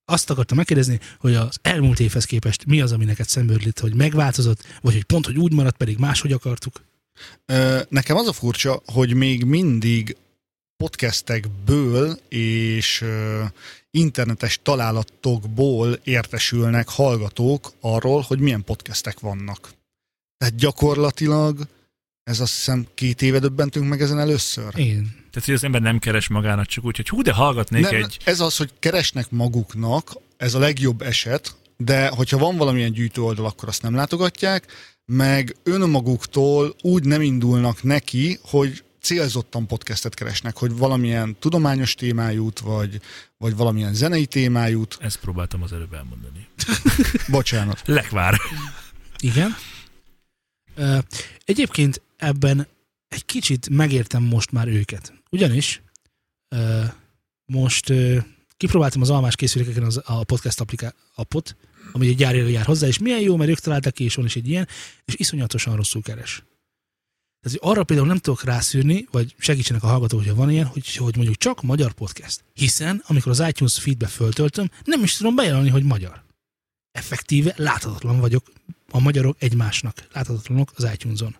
[SPEAKER 1] Azt akartam megkérdezni, hogy az elmúlt évhez képest mi az, ami neked szembőrlít, hogy megváltozott, vagy hogy pont, hogy úgy maradt, pedig máshogy akartuk.
[SPEAKER 4] Ö, Nekem az a furcsa, hogy még mindig podcastekből és ö, internetes találatokból értesülnek hallgatók arról, hogy milyen podcastek vannak. Tehát gyakorlatilag ez azt hiszem két éve döbbentünk meg ezen először.
[SPEAKER 1] Én
[SPEAKER 2] Tehát, hogy az ember nem keres magának csak úgy, hogy hú, de hallgatnék
[SPEAKER 4] Nem,
[SPEAKER 2] egy...
[SPEAKER 4] Ez az, hogy keresnek maguknak, ez a legjobb eset, de hogyha van valamilyen gyűjtő oldal, akkor azt nem látogatják, meg önmaguktól úgy nem indulnak neki, hogy célzottan podcastet keresnek, hogy valamilyen tudományos témájút, vagy, vagy valamilyen zenei témájút.
[SPEAKER 2] Ezt próbáltam az előbb elmondani.
[SPEAKER 4] Bocsánat.
[SPEAKER 2] Lekvár.
[SPEAKER 1] Igen. Ö, Egyébként ebben egy kicsit megértem most már őket. Ugyanis ö, most ö, kipróbáltam az almás készülékeken az, a podcast appliká- appot, ami egy gyárjára jár hozzá, és milyen jó, mert ők találtak ki, és van is egy ilyen, és iszonyatosan rosszul keres. Tehát hogy arra például nem tudok rászűrni, vagy segítsenek a hallgatók, hogyha van ilyen, hogy, hogy mondjuk csak magyar podcast. Hiszen, amikor az iTunes feedbe föltöltöm, nem is tudom bejelölni, hogy magyar. Effektíve láthatatlan vagyok a magyarok egymásnak láthatatlanok az iTunes-on.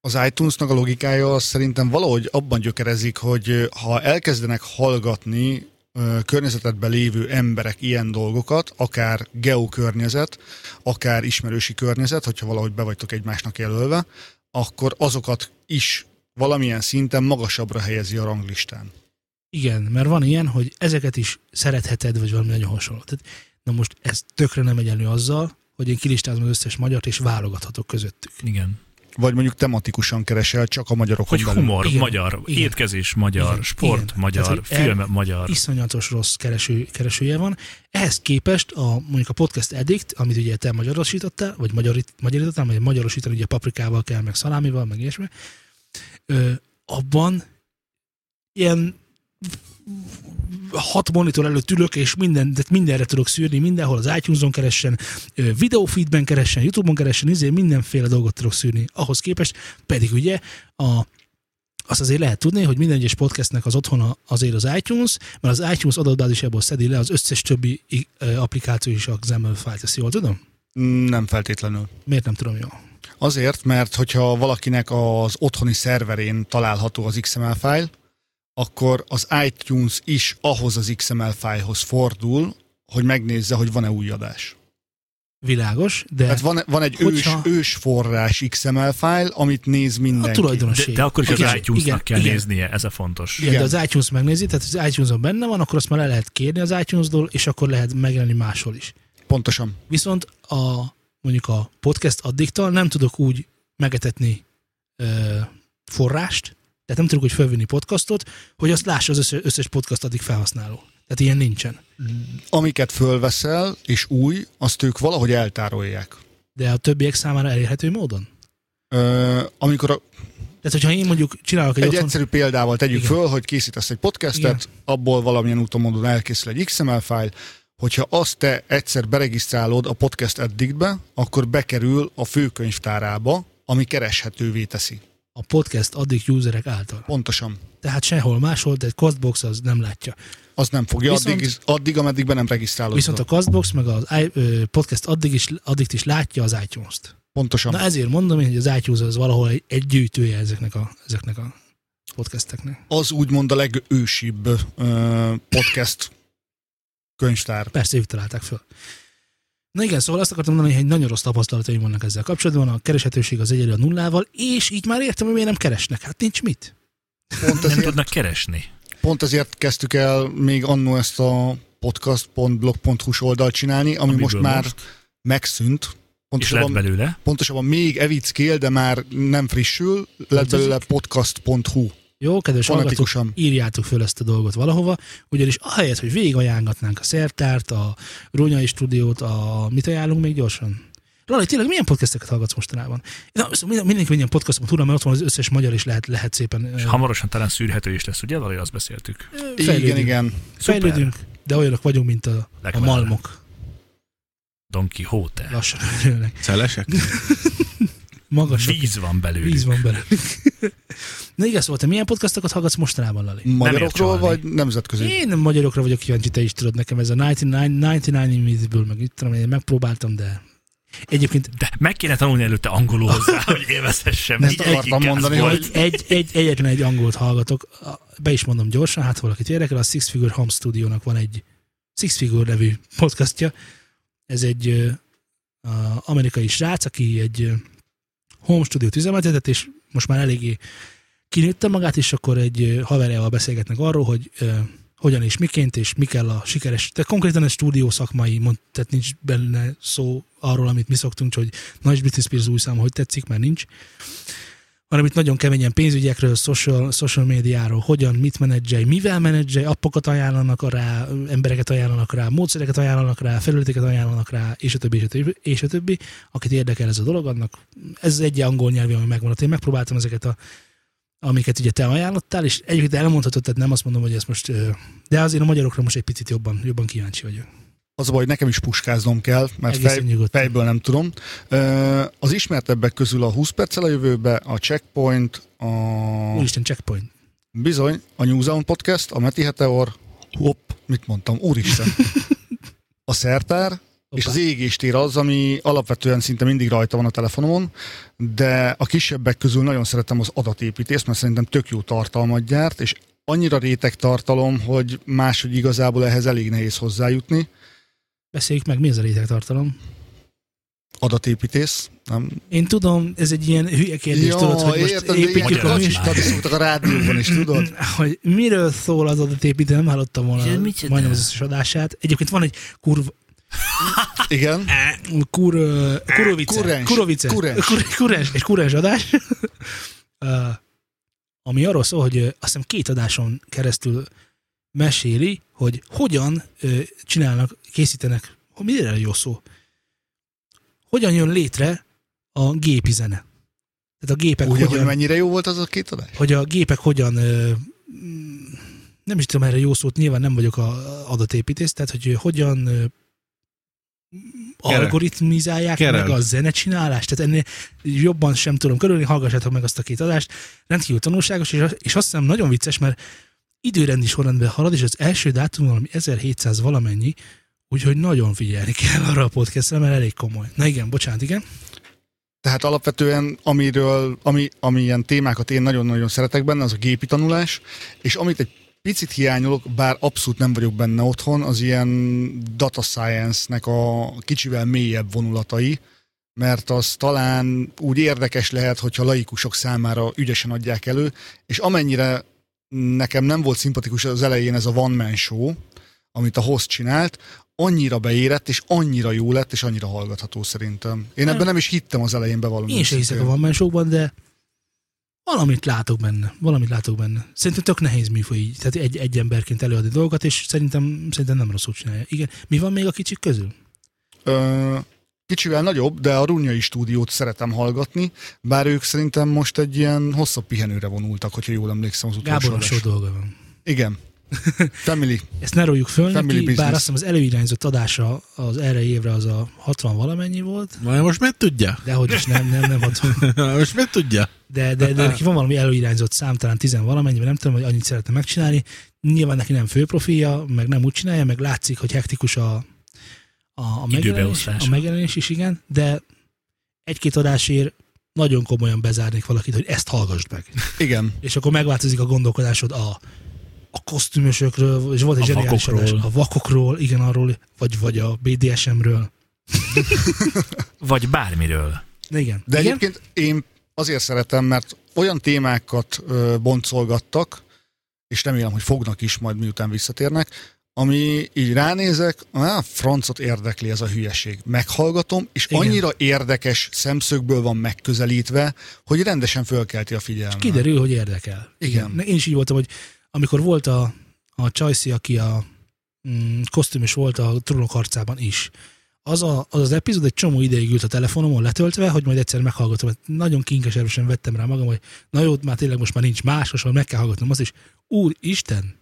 [SPEAKER 4] Az iTunes-nak a logikája az szerintem valahogy abban gyökerezik, hogy ö, ha elkezdenek hallgatni ö, környezetedben lévő emberek ilyen dolgokat, akár geokörnyezet, akár ismerősi környezet, hogyha valahogy be vagytok egymásnak jelölve, akkor azokat is valamilyen szinten magasabbra helyezi a ranglistán.
[SPEAKER 1] Igen, mert van ilyen, hogy ezeket is szeretheted, vagy valami nagyon hasonló. Tehát, na most ez tökre nem egyenlő azzal, hogy én kilistázom az összes magyart, és válogathatok közöttük.
[SPEAKER 2] Igen.
[SPEAKER 4] Vagy mondjuk tematikusan keresel csak a magyarokon
[SPEAKER 2] Hogy
[SPEAKER 4] belül.
[SPEAKER 2] humor,
[SPEAKER 1] Igen.
[SPEAKER 2] magyar,
[SPEAKER 1] Igen.
[SPEAKER 2] étkezés magyar,
[SPEAKER 1] Igen.
[SPEAKER 2] sport
[SPEAKER 1] Igen.
[SPEAKER 2] magyar,
[SPEAKER 1] Tehát, hogy
[SPEAKER 2] film
[SPEAKER 1] el-
[SPEAKER 2] magyar.
[SPEAKER 1] Iszonyatos rossz kereső, keresője van. Ehhez képest a, mondjuk a Podcast Addict, amit ugye te magyarosítottál, vagy magyarít, magyarítottál, vagy magyarosítani ugye paprikával kell, meg szalámival, meg ilyesmi, ö, abban ilyen hat monitor előtt ülök, és minden, tehát mindenre tudok szűrni, mindenhol az iTunes-on keressen, ö, videófeedben keressen, YouTube-on keressen, izé, mindenféle dolgot tudok szűrni. Ahhoz képest pedig ugye a azt azért lehet tudni, hogy minden egyes podcastnek az otthona azért az iTunes, mert az iTunes adatbázisából szedi le az összes többi i- ö, applikáció is a XAML fájlt, ezt jól tudom?
[SPEAKER 4] Nem feltétlenül.
[SPEAKER 1] Miért nem tudom jól?
[SPEAKER 4] Azért, mert hogyha valakinek az otthoni szerverén található az XML fájl, akkor az iTunes is ahhoz az XML fájlhoz fordul, hogy megnézze, hogy van-e új adás.
[SPEAKER 1] Világos, de
[SPEAKER 4] Tehát Hát van, van egy
[SPEAKER 1] Hogyha-
[SPEAKER 4] ős, ős forrás XML fájl, amit néz mindenki.
[SPEAKER 1] a tulajdonosség.
[SPEAKER 2] De, de akkor is
[SPEAKER 1] Igen,
[SPEAKER 2] az iTunes-nak
[SPEAKER 1] igen,
[SPEAKER 2] kell
[SPEAKER 1] igen.
[SPEAKER 2] néznie, ez a fontos.
[SPEAKER 1] Igen, de
[SPEAKER 4] Igen.
[SPEAKER 1] az iTunes megnézi, tehát az iTunes-on benne van, akkor azt már le lehet kérni az iTunes-dól, és akkor lehet megjelenni máshol is.
[SPEAKER 4] Pontosan.
[SPEAKER 1] Viszont a mondjuk a podcast addiktal nem tudok úgy megetetni ö, forrást, tehát nem tudok úgy felvinni podcastot, hogy azt lássa az össze- összes podcast addig felhasználó. Tehát ilyen nincsen.
[SPEAKER 4] Amiket fölveszel, és új, azt ők valahogy eltárolják.
[SPEAKER 1] De a többiek számára elérhető módon.
[SPEAKER 4] Ö, amikor a,
[SPEAKER 1] Tehát, hogyha én mondjuk csinálok egy,
[SPEAKER 4] egy
[SPEAKER 1] egy otthon,
[SPEAKER 4] egyszerű példával tegyük
[SPEAKER 1] Igen.
[SPEAKER 4] Igen. föl, hogy készítesz egy podcastet,
[SPEAKER 1] Igen.
[SPEAKER 4] abból valamilyen úton módon elkészül egy XML fájl, hogyha azt te egyszer beregisztrálod a podcast addictbe, akkor bekerül a főkönyvtárába, ami kereshetővé teszi.
[SPEAKER 1] a podcast addict userek által.
[SPEAKER 4] Pontosan.
[SPEAKER 1] Tehát sehol máshol, de egy castbox az nem látja.
[SPEAKER 4] Az nem fogja,
[SPEAKER 1] Viszont-
[SPEAKER 4] addig, addig, ameddig be nem regisztrálod.
[SPEAKER 1] Viszont a Castbox meg az i- ö, podcast addig is, addig is látja az iTunes-t.
[SPEAKER 4] Pontosan.
[SPEAKER 1] Na e- ezért mondom én, hogy az iTunes az valahol egy, egy gyűjtője ezeknek a, ezeknek a podcasteknek.
[SPEAKER 4] az úgymond a legősibb ö, podcast könyvtár.
[SPEAKER 1] Persze, ők találták föl. Na igen, szóval azt akartam mondani, hogy nagyon rossz tapasztalataim vannak ezzel kapcsolatban, a kereshetőség az egyelő a nullával, és így már értem, hogy miért nem keresnek. Hát nincs mit.
[SPEAKER 4] Pont
[SPEAKER 2] Nem
[SPEAKER 4] ezért,
[SPEAKER 2] tudnak keresni.
[SPEAKER 4] pont ezért kezdtük el még annó ezt a podcast.blog.hu-s oldalt csinálni, ami most
[SPEAKER 2] Amiből
[SPEAKER 4] már megszűnt.
[SPEAKER 2] És lett
[SPEAKER 4] Pontosabban,
[SPEAKER 2] belőle.
[SPEAKER 4] pontosabban még evickél, de már nem frissül, lett
[SPEAKER 1] Változik?
[SPEAKER 4] belőle podcast.hu.
[SPEAKER 1] Jó, kedves hallgatók,
[SPEAKER 4] Fonetikusan.
[SPEAKER 1] írjátok föl ezt a dolgot valahova, ugyanis ahelyett, hogy végigajánlatnánk a szertárt, a Rónyai stúdiót, a mit ajánlunk még gyorsan? Lali, tényleg milyen podcasteket hallgatsz mostanában? Na, szóval minden- mindenki minden podcastot tudom, mert ott van az összes magyar, és lehet, lehet szépen
[SPEAKER 2] És hamarosan talán szűrhető is lesz, ugye? Valahogy azt beszéltük.
[SPEAKER 4] Igen, igen.
[SPEAKER 2] Szuper.
[SPEAKER 1] fejlődünk, de olyanok vagyunk, mint a, a
[SPEAKER 2] Legfeljebb.
[SPEAKER 1] malmok.
[SPEAKER 2] Don Quixote.
[SPEAKER 1] Lassan örülnek.
[SPEAKER 3] Szelesek?
[SPEAKER 1] Magas
[SPEAKER 2] Víz van belőlük.
[SPEAKER 1] víz van belőlük. Na igaz, volt, te milyen podcastokat hallgatsz mostanában, Lali?
[SPEAKER 4] Magyarokról
[SPEAKER 2] csalni.
[SPEAKER 4] vagy nemzetközi?
[SPEAKER 1] Én magyarokra vagyok kíváncsi, te is tudod nekem, ez a 99, 99 Invisible, meg itt tudom, én megpróbáltam, de egyébként
[SPEAKER 2] De meg kéne tanulni előtte angolul hozzá, hogy élvezhessem.
[SPEAKER 4] Ezt
[SPEAKER 2] Így
[SPEAKER 4] akartam
[SPEAKER 2] egyik gáz
[SPEAKER 4] mondani,
[SPEAKER 2] volt.
[SPEAKER 4] hogy-
[SPEAKER 1] egy, egy, egyetlen egy angolt hallgatok, be is mondom gyorsan, hát ha valakit érdekel, a Six Figure Home Studio-nak van egy Six Figure nevű podcastja, ez egy ö, a amerikai srác, aki egy ö, home studiót üzemeltetett, és most már eléggé kinőtte magát, és akkor egy ö, haverjával beszélgetnek arról, hogy ö, hogyan és miként, és mi kell a sikeres, tehát konkrétan egy stúdió szakmai, mond, tehát nincs benne szó arról, amit mi szoktunk, hogy nagy Britney Spears új szám, hogy tetszik, mert nincs, hanem itt nagyon keményen pénzügyekről, social, social médiáról, hogyan, mit menedzselj, mivel menedzselj, appokat ajánlanak rá, embereket ajánlanak rá, módszereket ajánlanak rá, felületeket ajánlanak rá, és a többi, és a többi, és a többi. Akit érdekel ez a dolog, annak ez az egy angol nyelvi, ami megvan. Én megpróbáltam ezeket a amiket ugye te ajánlottál, és egyébként elmondhatod, tehát nem azt mondom, hogy ezt most, ö, de azért a magyarokra most egy picit jobban, jobban kíváncsi vagyok.
[SPEAKER 4] Az a baj, hogy nekem is puskáznom kell, mert
[SPEAKER 1] Egészen
[SPEAKER 4] Hát fej,
[SPEAKER 1] nyugodtan.
[SPEAKER 4] fejből nem tudom. Ö, Az ismertebbek közül a 20 perccel a jövőbe, a Checkpoint, a...
[SPEAKER 1] Úristen, checkpoint.
[SPEAKER 4] Bizony, a New Zealand Podcast, a Meti Heteor, hopp, mit mondtam, úristen, a Szertár, és az égéstér az, ami alapvetően szinte mindig rajta van a telefonomon, de a kisebbek közül nagyon szeretem az adatépítést, mert szerintem tök jó tartalmat gyárt, és annyira réteg tartalom, hogy máshogy igazából ehhez elég nehéz hozzájutni.
[SPEAKER 1] Beszéljük meg, mi ez a réteg tartalom.
[SPEAKER 4] Adatépítés, nem?
[SPEAKER 1] Én tudom, ez egy ilyen hülye kérdés, tudod, hogy most építjük a
[SPEAKER 2] lényeg.
[SPEAKER 1] műsor,
[SPEAKER 4] műsort. szoktak a rádióban is, tudod?
[SPEAKER 1] hogy miről szól az adott építő, nem hallottam volna
[SPEAKER 2] Ez micsoda?
[SPEAKER 1] majdnem az összes adását. Egyébként van egy kurv,
[SPEAKER 4] Igen.
[SPEAKER 1] kur, kurovice,
[SPEAKER 4] Kurrens.
[SPEAKER 1] kurovice,
[SPEAKER 4] Kurrens.
[SPEAKER 1] Kur- kurrens, egy kurrens adás, Ö, ami arról szól, hogy ö, azt hiszem két adáson keresztül meséli, hogy hogyan ö, csinálnak, készítenek, hogy mire jó szó, hogyan jön létre a gépi zene. Tehát a gépek
[SPEAKER 4] Ugye,
[SPEAKER 1] hogyan
[SPEAKER 4] hogy mennyire jó volt az a két adás?
[SPEAKER 1] hogy a gépek hogyan ö, mm, nem is tudom erre jó szót, nyilván nem vagyok a adatépítész, tehát hogy hogyan ö,
[SPEAKER 3] Kerel.
[SPEAKER 1] algoritmizálják
[SPEAKER 3] Kerel.
[SPEAKER 1] meg a zenecsinálást, tehát ennél jobban sem tudom körülni, hallgassátok meg azt a két adást, rendkívül tanulságos, és, és azt hiszem nagyon vicces, mert időrendi sorrendben halad, és az első dátum valami 1700 valamennyi, úgyhogy nagyon figyelni kell arra a podcastra, mert elég komoly. Na igen, bocsánat, igen.
[SPEAKER 4] Tehát alapvetően, amiről, ami, ami ilyen témákat én nagyon-nagyon szeretek benne, az a gépi tanulás, és amit egy picit hiányolok, bár abszolút nem vagyok benne otthon, az ilyen data science-nek a kicsivel mélyebb vonulatai, mert az talán úgy érdekes lehet, hogyha laikusok számára ügyesen adják elő, és amennyire nekem nem volt szimpatikus az elején ez a One Man Show, amit a host csinált, annyira beérett, és annyira jó lett, és annyira hallgatható szerintem. Én ebben nem is hittem az elején bevallom.
[SPEAKER 1] Én sem hiszek a van sokban, de valamit látok benne, valamit látok benne. Szerintem tök nehéz műfaj így, tehát egy, egy emberként előadni dolgokat, és szerintem, szerintem nem rosszul csinálja. Igen, mi van még a kicsik közül?
[SPEAKER 4] Ö, kicsivel nagyobb, de a Runyai stúdiót szeretem hallgatni, bár ők szerintem most egy ilyen hosszabb pihenőre vonultak, hogyha jól emlékszem az utolsó
[SPEAKER 1] Gábornak
[SPEAKER 4] adás.
[SPEAKER 1] sok dolga van.
[SPEAKER 4] Igen. Family.
[SPEAKER 1] Ezt ne róljuk föl
[SPEAKER 4] Family
[SPEAKER 1] neki,
[SPEAKER 4] business.
[SPEAKER 1] bár azt hiszem az előirányzott adása az erre évre az a 60 valamennyi volt,
[SPEAKER 3] Na, most meg tudja?
[SPEAKER 1] de hogy is nem, nem, nem 60.
[SPEAKER 3] most meg tudja?
[SPEAKER 1] De, de, de neki van valami előirányzott szám, talán 10 valamennyi, vagy nem tudom, hogy annyit szeretne megcsinálni. Nyilván neki nem főprofilja, meg nem úgy csinálja, meg látszik, hogy hektikus a, a, a, megjelenés,
[SPEAKER 2] Időbeosztás.
[SPEAKER 1] a megjelenés is, igen, de egy-két adásért nagyon komolyan bezárnék valakit, hogy ezt hallgassd meg.
[SPEAKER 4] Igen.
[SPEAKER 1] És akkor megváltozik a gondolkodásod a, a kosztümösökről, és volt egy
[SPEAKER 2] A
[SPEAKER 1] zseniális adás.
[SPEAKER 2] vakokról.
[SPEAKER 1] A vakokról, igen, arról, vagy, vagy a BDSM-ről.
[SPEAKER 2] Vagy bármiről.
[SPEAKER 1] Igen.
[SPEAKER 4] De
[SPEAKER 1] igen?
[SPEAKER 4] egyébként én azért szeretem, mert olyan témákat ö, boncolgattak, és remélem, hogy fognak is majd miután visszatérnek, ami így ránézek, á, francot érdekli ez a hülyeség. Meghallgatom, és
[SPEAKER 1] Igen.
[SPEAKER 4] Igen. annyira érdekes szemszögből van megközelítve, hogy rendesen fölkelti a figyelmet.
[SPEAKER 1] Kiderül, hogy érdekel.
[SPEAKER 4] Igen.
[SPEAKER 1] Na, Én is így voltam, hogy amikor volt a, a Csajci, aki a mm, kosztümös volt a trónok harcában is, az, a, az az epizód egy csomó ideig ült a telefonomon letöltve, hogy majd egyszer meghallgatom. Hát Nagyon kinges erősen vettem rá magam, hogy na jó, már tényleg most már nincs más, most már meg kell hallgatnom azt is. Úristen,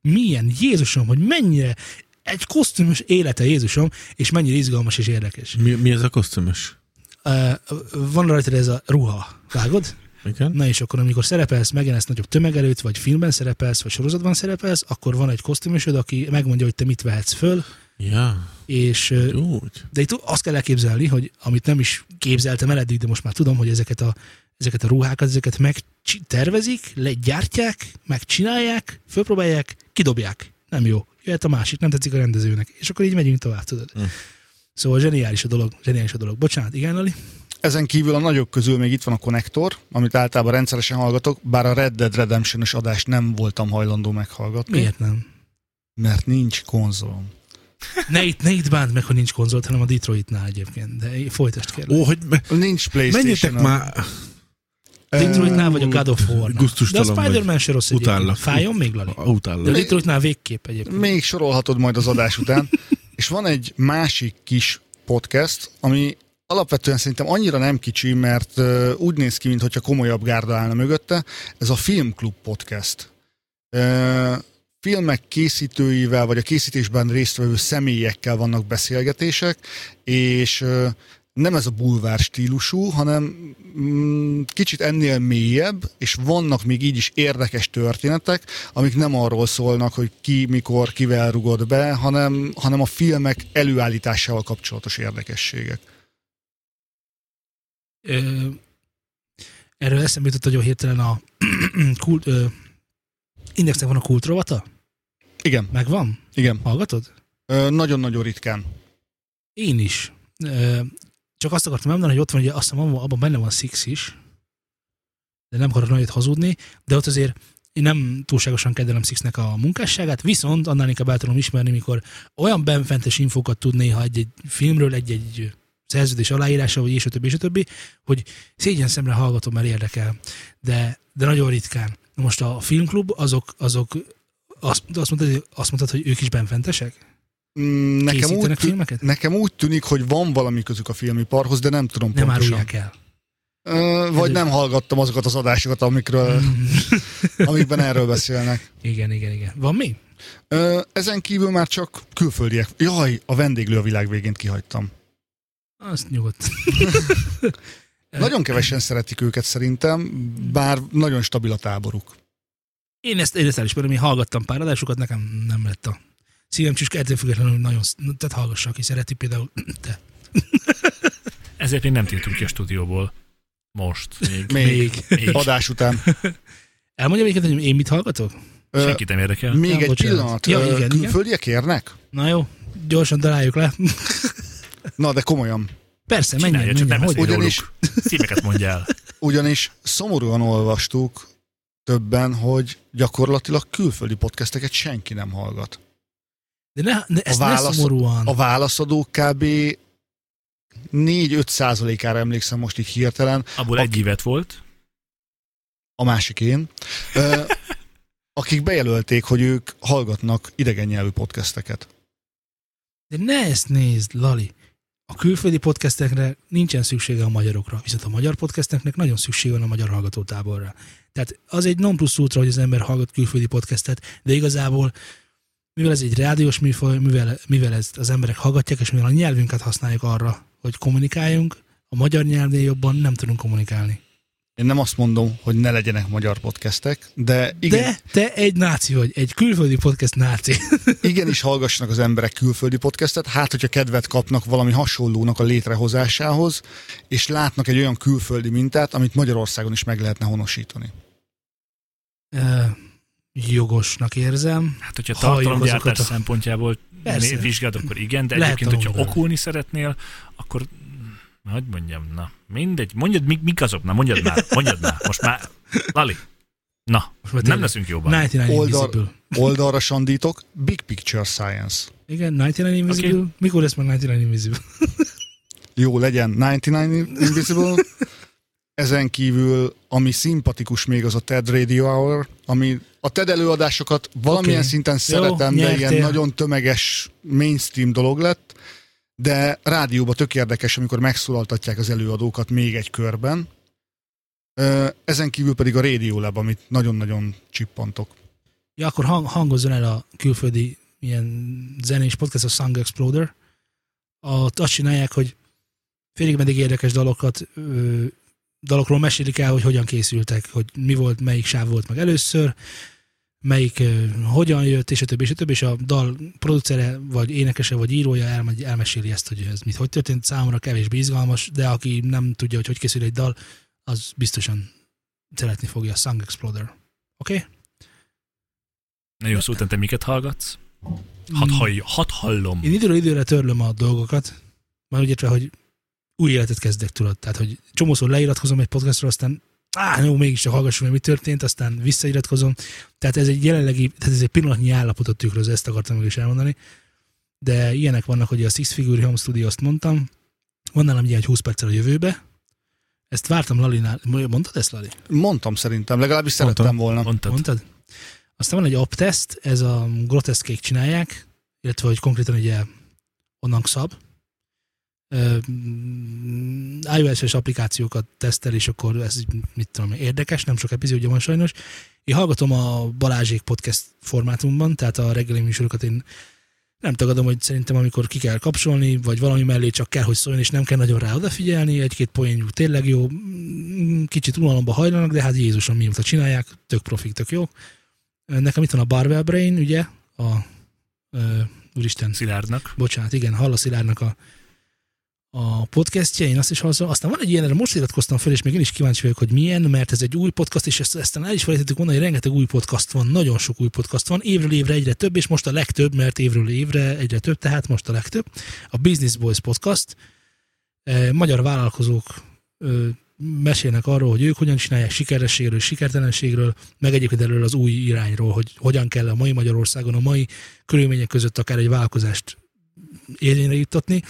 [SPEAKER 1] milyen Jézusom, hogy mennyire egy kosztümös élete Jézusom, és mennyire izgalmas és érdekes.
[SPEAKER 3] Mi, mi ez a kosztümös?
[SPEAKER 1] Uh, van rajta ez a ruha, vágod?
[SPEAKER 3] Igen?
[SPEAKER 1] Na és akkor, amikor szerepelsz, megjelensz nagyobb tömeg előtt, vagy filmben szerepelsz, vagy sorozatban szerepelsz, akkor van egy kosztümösöd, aki megmondja, hogy te mit vehetsz föl,
[SPEAKER 3] Ja,
[SPEAKER 1] és ö,
[SPEAKER 3] úgy.
[SPEAKER 1] de itt azt kell elképzelni, hogy amit nem is képzeltem el eddig, de most már tudom, hogy ezeket a, ezeket a ruhákat, ezeket megtervezik, legyártják, megcsinálják, fölpróbálják, kidobják. Nem jó. Jöhet a másik, nem tetszik a rendezőnek. És akkor így megyünk tovább, tudod.
[SPEAKER 3] Hm.
[SPEAKER 1] Szóval zseniális a dolog, zseniális a dolog. Bocsánat, igen, Lali?
[SPEAKER 4] Ezen kívül a nagyok közül még itt van a konnektor, amit általában rendszeresen hallgatok, bár a Red Dead redemption adást nem voltam hajlandó meghallgatni.
[SPEAKER 1] Miért nem?
[SPEAKER 4] Mert nincs konzolom.
[SPEAKER 1] Ne itt, ne itt bánt meg, hogy nincs konzolt, hanem a Detroitnál egyébként. De folytasd kérlek.
[SPEAKER 3] Ó, hogy me-
[SPEAKER 4] Nincs Playstation.
[SPEAKER 3] menjetek már,
[SPEAKER 1] Detroitnál vagy a God of war De a
[SPEAKER 3] Gusztustalan
[SPEAKER 1] Spider-Man se rossz egyébként.
[SPEAKER 3] Utállak.
[SPEAKER 1] Fájjon még, Lali?
[SPEAKER 3] Ah,
[SPEAKER 1] De a
[SPEAKER 3] utállak.
[SPEAKER 1] Detroitnál végképp egyébként.
[SPEAKER 4] Még sorolhatod majd az adás után. És van egy másik kis podcast, ami alapvetően szerintem annyira nem kicsi, mert ö, úgy néz ki, mintha komolyabb gárda állna mögötte. Ez a Filmklub podcast. Ö, filmek készítőivel, vagy a készítésben résztvevő személyekkel vannak beszélgetések, és ö, nem ez a bulvár stílusú, hanem mm, kicsit ennél mélyebb, és vannak még így is érdekes történetek, amik nem arról szólnak, hogy ki, mikor, kivel rugod be, hanem, hanem a filmek előállításával kapcsolatos érdekességek.
[SPEAKER 1] Ö, erről eszembe jutott nagyon hirtelen a kult, ö, Indexnek van a kultrovata?
[SPEAKER 4] Igen,
[SPEAKER 1] Megvan?
[SPEAKER 4] igen.
[SPEAKER 1] Hallgatod?
[SPEAKER 4] Ö, Nagyon-nagyon ritkán.
[SPEAKER 1] Én is. Ö, csak azt akartam elmondani, hogy ott van, ugye azt hiszem, abban- abban benne van Six is, de nem akarok nagyot hazudni, de ott azért én nem túlságosan kedvelem Sixnek a munkásságát, viszont annál inkább el tudom ismerni, mikor olyan benfentes infókat tud néha egy-egy filmről, egy-egy szerződés aláírása, vagy és a többi, és a többi, hogy szégyen szemre hallgatom, mert érdekel, de, de nagyon ritkán. Na Most a filmklub, azok, azok azt, azt, mondtad, azt mondtad, hogy ők is benfentesek?
[SPEAKER 4] Mm, Nekem úgy,
[SPEAKER 1] Készítenek
[SPEAKER 4] tű-
[SPEAKER 1] filmeket?
[SPEAKER 4] nekem úgy tűnik, hogy van valami közük a filmiparhoz, de nem tudom
[SPEAKER 1] Nem
[SPEAKER 4] pontosan.
[SPEAKER 1] árulják el.
[SPEAKER 4] Ö, Vagy nem hallgattam azokat az adásokat, amikről,
[SPEAKER 1] Mm.
[SPEAKER 4] amikben erről beszélnek.
[SPEAKER 1] Igen, igen, igen. Van mi?
[SPEAKER 4] Ö, Ezen kívül már csak külföldiek. Jaj, a vendéglő a világ végén kihagytam.
[SPEAKER 1] Azt nyugodt.
[SPEAKER 4] Nagyon kevesen szeretik őket szerintem, bár nagyon stabil a táboruk.
[SPEAKER 1] Én ezt, én ezt elismerem, én hallgattam pár adásokat, nekem nem lett a szívem csüske, ettől függetlenül nagyon, sz- tehát hallgassa, aki szereti például te.
[SPEAKER 2] Ezért még nem tiltunk ki a stúdióból. Most. Még.
[SPEAKER 4] Még, még.
[SPEAKER 2] Még.
[SPEAKER 4] adás után.
[SPEAKER 1] Elmondjam egyébként, hogy én mit hallgatok?
[SPEAKER 4] Ö,
[SPEAKER 2] Senkit nem érdekel.
[SPEAKER 4] Még
[SPEAKER 1] Nem,
[SPEAKER 4] egy
[SPEAKER 1] bocsánat.
[SPEAKER 4] pillanat.
[SPEAKER 1] Ja,
[SPEAKER 4] Ö,
[SPEAKER 1] igen, igen.
[SPEAKER 4] Külföldiek érnek?
[SPEAKER 1] Na jó, gyorsan találjuk le.
[SPEAKER 4] Na, de komolyan.
[SPEAKER 1] Persze, menjen,
[SPEAKER 2] Csinálja,
[SPEAKER 1] menjen.
[SPEAKER 2] csak nem
[SPEAKER 1] hogy?
[SPEAKER 2] beszélj
[SPEAKER 4] Ugyanis-
[SPEAKER 2] róluk. Címeket mondj el.
[SPEAKER 4] Ugyanis szomorúan olvastuk többen, hogy gyakorlatilag külföldi podcasteket senki nem hallgat.
[SPEAKER 1] De ne, ne, ezt válasz, ne
[SPEAKER 4] válasz-
[SPEAKER 1] szomorúan.
[SPEAKER 4] A válaszadók kb. 4-5 százalékára emlékszem most így hirtelen,
[SPEAKER 2] Abból
[SPEAKER 4] A-
[SPEAKER 2] egy évet volt.
[SPEAKER 4] a másik én, ö, akik bejelölték, hogy ők hallgatnak idegen nyelvű podcasteket.
[SPEAKER 1] De ne ezt nézd, Lali. A külföldi podcastekre nincsen szüksége a magyarokra, viszont a magyar podcasteknek nagyon szüksége van a magyar hallgatótáborra. Tehát az egy non plus ultra, hogy az ember hallgat külföldi podcastet, de igazából mivel ez egy rádiós műfaj, mivel, mivel ezt az emberek hallgatják, és mivel a nyelvünket használjuk arra, hogy kommunikáljunk, a magyar nyelvnél jobban nem tudunk kommunikálni.
[SPEAKER 4] Én nem azt mondom, hogy ne legyenek magyar podcastek, de igen,
[SPEAKER 1] De te egy náci vagy, egy külföldi podcast náci.
[SPEAKER 4] igenis hallgassanak az emberek külföldi podcastet, hát hogyha kedvet kapnak valami hasonlónak a létrehozásához, és látnak egy olyan külföldi mintát, amit Magyarországon is meg lehetne honosítani.
[SPEAKER 1] Ö, jogosnak érzem.
[SPEAKER 2] Hát, hogyha
[SPEAKER 1] Halljuk
[SPEAKER 2] tartalomgyártás
[SPEAKER 1] azokat a-
[SPEAKER 2] szempontjából
[SPEAKER 1] Persze.
[SPEAKER 2] né- vizsgáld, akkor igen, de
[SPEAKER 1] Lehet
[SPEAKER 2] egyébként, hogyha
[SPEAKER 1] tanulni.
[SPEAKER 2] okulni szeretnél, akkor na, hogy mondjam, na, mindegy, mondjad, mik, mik azok, na, mondjad már, mondjad már, most már, Lali, na,
[SPEAKER 1] Most már
[SPEAKER 2] nem
[SPEAKER 1] tényleg.
[SPEAKER 2] leszünk jóban.
[SPEAKER 1] 99
[SPEAKER 4] Oldal-
[SPEAKER 1] Invisible.
[SPEAKER 4] Oldalra sandítok, Big Picture Science.
[SPEAKER 1] Igen, 99 Invisible. Okay. Mikor lesz már 99 Invisible?
[SPEAKER 4] Jó legyen, 99 Invisible. Ezen kívül, ami szimpatikus még, az a TED Radio Hour, ami a TED előadásokat valamilyen
[SPEAKER 1] Oké.
[SPEAKER 4] szinten
[SPEAKER 1] Jó,
[SPEAKER 4] szeretem, de ilyen
[SPEAKER 1] nyertél.
[SPEAKER 4] nagyon tömeges mainstream dolog lett, de rádióban tök érdekes, amikor megszólaltatják az előadókat még egy körben. Ö, Ezen kívül pedig a Radio Lab, amit nagyon-nagyon csippantok.
[SPEAKER 1] Ja, akkor hang, hangozzon el a külföldi ilyen zenés podcast, a Song Exploder. Ott azt csinálják, hogy félig meddig érdekes dalokat, ö, dalokról mesélik el, hogy hogyan készültek, hogy mi volt, melyik sáv volt meg először, melyik ö, hogyan jött, és a többi, és a többi, és a dal producere, vagy énekese, vagy írója elmegy, elmeséli ezt, hogy ez mit, hogy történt, számomra kevésbé izgalmas, de aki nem tudja, hogy hogy készül egy dal, az biztosan szeretni fogja a Song Exploder. Oké? Okay?
[SPEAKER 2] Nagyon szó, te miket hallgatsz? Hadd,
[SPEAKER 1] Hmm.
[SPEAKER 2] hallj, hadd hallom.
[SPEAKER 1] Én időről időre törlöm a dolgokat, már úgy értve, hogy új életet kezdek, tudod. Tehát, hogy csomószor leiratkozom egy podcastra, aztán á, jó, mégiscsak hallgassuk meg, mi történt, aztán visszairatkozom. Tehát ez egy jelenlegi, tehát ez egy pillanatnyi állapotot tükröz, ezt akartam meg is elmondani. De ilyenek vannak, hogy a Six Figure Home Studio, azt mondtam, van nálam egy ilyen, hogy 20 perccel a jövőbe, ezt vártam Lalinál. Mondtad ezt, Lali?
[SPEAKER 4] Mondtam szerintem, legalábbis
[SPEAKER 3] Mondtam.
[SPEAKER 4] szerettem volna.
[SPEAKER 2] Mondtad?
[SPEAKER 1] Mondtad? Aztán van egy aptest, ez a groteszkék csinálják, illetve hogy konkrétan ugye onnan szab. Ö, mm, iOS-es applikációkat tesztel, és akkor ez így, mit tudom, én, érdekes, nem sok epizódja van sajnos. Én hallgatom a Balázsék podcast formátumban, tehát a reggeli műsorokat én nem tagadom, hogy szerintem amikor ki kell kapcsolni, vagy valami mellé csak kell, hogy szóljon, és nem kell nagyon rá odafigyelni, egy-két poénjuk tényleg jó, Mm, kicsit unalomba hajlanak, de hát Jézusom mióta csinálják, tök profik, tök jó. Nekem itt van a Barbell Brain, ugye, a ö, úristen,
[SPEAKER 2] Szilárdnak.
[SPEAKER 1] bocsánat, igen, Hallaszilárnak a, a podcastje, én azt is hallom. Aztán van egy ilyen, erre most iratkoztam fel, és még én is kíváncsi vagyok, hogy milyen, mert ez egy új podcast, és ezt, ezt el is felejtettük mondani, hogy rengeteg új podcast van, nagyon sok új podcast van, évről évre egyre több, és most a legtöbb, mert évről évre egyre több, tehát most a legtöbb. A Business Boys podcast, eh, magyar vállalkozók ö, mesélnek arról, hogy ők hogyan csinálják sikerességről, sikertelenségről, meg egyébként erről az új irányról, hogy hogyan kell a mai Magyarországon, a mai körülmények között akár egy vállalkozást érvényre juttatni.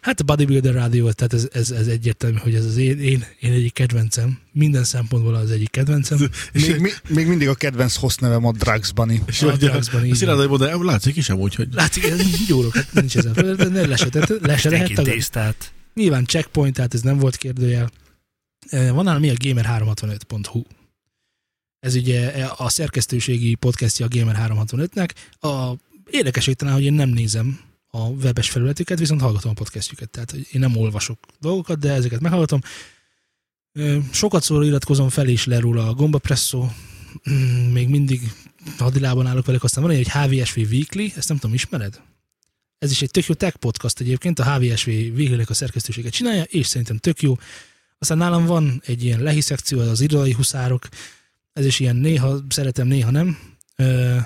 [SPEAKER 1] Hát a Bodybuilder Rádió, tehát ez, ez, ez egyértelmű, hogy ez az én, én, én egyik kedvencem. Minden szempontból az egyik kedvencem.
[SPEAKER 4] Még, mi, még mindig a kedvenc hossz nevem a Drugs Bunny.
[SPEAKER 3] És
[SPEAKER 1] A
[SPEAKER 3] hogy a,
[SPEAKER 1] Draxban így
[SPEAKER 3] a Szilárd mondta, látszik is amúgy, hogy
[SPEAKER 1] Látszik, ez gyúrok, hát nincs ezen föl, de ne lesetett, le se lehet
[SPEAKER 2] Mindenki
[SPEAKER 1] tagad.
[SPEAKER 2] tésztát.
[SPEAKER 1] Nyilván checkpoint, tehát ez nem volt kérdőjel. Eh, Van nálam mi a gamer365.hu. Ez ugye e, a szerkesztőségi podcastja a Gamer365-nek. A érdekesség talán, hogy én nem nézem a webes felületüket, viszont hallgatom a podcastjüket. Tehát hogy én nem olvasok dolgokat, de ezeket meghallgatom. Ö, Sokat szóra iratkozom fel és le róla a gombapresszó. Mm, Még mindig hadilában állok velük, aztán van egy hogy HVSV Weekly, ezt nem tudom, ismered? Ez is egy tök jó tech podcast egyébként, a HVSV weekly a szerkesztőséget csinálja, és szerintem tök jó. Aztán nálam van egy ilyen lehi szekció, az az irodai huszárok, ez is ilyen néha szeretem, néha nem. Ö,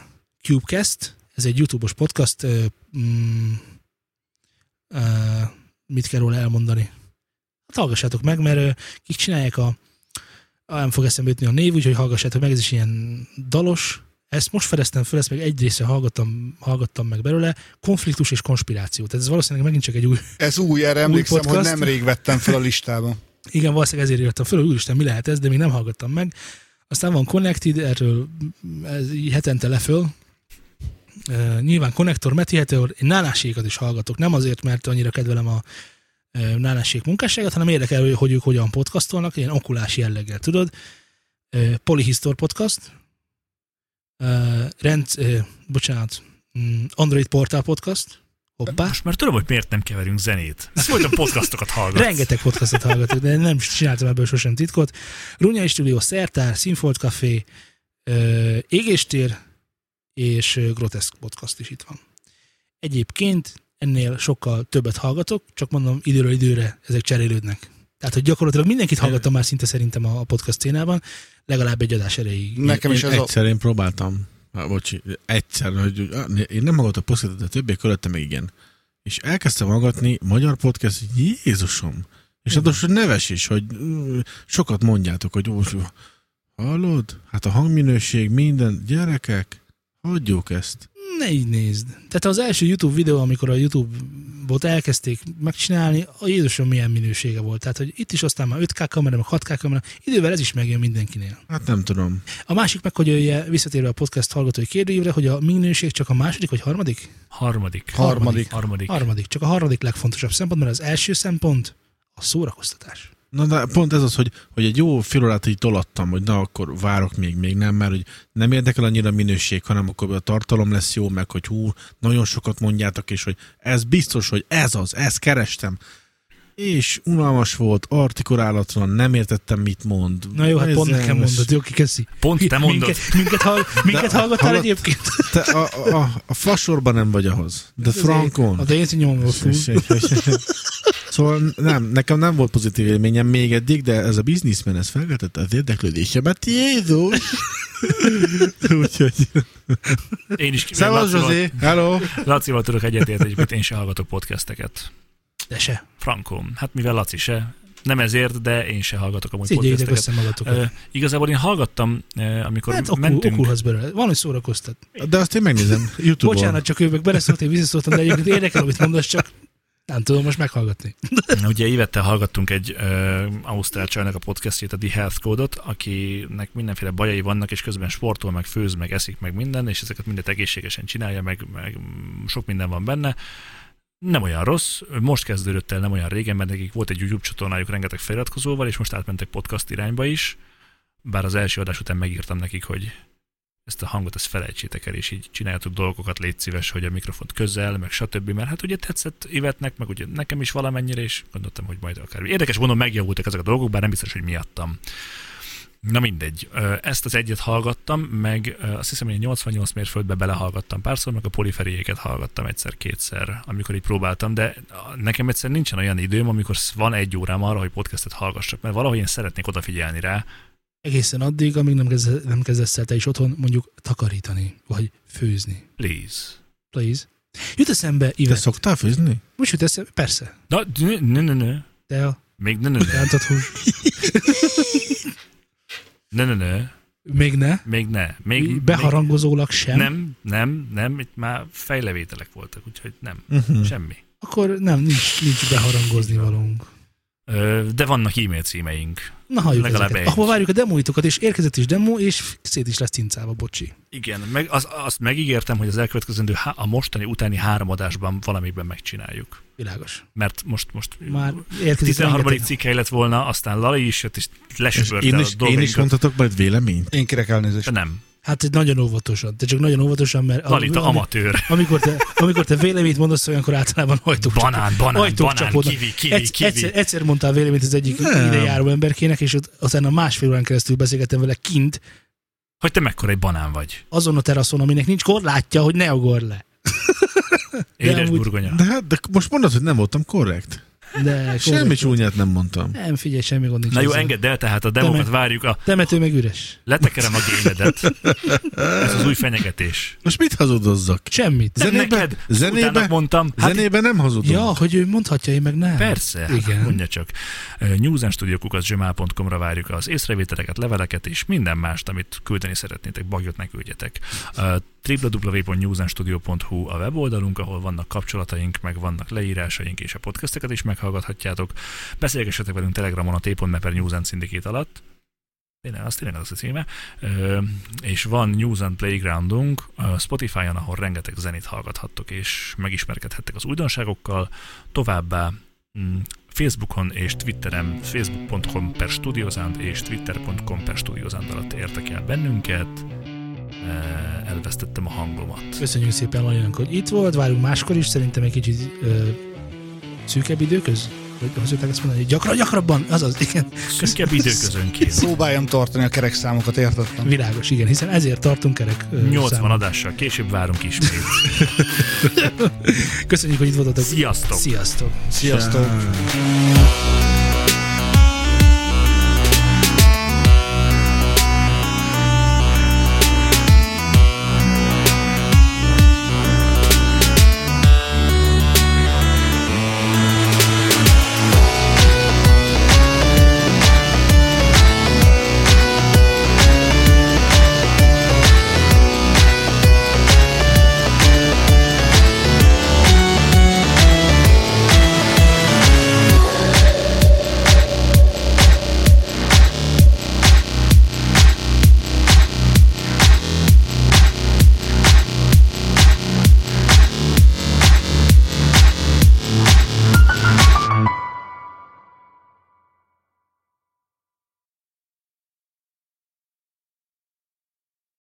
[SPEAKER 1] Cubecast, ez egy YouTube-os podcast, ö, mm, ö, mit kell róla elmondani? Hát hallgassátok meg, mert ö, kik csinálják a ah, nem fog eszembe jutni a név, úgyhogy hallgassátok meg, ez is ilyen dalos. Ezt most fedeztem fel, ezt meg egy része hallgattam, hallgattam meg belőle. Konfliktus és konspiráció. Tehát ez valószínűleg megint csak egy új
[SPEAKER 4] Ez új, erre emlékszem, hogy
[SPEAKER 1] podcast.
[SPEAKER 4] nemrég vettem fel a listába.
[SPEAKER 1] Igen, valószínűleg ezért írtam föl, hogy úristen, mi lehet ez, de még nem hallgattam meg. Aztán van Connected, erről ez így hetente leföl. Uh, nyilván Connector, Meti Heteor, én nálásékat is hallgatok, nem azért, mert annyira kedvelem a uh, nálásék munkásságát, hanem érdekel, hogy- hogy ők hogyan podcastolnak, ilyen okulás jelleggel, tudod. Uh, Polyhistor podcast, uh, rend, uh, bocsánat, mm, Android Portal podcast, hoppá.
[SPEAKER 2] Most már tudom, hogy miért nem keverünk zenét. Ezt folyton podcastokat hallgatsz.
[SPEAKER 1] Rengeteg podcastot hallgatok, de nem is csináltam ebből sosem titkot. Runyai Stúdió, Szertár, Színfolt Café, ö, Égéstér és ö, Groteszk Podcast is itt van. Egyébként ennél sokkal többet hallgatok, csak mondom, időről időre ezek cserélődnek. Tehát, hogy gyakorlatilag mindenkit hallgattam már szinte szerintem a a podcast szénában, legalább egy adás erejéig.
[SPEAKER 4] Nekem is
[SPEAKER 3] én
[SPEAKER 4] ez a...
[SPEAKER 3] egyszer én próbáltam. Há, bocsi, egyszer, hogy á, né- én nem hallgattam podcastot, de többiek körülöttem meg igen. És elkezdtem hallgatni magyar podcast, hogy Jézusom! És ráadásul neves is, hogy mm, sokat mondjátok, hogy ó, hallod? Hát a hangminőség, minden, gyerekek, hagyjuk ezt.
[SPEAKER 1] Ne így nézd. Tehát az első YouTube videó, amikor a YouTube-ot elkezdték megcsinálni, a Jézusom milyen minősége volt. Tehát, hogy itt is aztán már 5K kamera, meg 6K kamera, idővel ez is megjön mindenkinél.
[SPEAKER 3] Hát nem tudom.
[SPEAKER 1] A másik meg, hogy ugye, visszatérve a podcast hallgatói kérdőívre, hogy a minőség csak a második vagy harmadik?
[SPEAKER 2] Harmadik.
[SPEAKER 4] Harmadik.
[SPEAKER 2] Harmadik.
[SPEAKER 1] Harmadik. Csak a harmadik legfontosabb szempont, mert az első szempont a szórakoztatás.
[SPEAKER 3] Na de pont ez az, hogy, hogy egy jó fél órát így tolattam, hogy na akkor várok még, még nem, mert hogy nem érdekel annyira a minőség, hanem akkor a tartalom lesz jó, meg hogy hú, nagyon sokat mondjátok, és hogy ez biztos, hogy ez az, ezt kerestem. És unalmas volt, artikulálatlan, nem értettem, mit mond.
[SPEAKER 1] Na jó, hát
[SPEAKER 3] Ez
[SPEAKER 1] pont
[SPEAKER 3] nem
[SPEAKER 1] nekem
[SPEAKER 3] lesz.
[SPEAKER 1] mondod, jó, ki köszi.
[SPEAKER 2] Pont te mondod.
[SPEAKER 1] Minket, minket, hall, minket
[SPEAKER 3] De-
[SPEAKER 1] hallgattál
[SPEAKER 3] hallott-
[SPEAKER 1] egyébként?
[SPEAKER 3] Te a, a, a fasorban nem vagy ahhoz,
[SPEAKER 1] Hát
[SPEAKER 3] de frankon.
[SPEAKER 1] A Daisy nyomó.
[SPEAKER 3] És- és- és- Szóval nem, nekem nem volt pozitív élményem még eddig, de ez a bizniszmen, ez felkeltette az érdeklődésemet. Jézus! Úgyhogy...
[SPEAKER 2] Én is
[SPEAKER 3] Szevasz,
[SPEAKER 2] Lacival-
[SPEAKER 3] Zsozé! Hello!
[SPEAKER 2] Lacival tudok egyetérteni, egyébként én sem hallgatok podcasteket.
[SPEAKER 1] De se.
[SPEAKER 2] Frankom. Hát mivel Laci se. Nem ezért, de én se hallgatok amúgy
[SPEAKER 1] Szégyeljétek
[SPEAKER 2] podcasteket.
[SPEAKER 1] össze magatokat.
[SPEAKER 2] Ö, igazából én hallgattam, ö, amikor
[SPEAKER 1] Hát okul,
[SPEAKER 2] mentünk.
[SPEAKER 1] okulhatsz belőle. Van, hogy szórakoztat.
[SPEAKER 3] De azt én megnézem Youtube-on.
[SPEAKER 1] Bocsánat, csak ő meg beleszólt, én visszaszóltam, de egyébként érdekel, amit mondasz, csak nem tudom most meghallgatni.
[SPEAKER 2] Ugye évette hallgattunk egy ö, ausztrál csajnak a podcastjét, a The Health Code-ot, akinek mindenféle bajai vannak, és közben sportol, meg főz, meg eszik, meg minden, és ezeket mindet egészségesen csinálja, meg, meg mm, sok minden van benne. Nem olyan rossz, most kezdődött el, nem olyan régen, mert nekik volt egy YouTube csatornájuk rengeteg feliratkozóval, és most átmentek podcast irányba is, bár az első adás után megírtam nekik, hogy ezt a hangot ezt felejtsétek el, és így csináljátok dolgokat, légy szíves, hogy a mikrofont közel, meg stb. Mert hát ugye tetszett Ivetnek, meg ugye nekem is valamennyire, és gondoltam, hogy majd akár. Érdekes mondom, megjavultak ezek a dolgok, bár nem biztos, hogy miattam. Na mindegy, Ö, ezt az egyet hallgattam, meg ö, azt hiszem, hogy a 88 mérföldbe belehallgattam párszor, meg a poliferiéket hallgattam egyszer-kétszer, amikor így próbáltam, de nekem egyszer nincsen olyan időm, amikor van egy órám arra, hogy podcastet hallgassak, mert valahogy én szeretnék odafigyelni rá.
[SPEAKER 1] Egészen addig, amíg nem, kezdesz, nem kezdesz el te is otthon mondjuk takarítani, vagy főzni.
[SPEAKER 2] Please.
[SPEAKER 1] Please. Jut eszembe,
[SPEAKER 3] Te
[SPEAKER 1] Ives.
[SPEAKER 3] szoktál főzni?
[SPEAKER 1] Most jut eszembe, persze.
[SPEAKER 2] Na, nö, nö, nö, nö.
[SPEAKER 1] Te a
[SPEAKER 2] Még nö, nö, nö.
[SPEAKER 1] rántott hús.
[SPEAKER 2] nö, nö, nö.
[SPEAKER 1] Még ne.
[SPEAKER 2] Még ne. Még,
[SPEAKER 1] Beharangozólag sem.
[SPEAKER 2] még, nem, nem, nem, itt már fejlevételek voltak, úgyhogy nem,
[SPEAKER 3] Uh-huh.
[SPEAKER 2] semmi.
[SPEAKER 1] Akkor nem, nincs, nincs beharangozni valónk.
[SPEAKER 2] Ö, De vannak e-mail címeink.
[SPEAKER 1] Na halljuk
[SPEAKER 2] Legalább
[SPEAKER 1] ezeket.
[SPEAKER 2] egy.
[SPEAKER 1] Ahol várjuk a demoitokat, és érkezett is demo, és szét is lesz cincába, bocsi.
[SPEAKER 2] Igen, meg az, azt megígértem, hogy az elkövetkezendő, há- a mostani utáni három adásban valamikben megcsináljuk.
[SPEAKER 1] Világos.
[SPEAKER 2] Mert most, most
[SPEAKER 1] Már érkezik
[SPEAKER 2] 13.
[SPEAKER 1] rengeteg.
[SPEAKER 2] cikkei lett volna, aztán Lali is jött, és
[SPEAKER 3] És
[SPEAKER 2] lesöpörte
[SPEAKER 3] én
[SPEAKER 2] a
[SPEAKER 3] is, én is
[SPEAKER 2] dolgainkat.
[SPEAKER 3] mondhatok majd véleményt.
[SPEAKER 5] Én kérek elnézést.
[SPEAKER 2] De nem.
[SPEAKER 1] Hát egy nagyon óvatosan, de csak nagyon óvatosan, mert
[SPEAKER 2] Lalita
[SPEAKER 1] ami-
[SPEAKER 2] amatőr.
[SPEAKER 1] amikor, te, amikor te véleményt mondasz, olyankor általában hajtók
[SPEAKER 2] Banán, banán,
[SPEAKER 1] ajtók
[SPEAKER 2] banán,
[SPEAKER 1] csapódnak.
[SPEAKER 2] kivi, kivi,
[SPEAKER 1] Egy-
[SPEAKER 2] kivi.
[SPEAKER 1] Egyszer, egyszer mondtál véleményt az egyik
[SPEAKER 3] Nem.
[SPEAKER 1] ide járó emberkének, és ott, aztán a másfél órán keresztül beszélgettem vele kint,
[SPEAKER 2] Hogy te mekkora egy banán vagy.
[SPEAKER 1] azon a teraszon, aminek nincs korlátja, hogy ne agorj le.
[SPEAKER 2] Édes
[SPEAKER 1] amúgy-
[SPEAKER 2] burgonya.
[SPEAKER 3] De hát, de most mondod, hogy nem voltam korrekt.
[SPEAKER 1] De
[SPEAKER 3] Semmi
[SPEAKER 1] korlát-
[SPEAKER 3] csúnyát nem mondtam.
[SPEAKER 1] Nem, figyelj, semmi gond nincs.
[SPEAKER 2] Na jó,
[SPEAKER 1] ezzel.
[SPEAKER 2] engedd el, tehát a demókat várjuk, a
[SPEAKER 1] Temető meg üres.
[SPEAKER 2] letekerem a gémedet. Ez az új fenyegetés.
[SPEAKER 3] Most mit hazudozzak?
[SPEAKER 1] Semmit.
[SPEAKER 2] De
[SPEAKER 3] Zenébe-
[SPEAKER 2] neked,
[SPEAKER 3] zenébe-
[SPEAKER 2] utána mondtam,
[SPEAKER 3] Hát
[SPEAKER 2] hát
[SPEAKER 3] Zenében nem hazudom.
[SPEAKER 1] Ja, hogy ő mondhatja, én meg nem.
[SPEAKER 2] Persze,
[SPEAKER 1] Igen.
[SPEAKER 2] Igen. mondja csak. newsandstudiokukaszgmail.com-ra várjuk az észrevételeket, leveleket és minden mást, amit küldeni szeretnétek, bagyot ne küldjetek. Ö, www.newsandstudio.hu a weboldalunk, ahol vannak kapcsolataink, meg vannak leírásaink, és a podcasteket is meghallgathatjátok. Beszélgessetek velünk Telegramon a t.me per News and Syndicate alatt. Tényleg, az tényleg az a címe. Ö, és van News and Playgroundunk ö, Spotify-on, ahol rengeteg zenét hallgathattok, és megismerkedhettek az újdonságokkal. Továbbá Mm, Facebookon és Twitteren facebook.com per studiozánd és twitter.com per studiozánd alatt értek el bennünket. Eh, Elvesztettem a hangomat.
[SPEAKER 1] Köszönjük szépen Lajnak, hogy itt volt, várunk máskor is, szerintem egy kicsit ö, szűkebb időköz. Vagy azt szokták ezt mondani, hogy gyakran, gyakrabban, azaz, igen,
[SPEAKER 2] Szűkebb időközönként.
[SPEAKER 4] Próbáljam tartani a kerekszámokat, értettem.
[SPEAKER 1] világos, igen, hiszen ezért tartunk kerek. ö,
[SPEAKER 2] 80
[SPEAKER 1] számon.
[SPEAKER 2] adással később várunk ismét.
[SPEAKER 1] Köszönjük, hogy itt voltatok.
[SPEAKER 2] Sziasztok!
[SPEAKER 1] Sziasztok!
[SPEAKER 4] Sziasztok!
[SPEAKER 3] Ah.